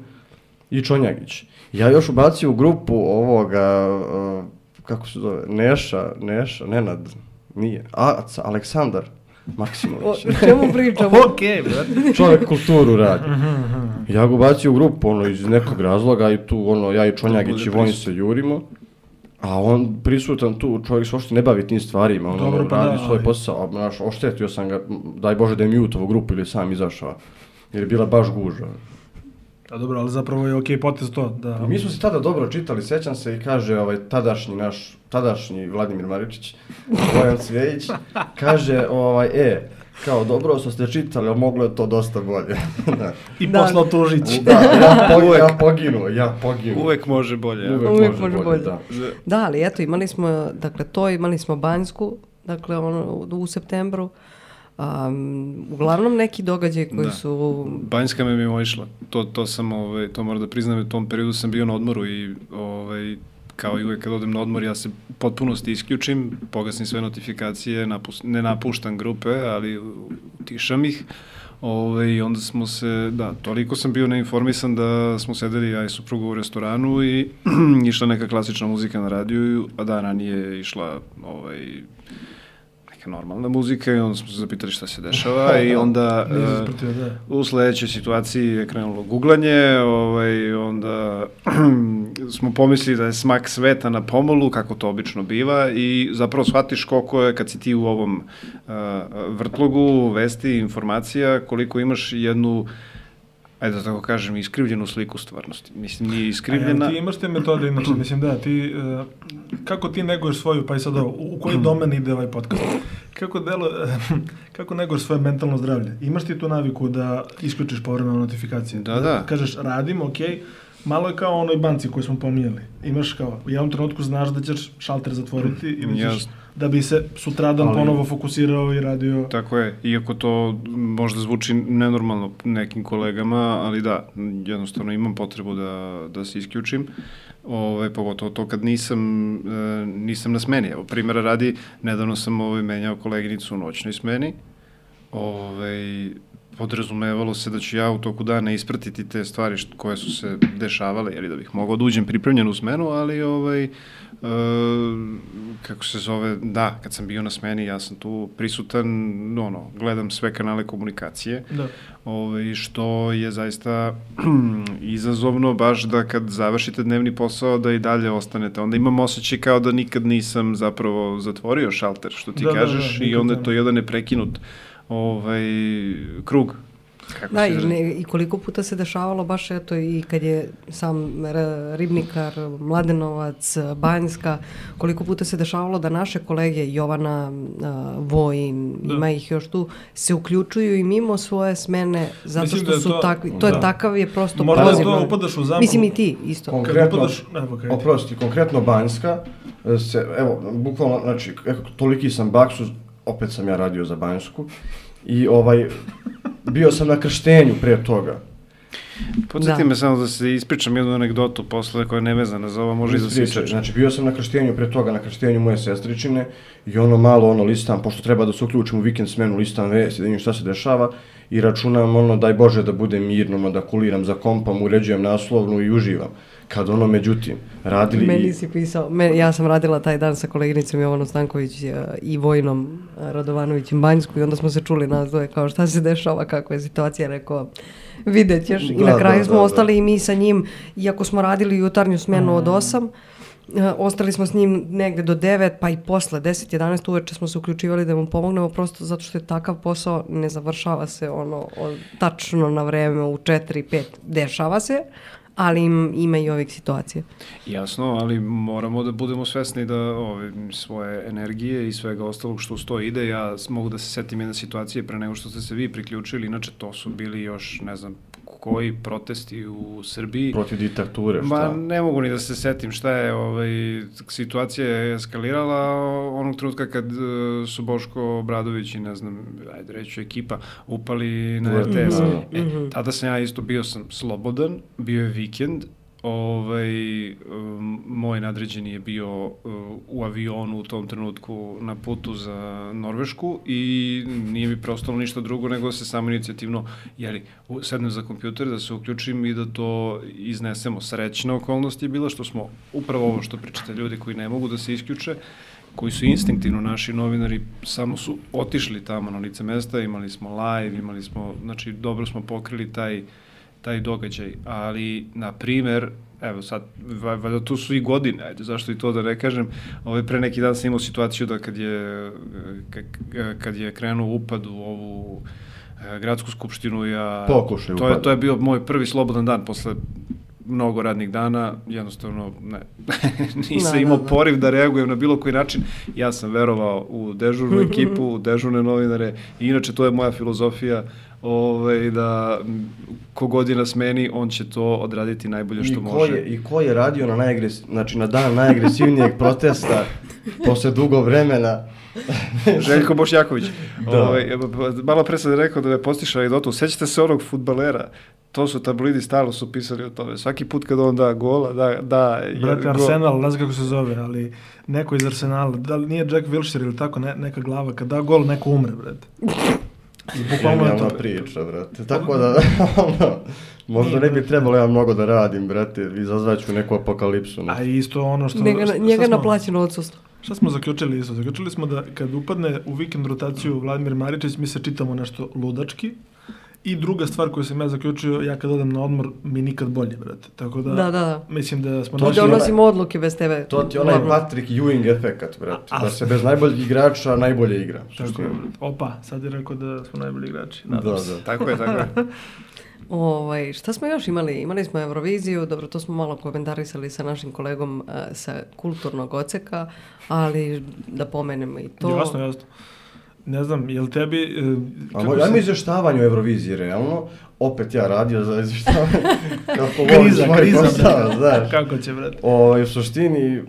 S3: i Čonjagić. Ja još ubacio u grupu ovoga, uh, kako se zove, Neša, Neša, Nenad, nije, Aca, Aleksandar
S1: O
S3: Maksimović.
S1: čemu pričamo?
S4: Okej, brate.
S3: Čovjek kulturu radi.
S2: Mhm,
S3: Ja ga ubacio u grupu, ono, iz nekog razloga i tu, ono, ja i Čonjagić i Vojin se jurimo. A on prisutan tu, čovjek se uopšte ne bavi tim stvarima, ono,
S2: Dobro, pa
S3: radi
S2: da,
S3: svoj
S2: ali-
S3: posao, a, znaš, oštetio sam ga, m, daj Bože da je mutovo grupu ili sam izašao, jer je bila baš gužva.
S2: A Pa dobro, ali zapravo je okej potez to, da...
S3: Mi smo se tada dobro čitali, sećam se i kaže ovaj tadašnji naš, tadašnji Vladimir Maričić, Bojan Cvijević, kaže ovaj, e, kao dobro što ste čitali, ali moglo je to dosta bolje. Da.
S2: I
S1: Da.
S2: poslao Tužić.
S3: Da, ja, poginuo, ja poginuo, ja poginuo.
S6: Uvek može bolje. a?
S3: Uvek
S1: Uvijek
S3: može
S1: može bolje.
S3: bolje, da.
S1: Da, ali eto, imali smo, dakle, to, imali smo Banjsku, dakle, ono, u septembru. Um, uglavnom neki događaj koji
S6: Da.
S1: su...
S6: Banjska me mimoišla. To, to sam, ovaj, to moram da priznam, u tom periodu sam bio na odmoru i ovaj, kao i uvek kad odem na odmor ja se u potpunosti isključim, pogasim sve notifikacije, napus, ne napuštam grupe, ali utišam ih. Ove, I onda smo se, da, toliko sam bio neinformisan da smo sedeli ja i supruga u restoranu i išla neka klasična muzika na radiju, a da, ranije je išla ovaj, neka normalna muzika i onda smo se zapitali šta se dešava i onda...
S2: Nije se
S6: e,
S2: isprotio, da.
S6: U sledećoj situaciji je krenulo guglanje, ovaj, onda smo pomislili da je smak sveta na pomolu, kako to obično biva, i zapravo shvatiš koliko je, kad si ti u ovom uh, vrtlogu, vesti, informacija, koliko imaš jednu, ajde da tako kažem, iskrivljenu sliku stvarnosti. Mislim, nije iskrivljena...
S2: A, jel E, ti imaš te metode, inače, mislim, da, ti, e, kako ti neguješ svoju, pa i sad ovo, u u koji domen ide ovaj podcast? Kako, delo, kako neguješ svoje mentalno zdravlje? Imaš ti tu naviku da isključiš povremeno notifikacije?
S6: Da, da.
S2: Kažeš, radim, okej, malo je kao onoj banci koju smo pominjali. Imaš kao, u jednom trenutku znaš da ćeš šalter zatvoriti i da ćeš,
S6: Jasno.
S2: da bi se sutradan
S3: Ali-
S2: ponovo fokusirao i radio...
S6: Tako je, iako to možda zvuči nenormalno nekim kolegama, ali da, jednostavno imam potrebu da, da se isključim. Ove, pogotovo to kad nisam, e, nisam na smeni. Evo, primjera radi, nedavno sam ove, menjao koleginicu u noćnoj smeni. Ove, Ovaj, podrazumevalo se da ću ja u toku dana ispratiti te stvari št, koje su se dešavale, jeli da bih mogao da uđem pripremljen u smenu, ali ovaj, e, kako se zove, da, kad sam bio na smeni, ja sam tu prisutan, ono, gledam sve kanale komunikacije,
S2: Da.
S6: ovaj, što je zaista izazovno baš da kad završite dnevni posao da i dalje ostanete. Onda imam osjećaj kao da nikad nisam zapravo zatvorio šalter, što ti
S2: Da, da, da,
S6: kažeš, i
S2: nikad
S6: onda je
S2: ne.
S6: to jedan neprekinut ovaj, krug. Kako
S1: Da,
S6: se
S1: i,
S6: izrazi?
S1: ne, i koliko puta se dešavalo baš eto i kad je sam R- Ribnikar, Mladenovac, Banjska, koliko puta se dešavalo da naše kolege Jovana, a, Vojin,
S2: Da.
S1: ima ih još tu, se uključuju i mimo svoje smene zato
S2: Mislim
S1: što
S2: da je
S1: su
S2: to-
S1: takvi, to je
S3: da.
S1: takav je prosto
S2: Možda
S1: poziv,
S2: to da
S1: ali-
S2: upadaš u zamku.
S1: Mislim i ti isto.
S2: Kad
S3: Konkretno,
S2: upadaš- evo, kaj ti.
S3: oprosti, konkretno Banjska, e, se, evo, bukvalno, znači, kako toliki sam baksuz, opet sam ja radio za Banjsku, i ovaj, bio sam na krštenju pre toga.
S6: Podsjeti
S1: Da.
S6: me samo da se ispričam jednu anegdotu posle koja je nevezana da za ovo, može i za
S3: Ispričaj.
S6: sičač.
S2: da.
S3: Znači, bio sam na krštenju pre toga, na krštenju moje sestričine i ono malo, ono, listam, pošto treba da se uključim u vikend smenu, listam vesti, da vidim šta se dešava i računam, ono, daj Bože da bude mirno, ono, da kuliram za kompom, uređujem naslovnu i uživam. Kad ono, međutim, radili... i-
S1: Meni si pisao, me, ja sam radila taj dan sa koleginicom Jovanom Stanković e, i Vojnom e, Radovanovićem Banjsku i onda smo se čuli nas dvoje kao šta se dešava, kakva je situacija, rekao vidjet ćeš. I
S3: Da,
S1: na kraju
S3: da,
S1: smo
S3: da, da.
S1: ostali i mi sa njim, iako smo radili jutarnju smenu
S3: Mm.
S1: od 8, e, ostali smo s njim negde do 9, pa i posle 10, 11 uveče smo se uključivali da mu pomognemo, prosto zato što je takav posao, ne završava se ono o- tačno na vreme u 4, 5, dešava se, ali im- ima i ovih situacija.
S6: Jasno, ali moramo da budemo svesni da ove, svoje energije i svega ostalog što uz to ide, ja s- mogu da se setim jedne situacije pre nego što ste se vi priključili, inače to su bili još, ne znam, koji protesti u Srbiji.
S3: Protiv diktature, šta?
S6: Ma ne mogu ni da se setim šta je, ovaj, situacija je eskalirala onog trenutka kad e, su Boško Obradović i ne znam, ajde reći ću ekipa, upali na
S3: U
S6: RTS.
S3: RTS,
S6: E, tada sam ja isto bio sam slobodan, bio je vikend, ovaj, um, moj nadređeni je bio uh, u avionu u tom trenutku na putu za Norvešku i nije mi preostalo ništa drugo nego da se samo inicijativno jeli, u- sednem za kompjuter, da se uključim i da to iznesemo. Srećna okolnost je bila što smo upravo ovo što pričate ljudi koji ne mogu da se isključe, koji su instinktivno naši novinari samo su otišli tamo na lice mesta, imali smo live, imali smo, znači dobro smo pokrili taj, taj događaj, ali na primer, evo sad, va- valjda tu su i godine, ajde, zašto i to da ne kažem, ovaj, pre neki dan sam imao situaciju da kad je, e, ka- kad je krenuo upad u ovu e, gradsku skupštinu, ja...
S3: Pokušaj
S6: to je,
S3: upada.
S6: to je bio moj prvi slobodan dan posle mnogo radnih dana, jednostavno ne, nisam
S1: Da,
S6: imao
S1: da, da.
S6: poriv da reagujem na bilo koji način. Ja sam verovao u dežurnu ekipu, u dežurne novinare i inače to je moja filozofija ovaj, da m, ko god je na smeni, on će to odraditi najbolje što
S3: I ko
S6: može.
S3: Je, I ko je radio na, najagres, znači, na dan najagresivnijeg protesta posle dugo vremena?
S6: Željko Bošnjaković.
S3: Da.
S6: Ovaj, b- b- malo pre sam rekao da me postiša anegdotu. Sećate se onog futbalera? To su tablidi stalno su pisali o tome. Svaki put kad on da gola, da, da...
S2: Brate,
S6: gol.
S2: Arsenal, ne znam kako se zove, ali neko iz Arsenala, da li nije Jack Wilshere ili tako, ne, neka glava, kad da gol, neko umre, brate. Bukvalno je
S3: Genijalna
S2: to.
S3: priča, brate. Tako da, ono, možda ne bi trebalo ja mnogo da radim, brate, izazvaću neku apokalipsu. ne?
S2: A isto ono što...
S1: Njega,
S2: šta- šta
S1: njega
S2: smo-
S1: naplaćeno odsustvo.
S2: Šta smo zaključili isto? Zaključili smo da kad upadne u vikend rotaciju Vladimir Maričić, mi se čitamo nešto ludački. I druga stvar koju sam ja zaključio, ja kad odem na odmor, mi nikad bolje, brate. Tako da,
S1: Da, da, da.
S2: mislim da smo
S1: I
S3: To ti
S2: našli...
S1: da
S3: je onaj-
S1: donosimo odluke bez tebe.
S3: To ti je onaj
S1: Dobro.
S3: Patrick Ewing efekat, brate.
S2: A- a-
S3: Da se bez najboljih igrača najbolje igra.
S2: Tako je, brate. Opa, sad je rekao da smo najbolji igrači.
S3: Da,
S2: nadam
S3: da.
S2: se.
S6: Tako je, tako je.
S1: Ovaj, šta smo još imali? Imali smo Euroviziju, dobro, to smo malo komentarisali sa našim kolegom eh, sa kulturnog oceka, ali da pomenemo i to.
S2: Jasno, jasno. Ne znam, jel tebi... e,
S3: A
S2: kako
S3: moj, ja
S2: si-
S3: mi izvještavanju Eurovizije, realno, opet ja radio za izvještavanje. Kako volim
S2: Kriza,
S3: svoj
S2: kriza,
S3: posao,
S2: brate.
S3: znaš.
S2: Kako će, brate?
S3: O, u suštini,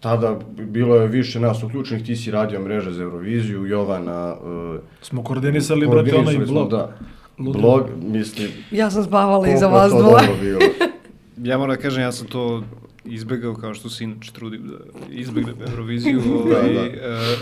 S3: tada bilo je više nas uključenih, ti si radio mreže za Euroviziju, Jovana... e,
S2: Smo koordinisali, brate, onaj
S3: koordinisali smo,
S2: blog.
S3: Da,
S2: Ludo.
S3: blog, mislim...
S1: Ja sam spavala
S3: koliko
S1: iza
S3: je
S1: vas
S3: to
S1: dvoje.
S3: dobro bilo.
S6: Ja moram da kažem, ja sam to izbegao kao što se inače trudim da izbegnem Euroviziju.
S3: Da,
S6: ovaj,
S3: da.
S6: e,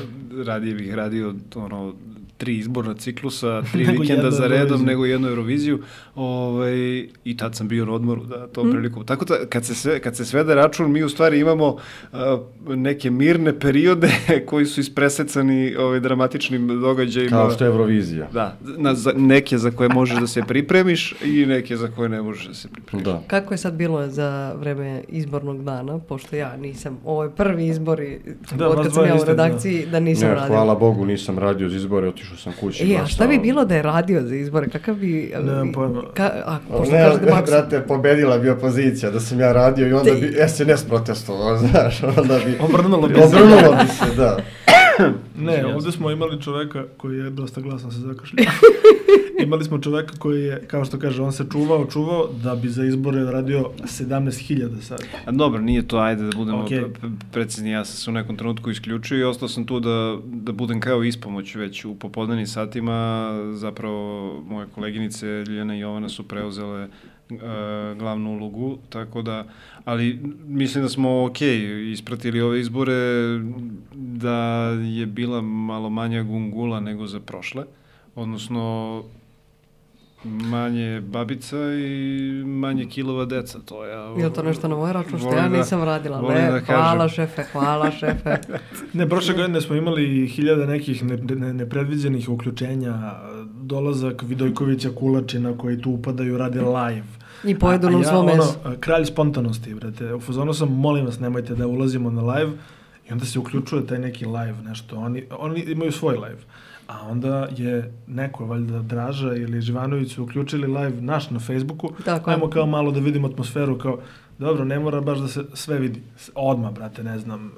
S6: radije bih radio ono, tri izborna ciklusa, tri
S2: Nego
S6: vikenda
S2: jednu
S6: za redom,
S2: Euroviziju.
S6: nego jednu Euroviziju. Ovaj, I tad sam bio na odmoru, da, to
S3: Mm.
S6: prilikom. Tako da, kad se, sve, kad se svede račun, mi u stvari imamo a, neke mirne periode koji su ispresecani ovaj, dramatičnim događajima.
S3: Kao što je Eurovizija.
S6: Da, na, za, neke za koje možeš da se pripremiš i neke za koje ne možeš da se pripremiš.
S3: Da.
S1: Kako je sad bilo za vreme izbornog dana, pošto ja nisam, ovo je prvi izbori
S2: Da,
S1: od
S2: vas
S1: kad sam
S2: dvoje
S1: ja u
S2: niste, da.
S1: redakciji, da, nisam
S3: Ne,
S1: radila.
S3: hvala Bogu, nisam radio za izbore, otišao sam kući.
S1: E, a šta
S3: glasao.
S1: bi bilo da je radio za izbore? Kakav bi...
S2: Nemam pojma.
S1: Ka, a,
S3: A
S1: pošto
S3: Ne,
S1: kažete
S3: ne,
S1: maksimum.
S3: brate, pobedila bi opozicija da sam ja radio i onda bi SNS protestovao, znaš, onda bi...
S2: Obrnulo bi se.
S3: Obrnulo bi se, da.
S2: Ne, ovdje smo imali čoveka koji je dosta glasno se zakašljio. imali smo čoveka koji je, kao što kaže, on se čuvao, čuvao, da bi za izbore radio 17.000 sad.
S6: A dobro, nije to, ajde da budemo
S2: Ok.
S6: okay. precizni, ja sam se u nekom trenutku isključio i ostao sam tu da, da budem kao ispomoć već u popodnenim satima, zapravo moje koleginice Ljiljana i Jovana su preuzele e, glavnu ulogu, tako da, ali mislim da smo ok, ispratili ove izbore, da je bila malo manja gungula nego za prošle, odnosno manje babica i manje kilova deca, to ja... ovaj
S1: Je li to nešto na moj račun što
S6: volim
S1: ja
S6: da-
S1: nisam radila?
S6: volim
S1: Ne,
S6: da kažem.
S1: hvala šefe, hvala šefe.
S2: Ne, prošle godine smo imali hiljada nekih ne, ne, nepredviđenih uključenja, dolazak Vidojkovića Kulačina koji tu upadaju, rade live.
S1: I pojedu
S2: A- a
S1: nam
S2: ja,
S1: svo
S2: ono,
S1: meso.
S2: a, kralj spontanosti, brate. U fazonu sam, molim vas, nemojte da ulazimo na live. I onda se uključuje taj neki live, nešto. Oni, oni imaju svoj live. A onda je neko, valjda Draža ili Živanović su uključili live naš na Facebooku.
S1: Tako je.
S2: Ajmo kao malo da vidimo atmosferu, kao, dobro, ne mora baš da se sve vidi. S- Odmah, brate, ne znam.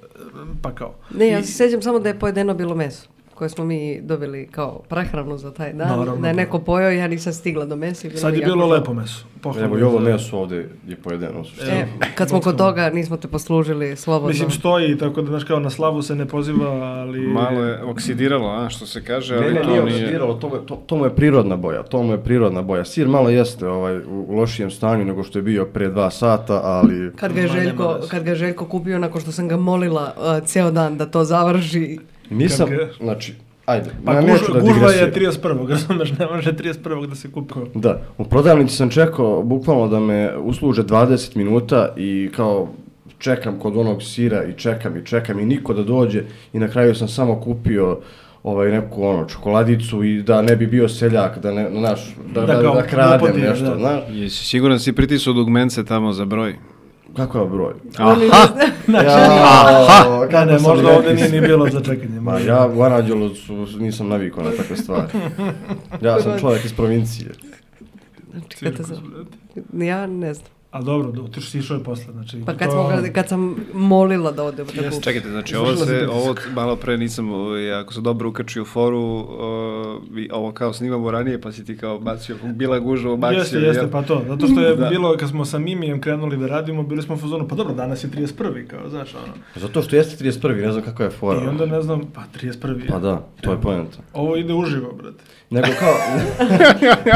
S2: Pa kao.
S1: Ne, ja
S2: I-
S1: se sjećam samo da je pojedeno bilo meso koje smo mi dobili kao prehranu za taj dan,
S2: Naravno,
S1: da je
S2: da.
S1: neko pojeo, ja nisam stigla do mesa. i
S2: Sad
S1: mi
S2: je
S1: da jako
S2: bilo
S1: žao.
S2: lepo meso. Pohvala
S3: Evo i ovo
S2: za-
S3: meso ovde je pojedeno. u suštini.
S1: E, kad smo kod toga, nismo te poslužili slobodno.
S2: Mislim, stoji, tako da, znaš, kao na slavu se ne poziva, ali...
S6: Malo je oksidiralo, a, što se
S3: Ne,
S6: kaže, E, ali
S3: ne,
S6: to
S3: nije
S6: nije-
S3: oksidiralo, to mu, je, to, to mu je prirodna boja, to mu je prirodna boja. Sir malo jeste ovaj, u u lošijem stanju nego što je bio pre dva sata, ali...
S1: Kad ga, je
S2: Ma, nema
S1: Željko,
S2: veze.
S1: kad ga je Željko kupio nakon što sam ga molila uh, ceo dan da to završi.
S3: Nisam,
S2: Kad ga-
S3: znači, ajde,
S2: Pa
S3: ja
S2: gužva,
S3: neću da
S2: gužva je
S3: digresiram.
S2: 31. razumeš, ne može 31. da se kupi.
S3: Da, u prodavnici sam čekao bukvalno da me usluže 20 minuta i kao čekam kod onog sira i čekam i čekam i niko da dođe i na kraju sam samo kupio ovaj neku ono čokoladicu i da ne bi bio seljak, da ne, znaš, da,
S2: Da
S3: da,
S2: kao
S3: da, kradem
S2: lupati,
S3: nešto,
S2: da.
S3: znaš.
S6: Jesi siguran si pritisao dugmence tamo za broj?
S3: Kako je broj?
S1: Aha!
S3: Ja,
S2: Da, ne, možda ovde nije ni bilo za čekanje.
S3: Ma ja u Aranđelovcu nisam navikao na takve stvari. Ja sam čovjek iz provincije.
S1: Znači, ja ne znam.
S2: A dobro, da, otiš si išao je posle, znači...
S1: Pa kad,
S2: to-
S1: smo ga, kad sam molila da ode da kupi.
S6: Čekajte, znači ovo
S2: Izvršila
S6: se,
S2: sam
S6: ovo malo pre nisam, ovaj, ako sam dobro ukačio foru, uh, i ovo kao snimamo ranije, pa si ti kao bacio, bila gužva, bacio.
S2: Jeste, jeste,
S6: jel?
S2: pa to. Zato što je
S6: Da.
S2: bilo, kad smo sa Mimijem krenuli da radimo, bili smo u fazonu, pa dobro, danas je 31. kao, znaš, ono.
S3: Zato što jeste 31. ne znam kakva je
S2: I
S3: fora.
S2: onda ne znam, pa 31.
S3: Pa da, to je poenta.
S2: Ovo ide uživo, brate.
S3: Nego kao...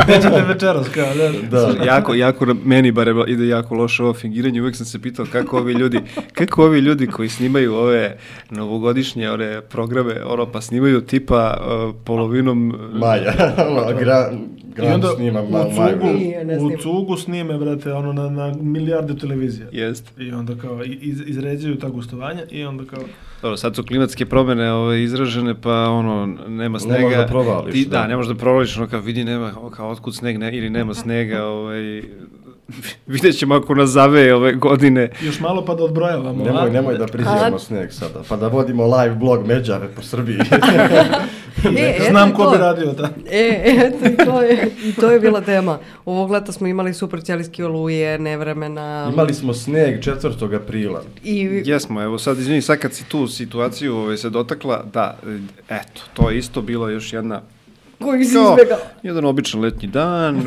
S2: Nećete večeras, kao, da.
S3: Da.
S6: jako, jako, na- meni bare ide jako loše ovo fingiranje, uvek sam se pitao kako ovi ljudi, kako ovi ljudi koji snimaju ove novogodišnje one programe, ono, pa snimaju tipa uh, polovinom...
S3: Maja, ono, gra,
S2: I
S3: gram
S2: onda
S3: snima ma,
S2: u cugu,
S3: Maju.
S1: Nije, ne snima.
S2: u cugu snime, brate, ono, na, na milijarde televizija.
S6: Jeste.
S2: I onda kao, i- iz, izređaju ta gustovanja i onda kao...
S6: Dobro, sad su klimatske promene ove, izražene, pa ono, nema snega.
S3: možeš da provališ,
S6: Ti, da.
S3: da.
S6: ne možeš da provališ, ono kao vidi nema, o, kao otkud sneg, ne, ili nema snega, ovaj, vidjet ćemo ako nas zaveje ove godine.
S2: Još malo pa da odbrojavamo.
S3: Nemoj,
S2: a?
S3: nemoj da prizivamo
S1: A-
S3: sneg sada, pa da vodimo live blog Međave po Srbiji. pa-
S1: E, eto
S2: Znam
S1: i
S2: ko
S1: to.
S2: bi radio, da.
S1: E, eto, i to je, i to je bila tema. Ovog leta smo imali super ćelijski oluje, nevremena.
S3: Imali smo sneg 4. aprila.
S1: I
S6: Jesmo, evo sad, izvini, sad kad si tu situaciju ove, se dotakla, da, e, eto, to je isto bila još jedna
S1: koji si
S6: Kao,
S1: izbjegao.
S6: jedan običan letnji dan, e,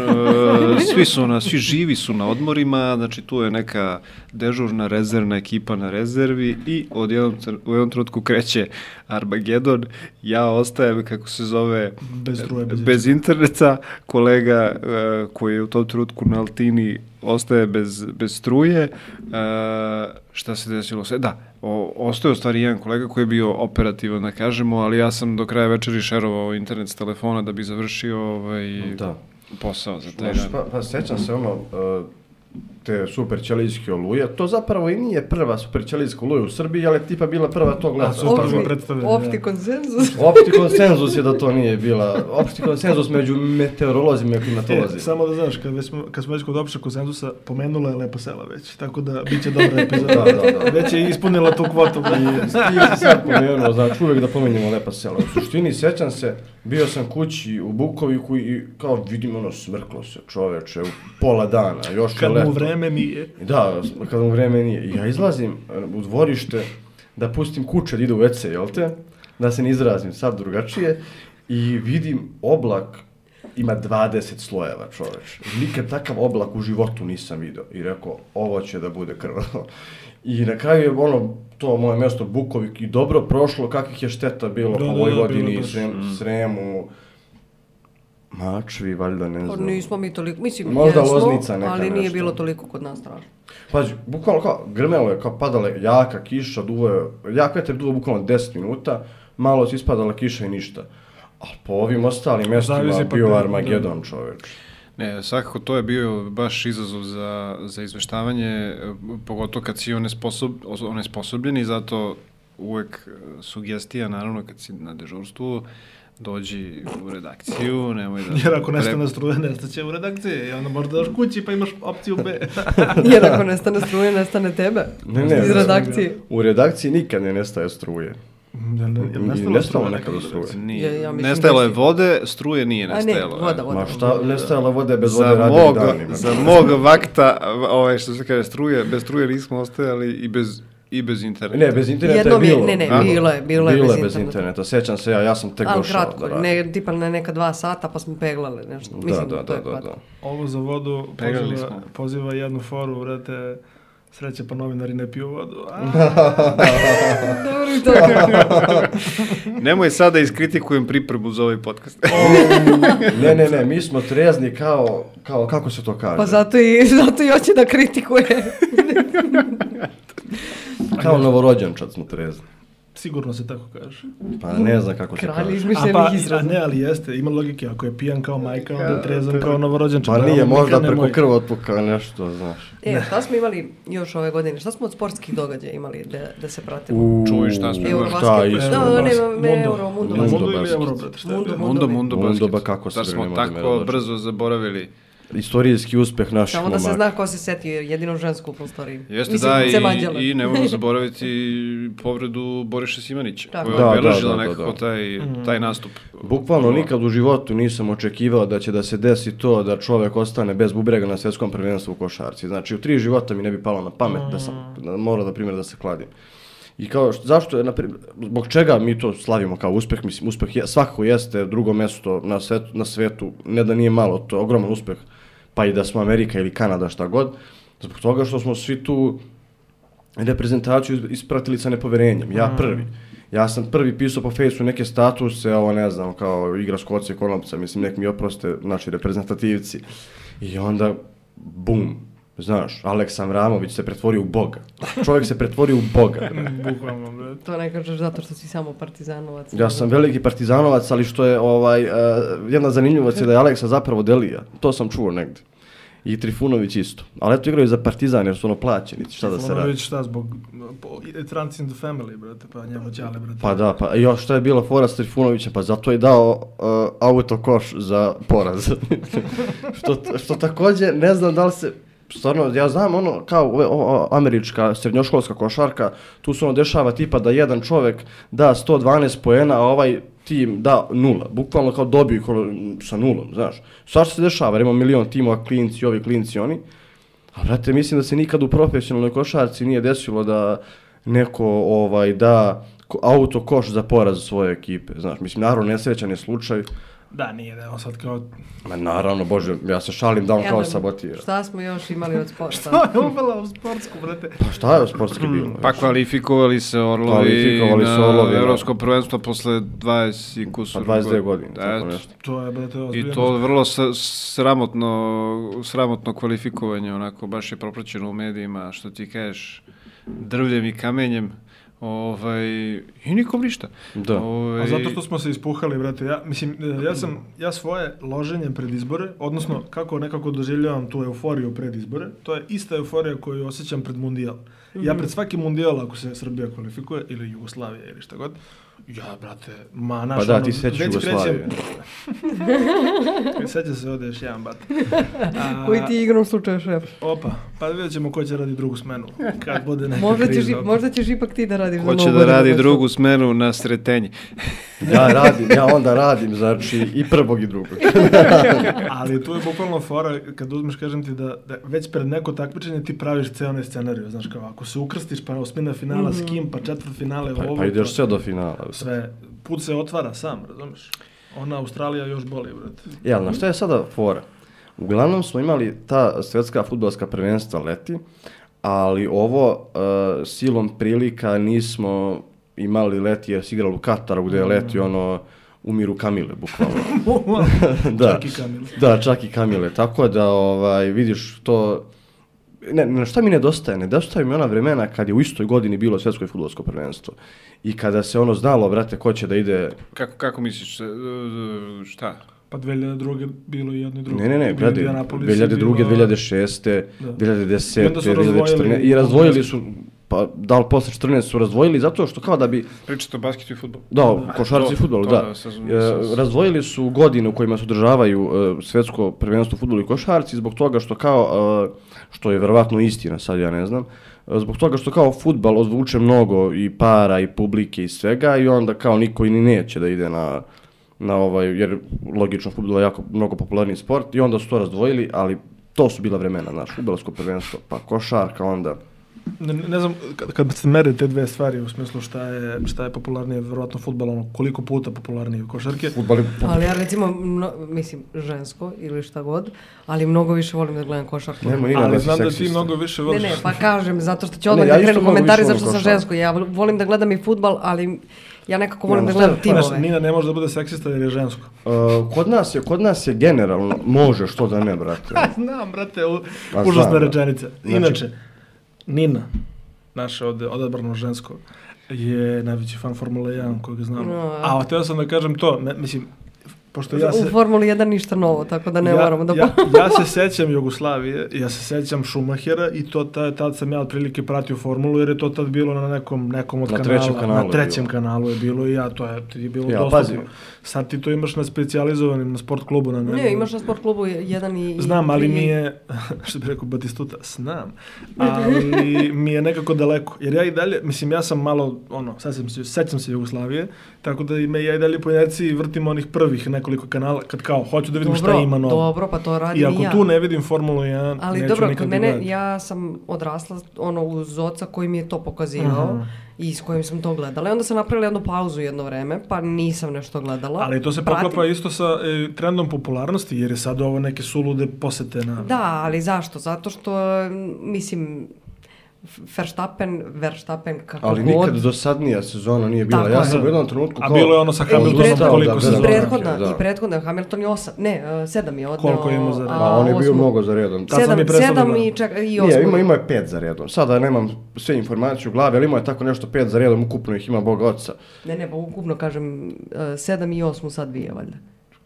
S6: svi su na, svi živi su na odmorima, znači tu je neka dežurna rezervna ekipa na rezervi i od jednom, tr- u jednom trenutku kreće Armagedon, ja ostajem, kako se zove,
S2: Bez struje, bez
S6: bez interneta, kolega e, koji je u tom trenutku na Altini ostaje bez, bez struje. E, šta se desilo? sve? Da, o, ostao je u stvari jedan kolega koji je bio operativan, da kažemo, ali ja sam do kraja večeri šerovao internet s telefona da bi završio ovaj,
S3: Da.
S6: posao za taj
S3: Znaš,
S6: dan.
S3: pa, pa sećam se ono, uh, te super ćelijske oluje, to zapravo i nije prva super ćelijska oluja u Srbiji, ali je tipa bila prva tog leta.
S2: A, super.
S1: Opšti,
S2: prvo predstavljanje,
S1: opšti
S2: da.
S1: konsenzus.
S3: Opšti konsenzus je da to nije bila, opšti konsenzus među meteorolozima i klimatolozima.
S2: E, samo da znaš, kad, već smo, kad smo već kod opšteg konsenzusa, pomenula je Lepo Sela već, tako da bit će dobra epizoda.
S3: Da, da, da.
S2: Već je ispunila tu kvotu.
S3: I stigli si sad pomenuo, znači uvek da pomenjemo lepa sela. U suštini, sećam se, bio sam kući u Bukoviku i kao vidim ono smrklo se čoveče u pola dana, još je
S2: Kad
S3: leto.
S2: mu vreme nije.
S3: Da, kad mu vreme nije. I ja izlazim e, u dvorište da pustim kuće da ide u WC, jel te? Da se ne izrazim sad drugačije. I vidim oblak ima 20 slojeva, čoveč. Nikad takav oblak u životu nisam video. I rekao, ovo će da bude krvavo. I na kraju je ono, to moje mesto Bukovik i dobro prošlo, kakvih je šteta
S2: Da,
S3: bilo da, po
S2: da, da,
S3: Vojvodini,
S2: bilo
S3: da,
S2: baš.
S3: Sremu, Mačvi, valjda, ne
S1: Pa
S3: znam.
S1: nismo mi toliko, mislim,
S3: Možda
S1: jesmo,
S3: Loznica neka
S1: ali nije
S3: nešto.
S1: bilo toliko kod nas strašno.
S3: Pazi, bukvalno kao, grmelo je, kao padala je jaka kiša, duvo je, jak vetar je duvo bukvalno 10 minuta, malo je ispadala kiša i ništa. A po ovim ostalim mestima
S2: Zavisi pa
S3: bio
S2: gde,
S3: Armagedon, čoveč.
S6: Ne, svakako to je bio baš izazov za, za izveštavanje, e, pogotovo kad si onesposob, os- onesposobljen i zato uvek e, sugestija, naravno, kad si na dežurstvu, dođi u redakciju, nemoj da...
S2: Jer ako nestane
S6: pre-
S2: struje, nestaće u redakciji. I onda možda daš kući pa imaš opciju B.
S1: Jer ako nestane struje, nestane tebe.
S3: Ne, ne,
S1: Iz
S3: ne.
S1: redakcije.
S3: U redakciji nikad ne nestaje struje.
S2: Jel- jel
S3: Da,
S2: nestalo
S3: I nestalo
S2: struje
S3: nekada
S2: nekad u
S3: struje.
S1: Ja-
S6: Nije,
S1: ja mislim
S6: nestajalo
S1: da
S6: je
S1: si-
S6: vode, struje nije
S1: A ne,
S6: nestajalo. e.
S2: da.
S1: voda, voda.
S3: Ma šta, nestajala vode bez vode
S6: Za
S3: radi
S6: mog,
S3: danima.
S6: za mog vakta, v- ovaj, što se kaže, struje, bez struje nismo ostajali i bez, i bez interneta.
S3: Ne, bez interneta
S1: Jednom
S3: je
S1: je-
S3: bilo.
S1: ne, ne,
S3: Aha.
S1: bilo je- bilo je bez
S3: bez
S1: interneta.
S3: interneta. Sjećam se ja, ja sam tek
S1: Ali
S3: došao.
S1: kratko,
S3: da radim.
S1: ne, tipa na neka dva sata pa smo peglale nešto.
S3: Da,
S1: Mislim,
S3: da,
S1: to
S3: da,
S1: je
S3: da,
S1: kratko.
S3: da.
S2: Ovo za vodu
S6: Peglali
S2: poziva,
S6: smo.
S2: poziva jednu foru, vrate, sreće pa novinari ne piju vodu. A,
S3: da.
S1: Dobro, i to je kratko.
S6: Nemoj sada da iskritikujem pripremu za ovaj podcast.
S3: Ne, ne, ne, mi smo trezni kao, kao kako se to kaže?
S1: Pa zato i, zato i hoće da kritikuje.
S3: Pa Kao novorođenčad smo trezni.
S2: sigurno se tako kaže.
S3: Pa ne znam kako se
S1: Kralj
S3: kaže.
S2: A
S1: izmišljenih
S2: pa, a
S1: izraza.
S2: ne, ali jeste, ima logike, ako je pijan kao majka, onda trezan kao novorođenčan.
S3: Pa nije,
S2: Bravo,
S3: možda
S2: nikad
S3: preko
S2: nemoj.
S3: krvotluka nešto, znaš.
S1: E, šta smo imali još ove godine? Šta smo od sportskih događaja imali da, da se pratimo?
S6: Čuj, šta smo imali?
S1: Eurobasket
S3: Šta,
S1: koji-
S3: isto?
S1: Da,
S2: Eurobasket.
S1: ne, ne,
S2: Mundo.
S1: Euro, Mundo.
S2: Mundo
S3: Mundo
S2: ili
S3: basket.
S2: Euro, brate, šta je
S1: Mundo,
S2: bilo?
S6: Mundo, Mundo basket.
S3: Mundo, ba kako
S6: Zar
S3: se
S6: smo
S3: ne možemo
S6: tako
S3: odlučiti?
S6: brzo zaboravili?
S3: Istorijski uspeh naših
S1: Samo da se
S3: momaka.
S1: zna ko se setio, jer jedino žensku u prostoriji.
S6: Jeste
S1: Mislim,
S6: da
S1: Zemađele.
S6: i, i nemojmo zaboraviti povredu Boriša Simanića,
S1: Tako. Mhm.
S6: koja
S3: Da,
S6: je
S3: da,
S6: obeležila
S3: da, da,
S6: nekako
S3: da.
S6: taj, taj nastup.
S3: Bukvalno nikad u životu nisam očekivao da će da se desi to da čovek ostane bez bubrega na svetskom prvenstvu u košarci. Znači, u tri života mi ne bi palo na pamet da sam, da mora da primjer da se kladim. I kao, š- zašto je, na primjer, zbog čega mi to slavimo kao uspeh, mislim, uspeh je, svakako jeste drugo mesto na svetu, na svetu, ne da nije malo, to je ogroman uspeh, pa i da smo Amerika ili Kanada, šta god, zbog toga što smo svi tu reprezentaciju is- ispratili sa nepoverenjem. Ja prvi. Ja sam prvi pisao po fejsu neke statuse, ovo ne znam, kao igra Škocije i Konopca, mislim, nek mi oproste naši reprezentativci. I onda, bum, znaš, Aleks Amramović se pretvorio u Boga. Čovjek se pretvorio u Boga.
S2: Bukvalno, brate.
S1: To ne kažeš zato što si samo partizanovac.
S3: Ja sam veliki partizanovac, ali što je ovaj, uh, jedna zanimljivost je da je Aleksa zapravo Delija. To sam čuo negde. I Trifunović isto. Ali eto igraju za partizan jer su ono plaćenici, šta da se radi.
S2: Trifunović, šta, zbog po- i- Trans in the family, brate, pa njemu ćale, brate.
S3: Pa da, pa još šta je bila fora s Trifunovićem, pa zato je dao uh, autokoš za poraz. što, što takođe, ne znam da li se, stvarno, ja znam ono, kao ove, o, o, američka srednjoškolska košarka, tu se ono dešava tipa da jedan čovek da 112 poena, a ovaj tim da nula, bukvalno kao dobiju kolo, sa nulom, znaš. Svašta se dešava, jer ima milion timova, klinci, ovi klinci, oni. A brate, mislim da se nikad u profesionalnoj košarci nije desilo da neko ovaj da ko- auto koš za poraz svoje ekipe. Znaš, mislim, naravno, nesrećan je slučaj.
S2: Da, nije da je on sad kao...
S3: Ma naravno, bože, ja se šalim da on
S1: Elem,
S3: kao sabotira.
S1: E, Šta smo još imali od sporta?
S2: Šta je upala u sportsku, brate?
S3: Pa šta je sportski bilo?
S6: Pa kvalifikovali se Orlovi,
S3: Kvalifikovali se Orlovi,
S6: na
S3: da.
S6: Evropsko prvenstvo posle 20 i kusur.
S3: Pa 22
S6: godina.
S3: godine, tako
S6: Eto.
S3: nešto.
S2: To je, brate, ozbiljno.
S6: I to vrlo s- sramotno, sramotno kvalifikovanje, onako baš je propraćeno u medijima, što ti kažeš, drvljem i kamenjem, ovaj, i nikom ništa.
S3: Da.
S6: Ovaj,
S2: A zato što smo se ispuhali, brate, ja, mislim, e, ja sam, ja svoje loženje pred izbore, odnosno kako nekako doživljavam tu euforiju pred izbore, to je ista euforija koju osjećam pred mundijal. Ja
S3: Mhm.
S2: pred svaki mundijal, ako se Srbija kvalifikuje, ili Jugoslavija, ili šta god, ja, brate, ma, naš,
S3: Pa da,
S2: ono,
S3: ti se sećaš
S2: već
S3: Jugoslavije.
S2: krećem- Seća se ovde još jedan bat. A,
S1: Koji ti igrom slučaja šef?
S2: Opa, pa vidjet ćemo ko će radi drugu smenu, kad bude neka
S1: Možda ćeš,
S2: kriza.
S1: i- možda ćeš ipak ti da radiš za
S6: Ko će
S1: Novu
S6: da
S1: godinu,
S6: radi
S1: baš to.
S6: drugu smenu na sretenje.
S3: Ja radim, ja onda radim, znači, i prvog i drugog.
S2: Ali tu je bukvalno fora kad uzmeš, kažem ti, da, da već pred neko takmičenje ti praviš ceo onaj scenariju, znaš kao, ako se ukrstiš, pa osmina finala s kim, pa četvrt finale
S3: Pa,
S2: ovo.
S3: pa ideš sve do finala.
S2: Sve, put se otvara sam, razumeš? Ona Australija još boli, brate.
S3: Jel, na šta je sada fora? Uglavnom smo imali ta svetska futbolska prvenstva leti, ali ovo e, silom prilika nismo imali leti jer si igrali u Kataru gde je
S2: Mhm.
S3: leti ono umiru Kamile, bukvalno. da.
S2: Čak i Kamil.
S3: Da, čak i Kamile. Tako da, ovaj, vidiš, to... Ne, na šta mi nedostaje? Nedostaje mi ona vremena kad je u istoj godini bilo svjetsko futbolsko prvenstvo. I kada se ono znalo, brate, ko će da ide...
S6: Kako, kako misliš, e, e, šta?
S2: Pa 2002. bilo i jedno i drugo.
S3: Ne, ne, ne,
S2: Bilo
S3: brate,
S2: Indianapolis
S3: 2002.
S2: i bilo-
S3: 2006.
S2: Da. I
S3: 2010.
S2: onda su razdvojili.
S3: 2014. I razdvojili su, pa da li posle 14 su razdvojili zato što kao da bi
S6: Pričate o basketu i futbolu.
S3: Da, košarci
S6: To-
S3: i fudbalu,
S6: to
S3: da.
S6: da, sa-
S3: E, Razdvojili su godine u kojima se održavaju e, svetsko prvenstvo u fudbalu i košarci zbog toga što kao e, što je verovatno istina, sad ja ne znam, e, zbog toga što kao fudbal ozvuče mnogo i para i publike i svega i onda kao niko i ni neće da ide na na ovaj jer logično fudbal je jako mnogo popularni sport i onda su to razdvojili, ali to su bila vremena, znaš, fudbalsko prvenstvo, pa košarka onda.
S2: Ne, ne znam, kad, kad se mere te dve stvari, u smislu šta je, šta je popularnije, verovatno futbal, ono, koliko puta popularnije od košarke.
S3: Fudbal je
S1: Ali ja recimo, mno- mislim, žensko ili šta god, ali mnogo više volim da gledam košarku.
S3: Nema nikakve
S2: Ali znam da ti
S3: seksiste.
S2: mnogo više
S1: Ne,
S2: voliš.
S1: ne, pa kažem, zato što će
S3: Ne,
S1: odmah
S3: ja
S1: da
S3: isto
S1: krenu
S3: mnogo
S1: komentari
S3: više volim
S1: zašto sam
S3: košarku.
S1: žensko. Ja volim da gledam i futbal, ali ja nekako volim
S3: Ne,
S1: da
S3: šta-
S1: gledam
S2: Pa, znaš,
S1: timove.
S2: Nina ne može da bude seksista jer je žensko.
S3: Uh, kod nas je, kod nas je generalno, može, što da ne, brate.
S2: znam, brate, u,
S3: Pa
S2: užasna
S3: znam, da.
S2: rečenica.
S3: Znači-
S2: Inače, Nina, naše od, odabrano žensko, je najveći fan Formule 1 kojeg znam.
S1: No.
S2: A htio sam da kažem to, ne, mislim, pošto ja se...
S1: U Formuli 1 ništa novo, tako da ne moramo da...
S2: ja, ja se sećam Jugoslavije, ja se sećam Šumahera i to ta, tad sam ja otprilike pratio formulu jer je to tad bilo na nekom, nekom od
S3: Na
S2: kanala.
S3: trećem kanalu
S2: na
S3: je
S2: trećem
S3: bilo.
S2: kanalu je bilo i ja, to je, to je bilo
S3: Ja,
S2: dostupno.
S3: pazi.
S2: Sad ti to imaš na specijalizovanim, na sport klubu. Na
S1: Ne,
S2: nekom-
S1: imaš na sport klubu jedan i... i
S2: Znam, ali
S1: tri.
S2: mi je, što bi rekao Batistuta, znam, ali mi je nekako daleko. Jer ja i dalje, mislim, ja sam malo, ono, sećam se, sećam se Jugoslavije, tako da me ja i dalje po inerciji vrtim onih prvih nekoliko kanala, kad kao, hoću da vidim šta ima novo.
S1: Dobro, pa to radim
S2: I ako
S1: ja.
S2: tu ne vidim Formulu 1,
S1: Ali
S2: neću
S1: dobro,
S2: nikad
S1: kod
S2: da ni
S1: mene,
S2: gledati.
S1: ja sam odrasla ono, uz oca koji mi je to pokazivao i s kojim sam to gledala. I onda sam napravila jednu pauzu jedno vreme, pa nisam nešto gledala.
S2: Ali to se
S1: Pratim.
S2: poklapa isto sa e, trendom popularnosti, jer je sad ovo neke sulude posete na...
S1: Da, ali zašto? Zato što, m, mislim, Verstappen, Verstappen, kako
S3: Ali
S1: god.
S3: nikad dosadnija sezona nije bila.
S1: Tako
S3: ja
S1: je.
S3: sam u jednom trenutku
S2: A
S3: kao...
S2: bilo je ono sa
S1: E,
S2: Hamiltonom
S1: i prethodna,
S2: koliko
S1: i
S2: sezona?
S1: prethodna,
S3: Da.
S1: i prethodna, Hamilton je osam, ne, e, sedam je odneo.
S2: Koliko ima za redom?
S1: a,
S3: Ma, on je bio
S1: osmu.
S3: mnogo za redom.
S2: Tad sam
S1: Sedam,
S2: i prestao da
S1: sedam
S2: gledam.
S1: i, čak, i osmu.
S3: Nije, ima, ima je pet za redom. Sada nemam sve informacije u glavi, ali ima je tako nešto pet za redom, ukupno ih ima Boga oca.
S1: Ne, ne, pa ukupno kažem, e, sedam i osmu sad dvije, valjda.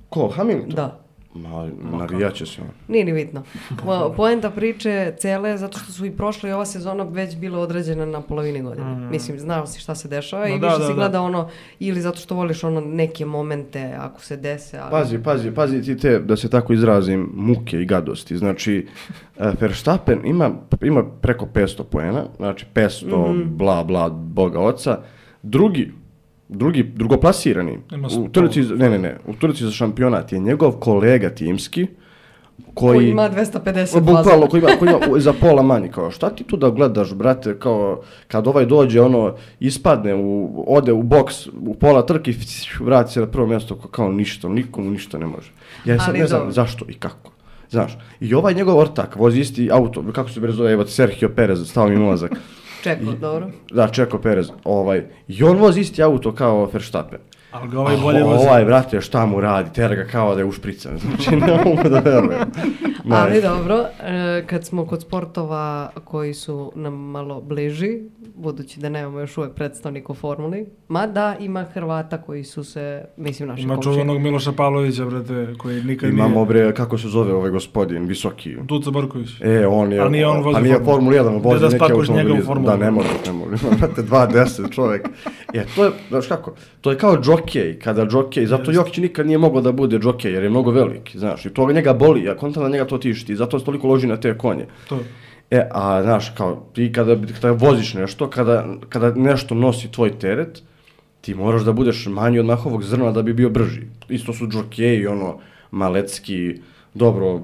S3: Ko, Hamilton?
S1: Da.
S3: Ma, navijaće se on.
S1: Nije ni bitno. Po- Poenta priče cele je zato što su i prošla i ova sezona već bila određena na polovini godine. Mislim, znao si šta se dešava i
S2: Mm. Ma da,
S1: više
S2: da,
S1: si
S2: da.
S1: gleda ono ili zato što voliš ono neke momente ako se dese. Ali...
S3: Pazi, pazi, pazi ti te, da se tako izrazim, muke i gadosti. Znači, e, Verstappen ima, ima preko 500 poena, znači 500,
S1: Mhm.
S3: bla, bla, boga oca. Drugi, drugi, drugoplasirani,
S2: Ima
S3: u
S2: sto.
S3: Turci, za- ne, ne, ne, u Turci za šampionat je njegov kolega timski, koji...
S1: Koji ima 250
S3: Bukvalno,
S1: faza.
S3: koji ima, koji ima za pola manji, kao šta ti tu da gledaš, brate, kao kad ovaj dođe, ono, ispadne, u, ode u boks, u pola trke, i vrati se na prvo mjesto, kao, kao ništa, nikomu ništa ne može. Ja sad
S1: Ali
S3: ne znam
S1: dobro.
S3: zašto i kako. Znaš, i ovaj njegov ortak vozi isti auto, kako se bre zove, evo, Sergio Perez, stao mi ulazak.
S1: Čekao, dobro.
S3: Da, Čeko Perez, ovaj, i on vozi isti auto kao Verstappen.
S2: Ali ga ovaj
S3: A
S2: bolje vozi.
S3: Ovaj, brate, šta mu radi, tera ga kao da je ušprican, znači ne mogu da verujem.
S1: Ali dobro, e, kad smo kod sportova koji su nam malo bliži, budući da nemamo još uvek predstavnika u formuli, mada ima Hrvata koji su se, mislim, naši
S2: Ima
S1: komšije.
S2: čuvenog Miloša Pavlovića, brate, koji nikad
S3: Imamo
S2: nije...
S3: bre, kako se zove ovaj gospodin, visoki.
S2: Tuca Brković.
S3: E, on je,
S2: A nije on vozi
S3: a nije
S2: Formulu.
S3: Formulu 1, on
S2: Da,
S3: vozi
S2: da
S3: neke
S2: spakuješ njega u
S3: automobile.
S2: Formulu.
S3: Da, ne može, ne može. Imate 2.10 čovjek. E, to je, znaš kako, to je kao džokej, kada džokej, zato Jokić nikad nije mogao da bude džokej, jer je mnogo veliki, znaš, i to njega boli, ja kontam da njega to tišti, zato se toliko loži na te konje.
S2: To.
S3: E, a znaš, kao, ti kada, kada voziš nešto, kada, kada nešto nosi tvoj teret, ti moraš da budeš manji od mahovog zrna da bi bio brži. Isto su džokeji, ono, malecki, dobro,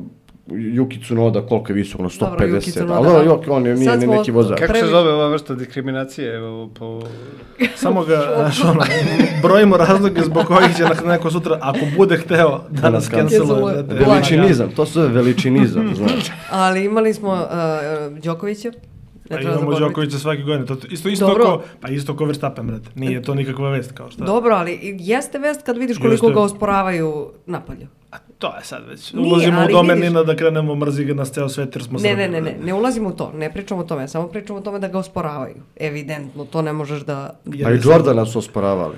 S3: Juki Tsunoda koliko je visok, ono 150.
S1: Dobro, Yuki Tsunoda,
S3: ali dobro,
S1: da.
S3: Juki, on je, nije
S1: Sad
S3: ni
S1: smo
S3: neki vozač.
S6: Kako se
S1: Previše-
S6: zove ova vrsta diskriminacije? Evo, po...
S2: Samo ga, znaš, ono, brojimo razloge zbog kojih će nas neko sutra, ako bude hteo, da nas
S3: Kanceluje.
S2: canceluje. da te-
S3: Veličinizam, to se zove veličinizam, znaš.
S1: Ali imali smo uh, Đokovića.
S2: Pa
S1: Ne treba
S2: imamo
S1: zaboraviti.
S2: Đokovića svake godine. To, to- isto, isto
S1: Dobro.
S2: ko, pa isto ko Verstappen, brate. Nije to nikakva vest kao šta.
S1: Dobro, ali i- jeste vest kad vidiš koliko
S2: da. Jeste.
S1: ga osporavaju napolju.
S2: A to je sad već.
S1: Nije,
S2: Ulazimo u
S1: ali
S2: domen
S1: vidiš-
S2: Nina da krenemo mrzi ga nas ceo svet jer
S1: Ne,
S2: smo Srbi,
S1: ne, ne, ne,
S2: brate.
S1: ne ulazimo u to, ne pričamo o tome, samo pričamo o tome da ga osporavaju. Evidentno, to ne možeš da...
S3: Pa i
S2: Jer je
S3: Jordana su osporavali.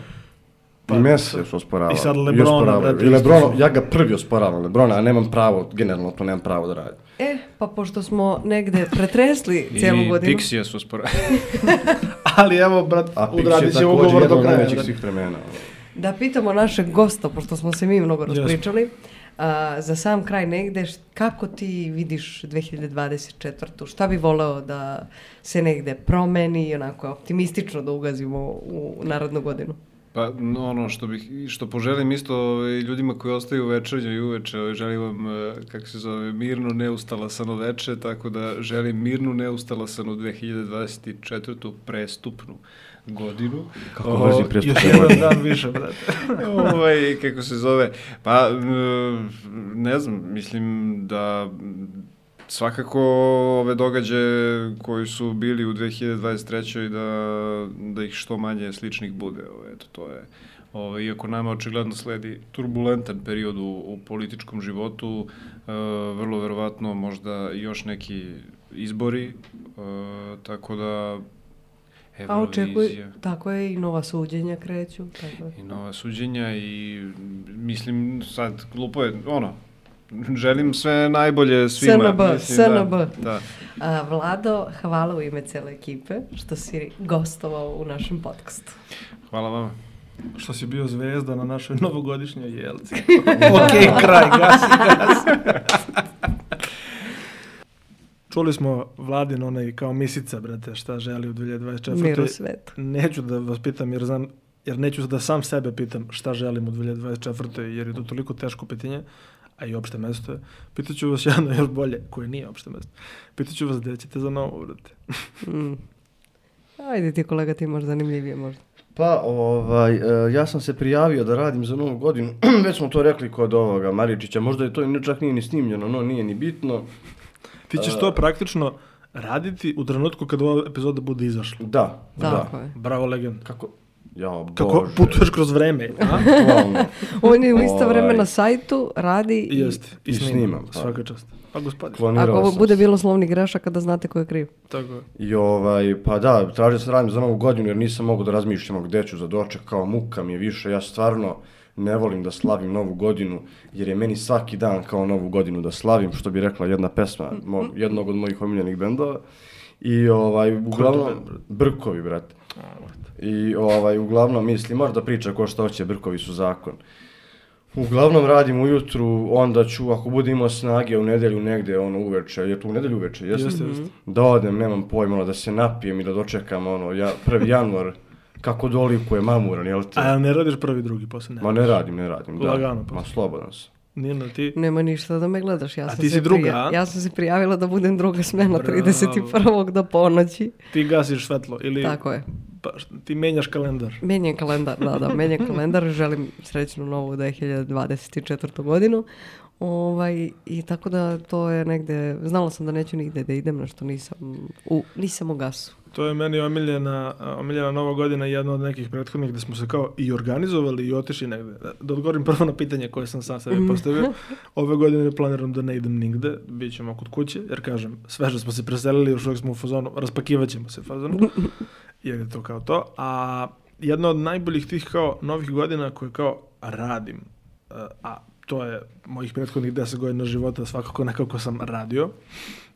S3: I Messi su osporavali.
S2: Pa- i sad
S3: I
S2: Lebrona,
S3: osporavaju.
S2: brate,
S3: I
S2: isto
S3: Lebrona,
S2: su.
S3: ja ga prvi osporavam, Lebrona, a nemam pravo, generalno to nemam pravo da radim.
S1: E, pa pošto smo negde pretresli
S7: I
S1: cijelu godinu...
S7: Pixija su sporo.
S2: Ali evo, brat,
S3: A Pix je
S2: odradit će
S3: također
S2: ugovor
S3: jedan
S2: do
S3: od
S2: kraja.
S3: najvećih
S2: da.
S3: svih vremena. ono.
S1: Da pitamo našeg gosta, pošto smo se mi mnogo
S2: Jesmo.
S1: raspričali, a, za sam kraj negde, št- kako ti vidiš 2024. Šta bi voleo da se negde promeni, onako optimistično da ugazimo u narodnu godinu?
S6: Pa no, ono što bih i što poželim isto ovaj, ljudima koji ostaju večernje i uveče, ovaj, želim vam eh, kako se zove mirno neustalasano veče, tako da želim mirnu neustalasanu 2024. prestupnu godinu.
S3: Kako brzi
S2: Još
S3: prijestup
S2: jedan dan više, brate.
S6: ovaj, kako se zove. Pa, m, ne znam, mislim da m, svakako ove događaje koji su bili u 2023. da, da ih što manje sličnih bude. Ovaj, eto, to je Ove, iako nama očigledno sledi turbulentan period u, u političkom životu, e, vrlo verovatno možda još neki izbori, e, tako da
S1: A Pa, očekuj,
S6: Eurovizija.
S1: tako je, i nova suđenja kreću. Tako je.
S6: I nova suđenja i mislim sad glupo je ono želim sve najbolje svima.
S1: SNB, SNB.
S6: Da, da.
S1: A, Vlado, hvala u ime cele ekipe što si gostovao u našem podcastu.
S6: Hvala vama.
S2: Što si bio zvezda na našoj novogodišnjoj jelci. ok, kraj, gasi, gasi. Čuli smo Vladin onaj kao misica, brate, šta želi u 2024.
S1: Mir u svetu.
S2: Neću da vas pitam jer znam jer neću da sam sebe pitam šta želim u 2024. jer je to toliko teško pitanje, a i opšte mesto je. Pitaću vas jedno još bolje, koje nije opšte mesto. Pitaću vas gde ćete za novo, brate.
S1: Mm. Ajde ti kolega, ti možda zanimljivije možda.
S3: Pa, ovaj, e, ja sam se prijavio da radim za novu godinu. Već smo to rekli kod ovoga Maričića. Možda je to ni- čak nije ni snimljeno, no nije ni bitno.
S2: Ti ćeš to praktično raditi u trenutku kad ova epizoda bude izašla.
S3: Da,
S1: Tako
S3: da.
S1: je.
S2: Bravo, legend.
S3: Kako? Jao, Bože.
S2: Kako putuješ kroz vreme, a?
S3: Bukvalno.
S1: On je u isto vreme
S3: Ovaj.
S1: na sajtu, radi i
S2: Jeste.
S3: I snimam, pa.
S2: Svaka čast. Pa gospodin.
S3: Klonirao
S1: Ako ovo
S3: sam
S1: bude
S3: se.
S1: bilo slovnih grešaka da znate ko je kriv.
S2: Tako je.
S3: I ovaj, pa da, tražio sam da radim za novu godinu jer nisam mogao da razmišljam o gde ću za doček, kao muka mi je više, ja stvarno ne volim da slavim novu godinu, jer je meni svaki dan kao novu godinu da slavim, što bi rekla jedna pesma mo, jednog od mojih omiljenih bendova. I ovaj, uglavnom, Brkovi, brate. I ovaj, uglavnom mislim, može da priča ko šta hoće, Brkovi su zakon. Uglavnom radim ujutru, onda ću, ako budem imao snage u nedelju negde, ono uveče, je to u nedelju uveče, jeste?
S2: Jeste, jeste.
S3: Da odem, nemam pojma, ono, da se napijem i da dočekam, ono, ja, prvi januar, kako dolikuje mamuran, jel te?
S2: A ne radiš prvi, drugi, posle ne.
S3: Ma ne radim, ne radim, da.
S2: Lagano, pa.
S3: Ma slobodan sam.
S2: Nina, ti...
S1: Nema ništa da me gledaš, ja
S2: A
S1: sam
S2: ti
S1: se
S2: si druga,
S1: prija-
S2: a?
S1: Ja sam se prijavila da budem druga smena
S2: Bravo.
S1: 31. do ponoći.
S2: Ti gasiš svetlo ili
S1: Tako je.
S2: pa, š- ti menjaš kalendar.
S1: Menjen kalendar, da, da, menjen kalendar. Želim srećnu novu 2024. godinu. Ovaj, I tako da to je negde, znala sam da neću nigde da idem, na što nisam u, nisam u gasu.
S2: To je meni omiljena, a, omiljena nova godina i jedna od nekih prethodnih gde smo se kao i organizovali i otišli negde. Da- Da odgovorim prvo na pitanje koje sam sam sebi postavio. Ove godine planiram da ne idem nigde, bit ćemo kod kuće, jer kažem, sveže smo se preselili, još uvijek smo u fazonu, raspakivat ćemo se fazonu, jer je to kao to. A jedna od najboljih tih kao novih godina koje kao radim, e, a to je mojih prethodnih 10 godina života svakako nekako sam radio,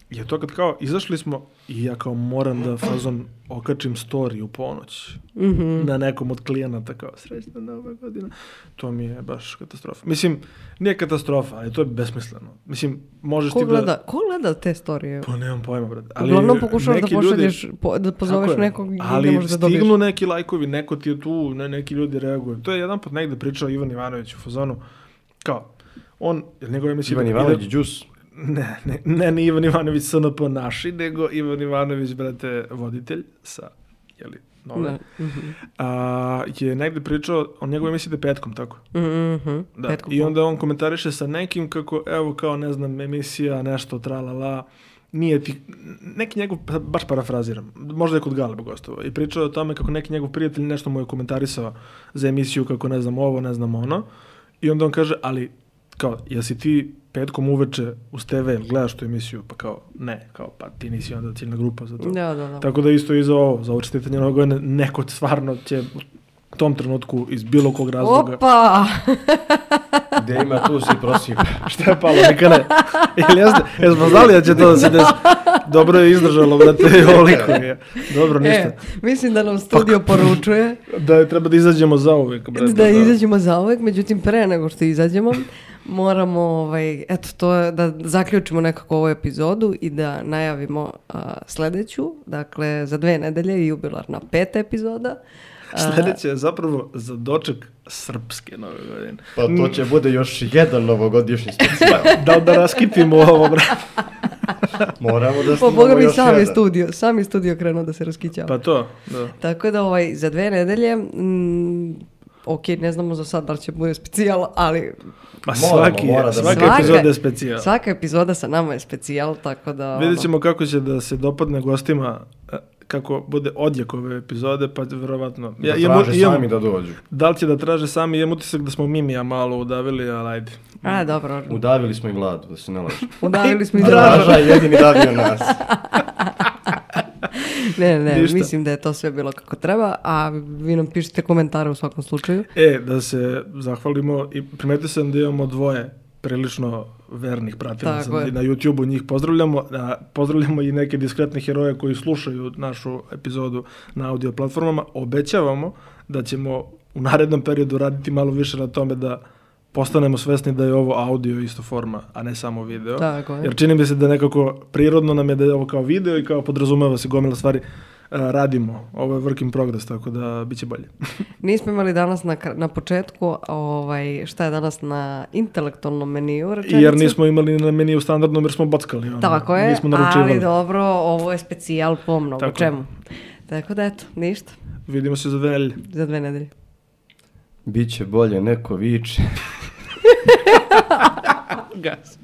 S2: je to kad kao izašli smo i ja kao moram da fazon okačim story u ponoć
S1: Mhm.
S2: na nekom od klijenata kao srećna nova godina. To mi je baš katastrofa. Mislim, nije katastrofa, ali to je besmisleno. Mislim, možeš
S1: Ko
S2: ti
S1: gleda,
S2: da...
S1: ko gleda te storije?
S2: Pa nemam pojma, brate.
S1: Uglavnom pokušavaš da
S2: neki ljudi-
S1: pošalješ, po- da pozoveš
S2: Tako je.
S1: nekog i
S2: ali
S1: ne možeš da dobiješ.
S2: stignu neki lajkovi, neko ti je tu, ne, neki ljudi reaguju. To je jedan put negde pričao Ivan Ivanović u fazonu, kao, on, jel njegov emisija...
S3: Ivan
S2: ide-
S3: Ivanović, džus.
S2: Ne, ne, ne, ne Ivan Ivanović SNP naši, nego Ivan Ivanović, brate, voditelj sa, jeli, nove.
S1: Da.
S2: A, je negde pričao o njegovoj emisiji da je petkom, tako?
S1: Mhm.
S2: Da.
S1: Petko
S2: I onda on komentariše sa nekim kako, evo, kao, ne znam, emisija, nešto, tralala, nije ti, neki njegov, pa, baš parafraziram, možda je kod Galeba gostovo, i pričao je o tome kako neki njegov prijatelj nešto mu je komentarisao za emisiju kako ne znam ovo, ne znam ono, i onda on kaže, ali, kao, jesi ti petkom uveče uz TV, jel gledaš tu emisiju, pa kao, ne, kao, pa ti nisi onda ciljna grupa za to.
S1: Da, da, da.
S2: Tako da isto i za ovo, za ovo čestitanje Nove godine, neko stvarno će u tom trenutku iz bilo kog razloga...
S1: Opa! E,
S3: Gde ima tu si prosipa.
S2: Šta je palo, neka ne. Jel jeste, jel smo znali da će to da se desi? Dobro je izdržalo, brate, ovoliko je. Dobro, Pa ništa.
S1: E, mislim da nam studio poručuje
S2: Da je treba da izađemo za uvek, brate.
S1: da izađemo za uvek, međutim pre nego što izađemo moramo, ovaj, eto to, je da zaključimo nekako ovu epizodu i da najavimo a, sledeću, dakle za dve nedelje jubilarna peta epizoda. A,
S2: Sledeće je zapravo za doček srpske nove godine.
S3: Pa to će bude još jedan novogodišnji specijal.
S2: Da li da raskitimo ovo, brate?
S3: Moramo da
S1: Po
S3: snimamo
S1: Boga mi
S3: još
S1: sam je
S3: jedan.
S1: studio, sam je studio krenuo da se raskićava.
S2: Pa to, da.
S1: Tako da ovaj, za dve nedelje, mm, ok, ne znamo za sad da li će bude specijal, ali
S2: Ma
S3: Moramo,
S2: svaki,
S3: mora da
S2: je,
S3: se-
S2: svaka
S1: Svaka-
S2: epizoda je specijal.
S1: svaka epizoda sa nama je specijal, tako da...
S2: Vidjet
S1: ono-
S2: ćemo kako će da se dopadne gostima e, kako bude odjek ove epizode, pa verovatno...
S3: Da
S2: imam-
S3: traže
S2: imam-
S3: sami da dođu.
S2: Da li će da traže sami, imam utisak da smo Mimija malo udavili, ali ajde.
S1: A, dobro,
S3: Udavili smo i vladu, da se ne laže.
S1: udavili smo i
S2: Da.
S3: A
S1: Draža.
S3: Draža je jedini davio nas.
S1: Ne, ne,
S2: Ništa.
S1: mislim da je to sve bilo kako treba, a vi nam pišite komentare u svakom slučaju.
S2: E, da se zahvalimo i primetio sam da imamo dvoje prilično vernih pratilaca
S1: Tako je.
S2: na YouTube-u, njih pozdravljamo, a pozdravljamo i neke diskretne heroje koji slušaju našu epizodu na audio platformama. Obećavamo da ćemo u narednom periodu raditi malo više na tome da postanemo svesni da je ovo audio isto forma, a ne samo video.
S1: Tako je.
S2: Jer čini mi se da nekako prirodno nam je da je ovo kao video i kao podrazumeva se gomila stvari e, radimo. Ovo je work in progress, tako da bit će bolje.
S1: Nismo imali danas na, kra- na početku ovaj, šta je danas na intelektualnom meniju rečenicu.
S2: Jer nismo imali na meniju standardno jer smo bockali. Ono.
S1: Tako je,
S2: Nismo naručivali.
S1: ali dobro, ovo je specijal po mnogo
S2: Tako je.
S1: čemu. Tako da eto, ništa,
S2: Vidimo se za velje.
S1: za dve nedelje.
S3: Biće bolje, neko viče.
S2: Gas.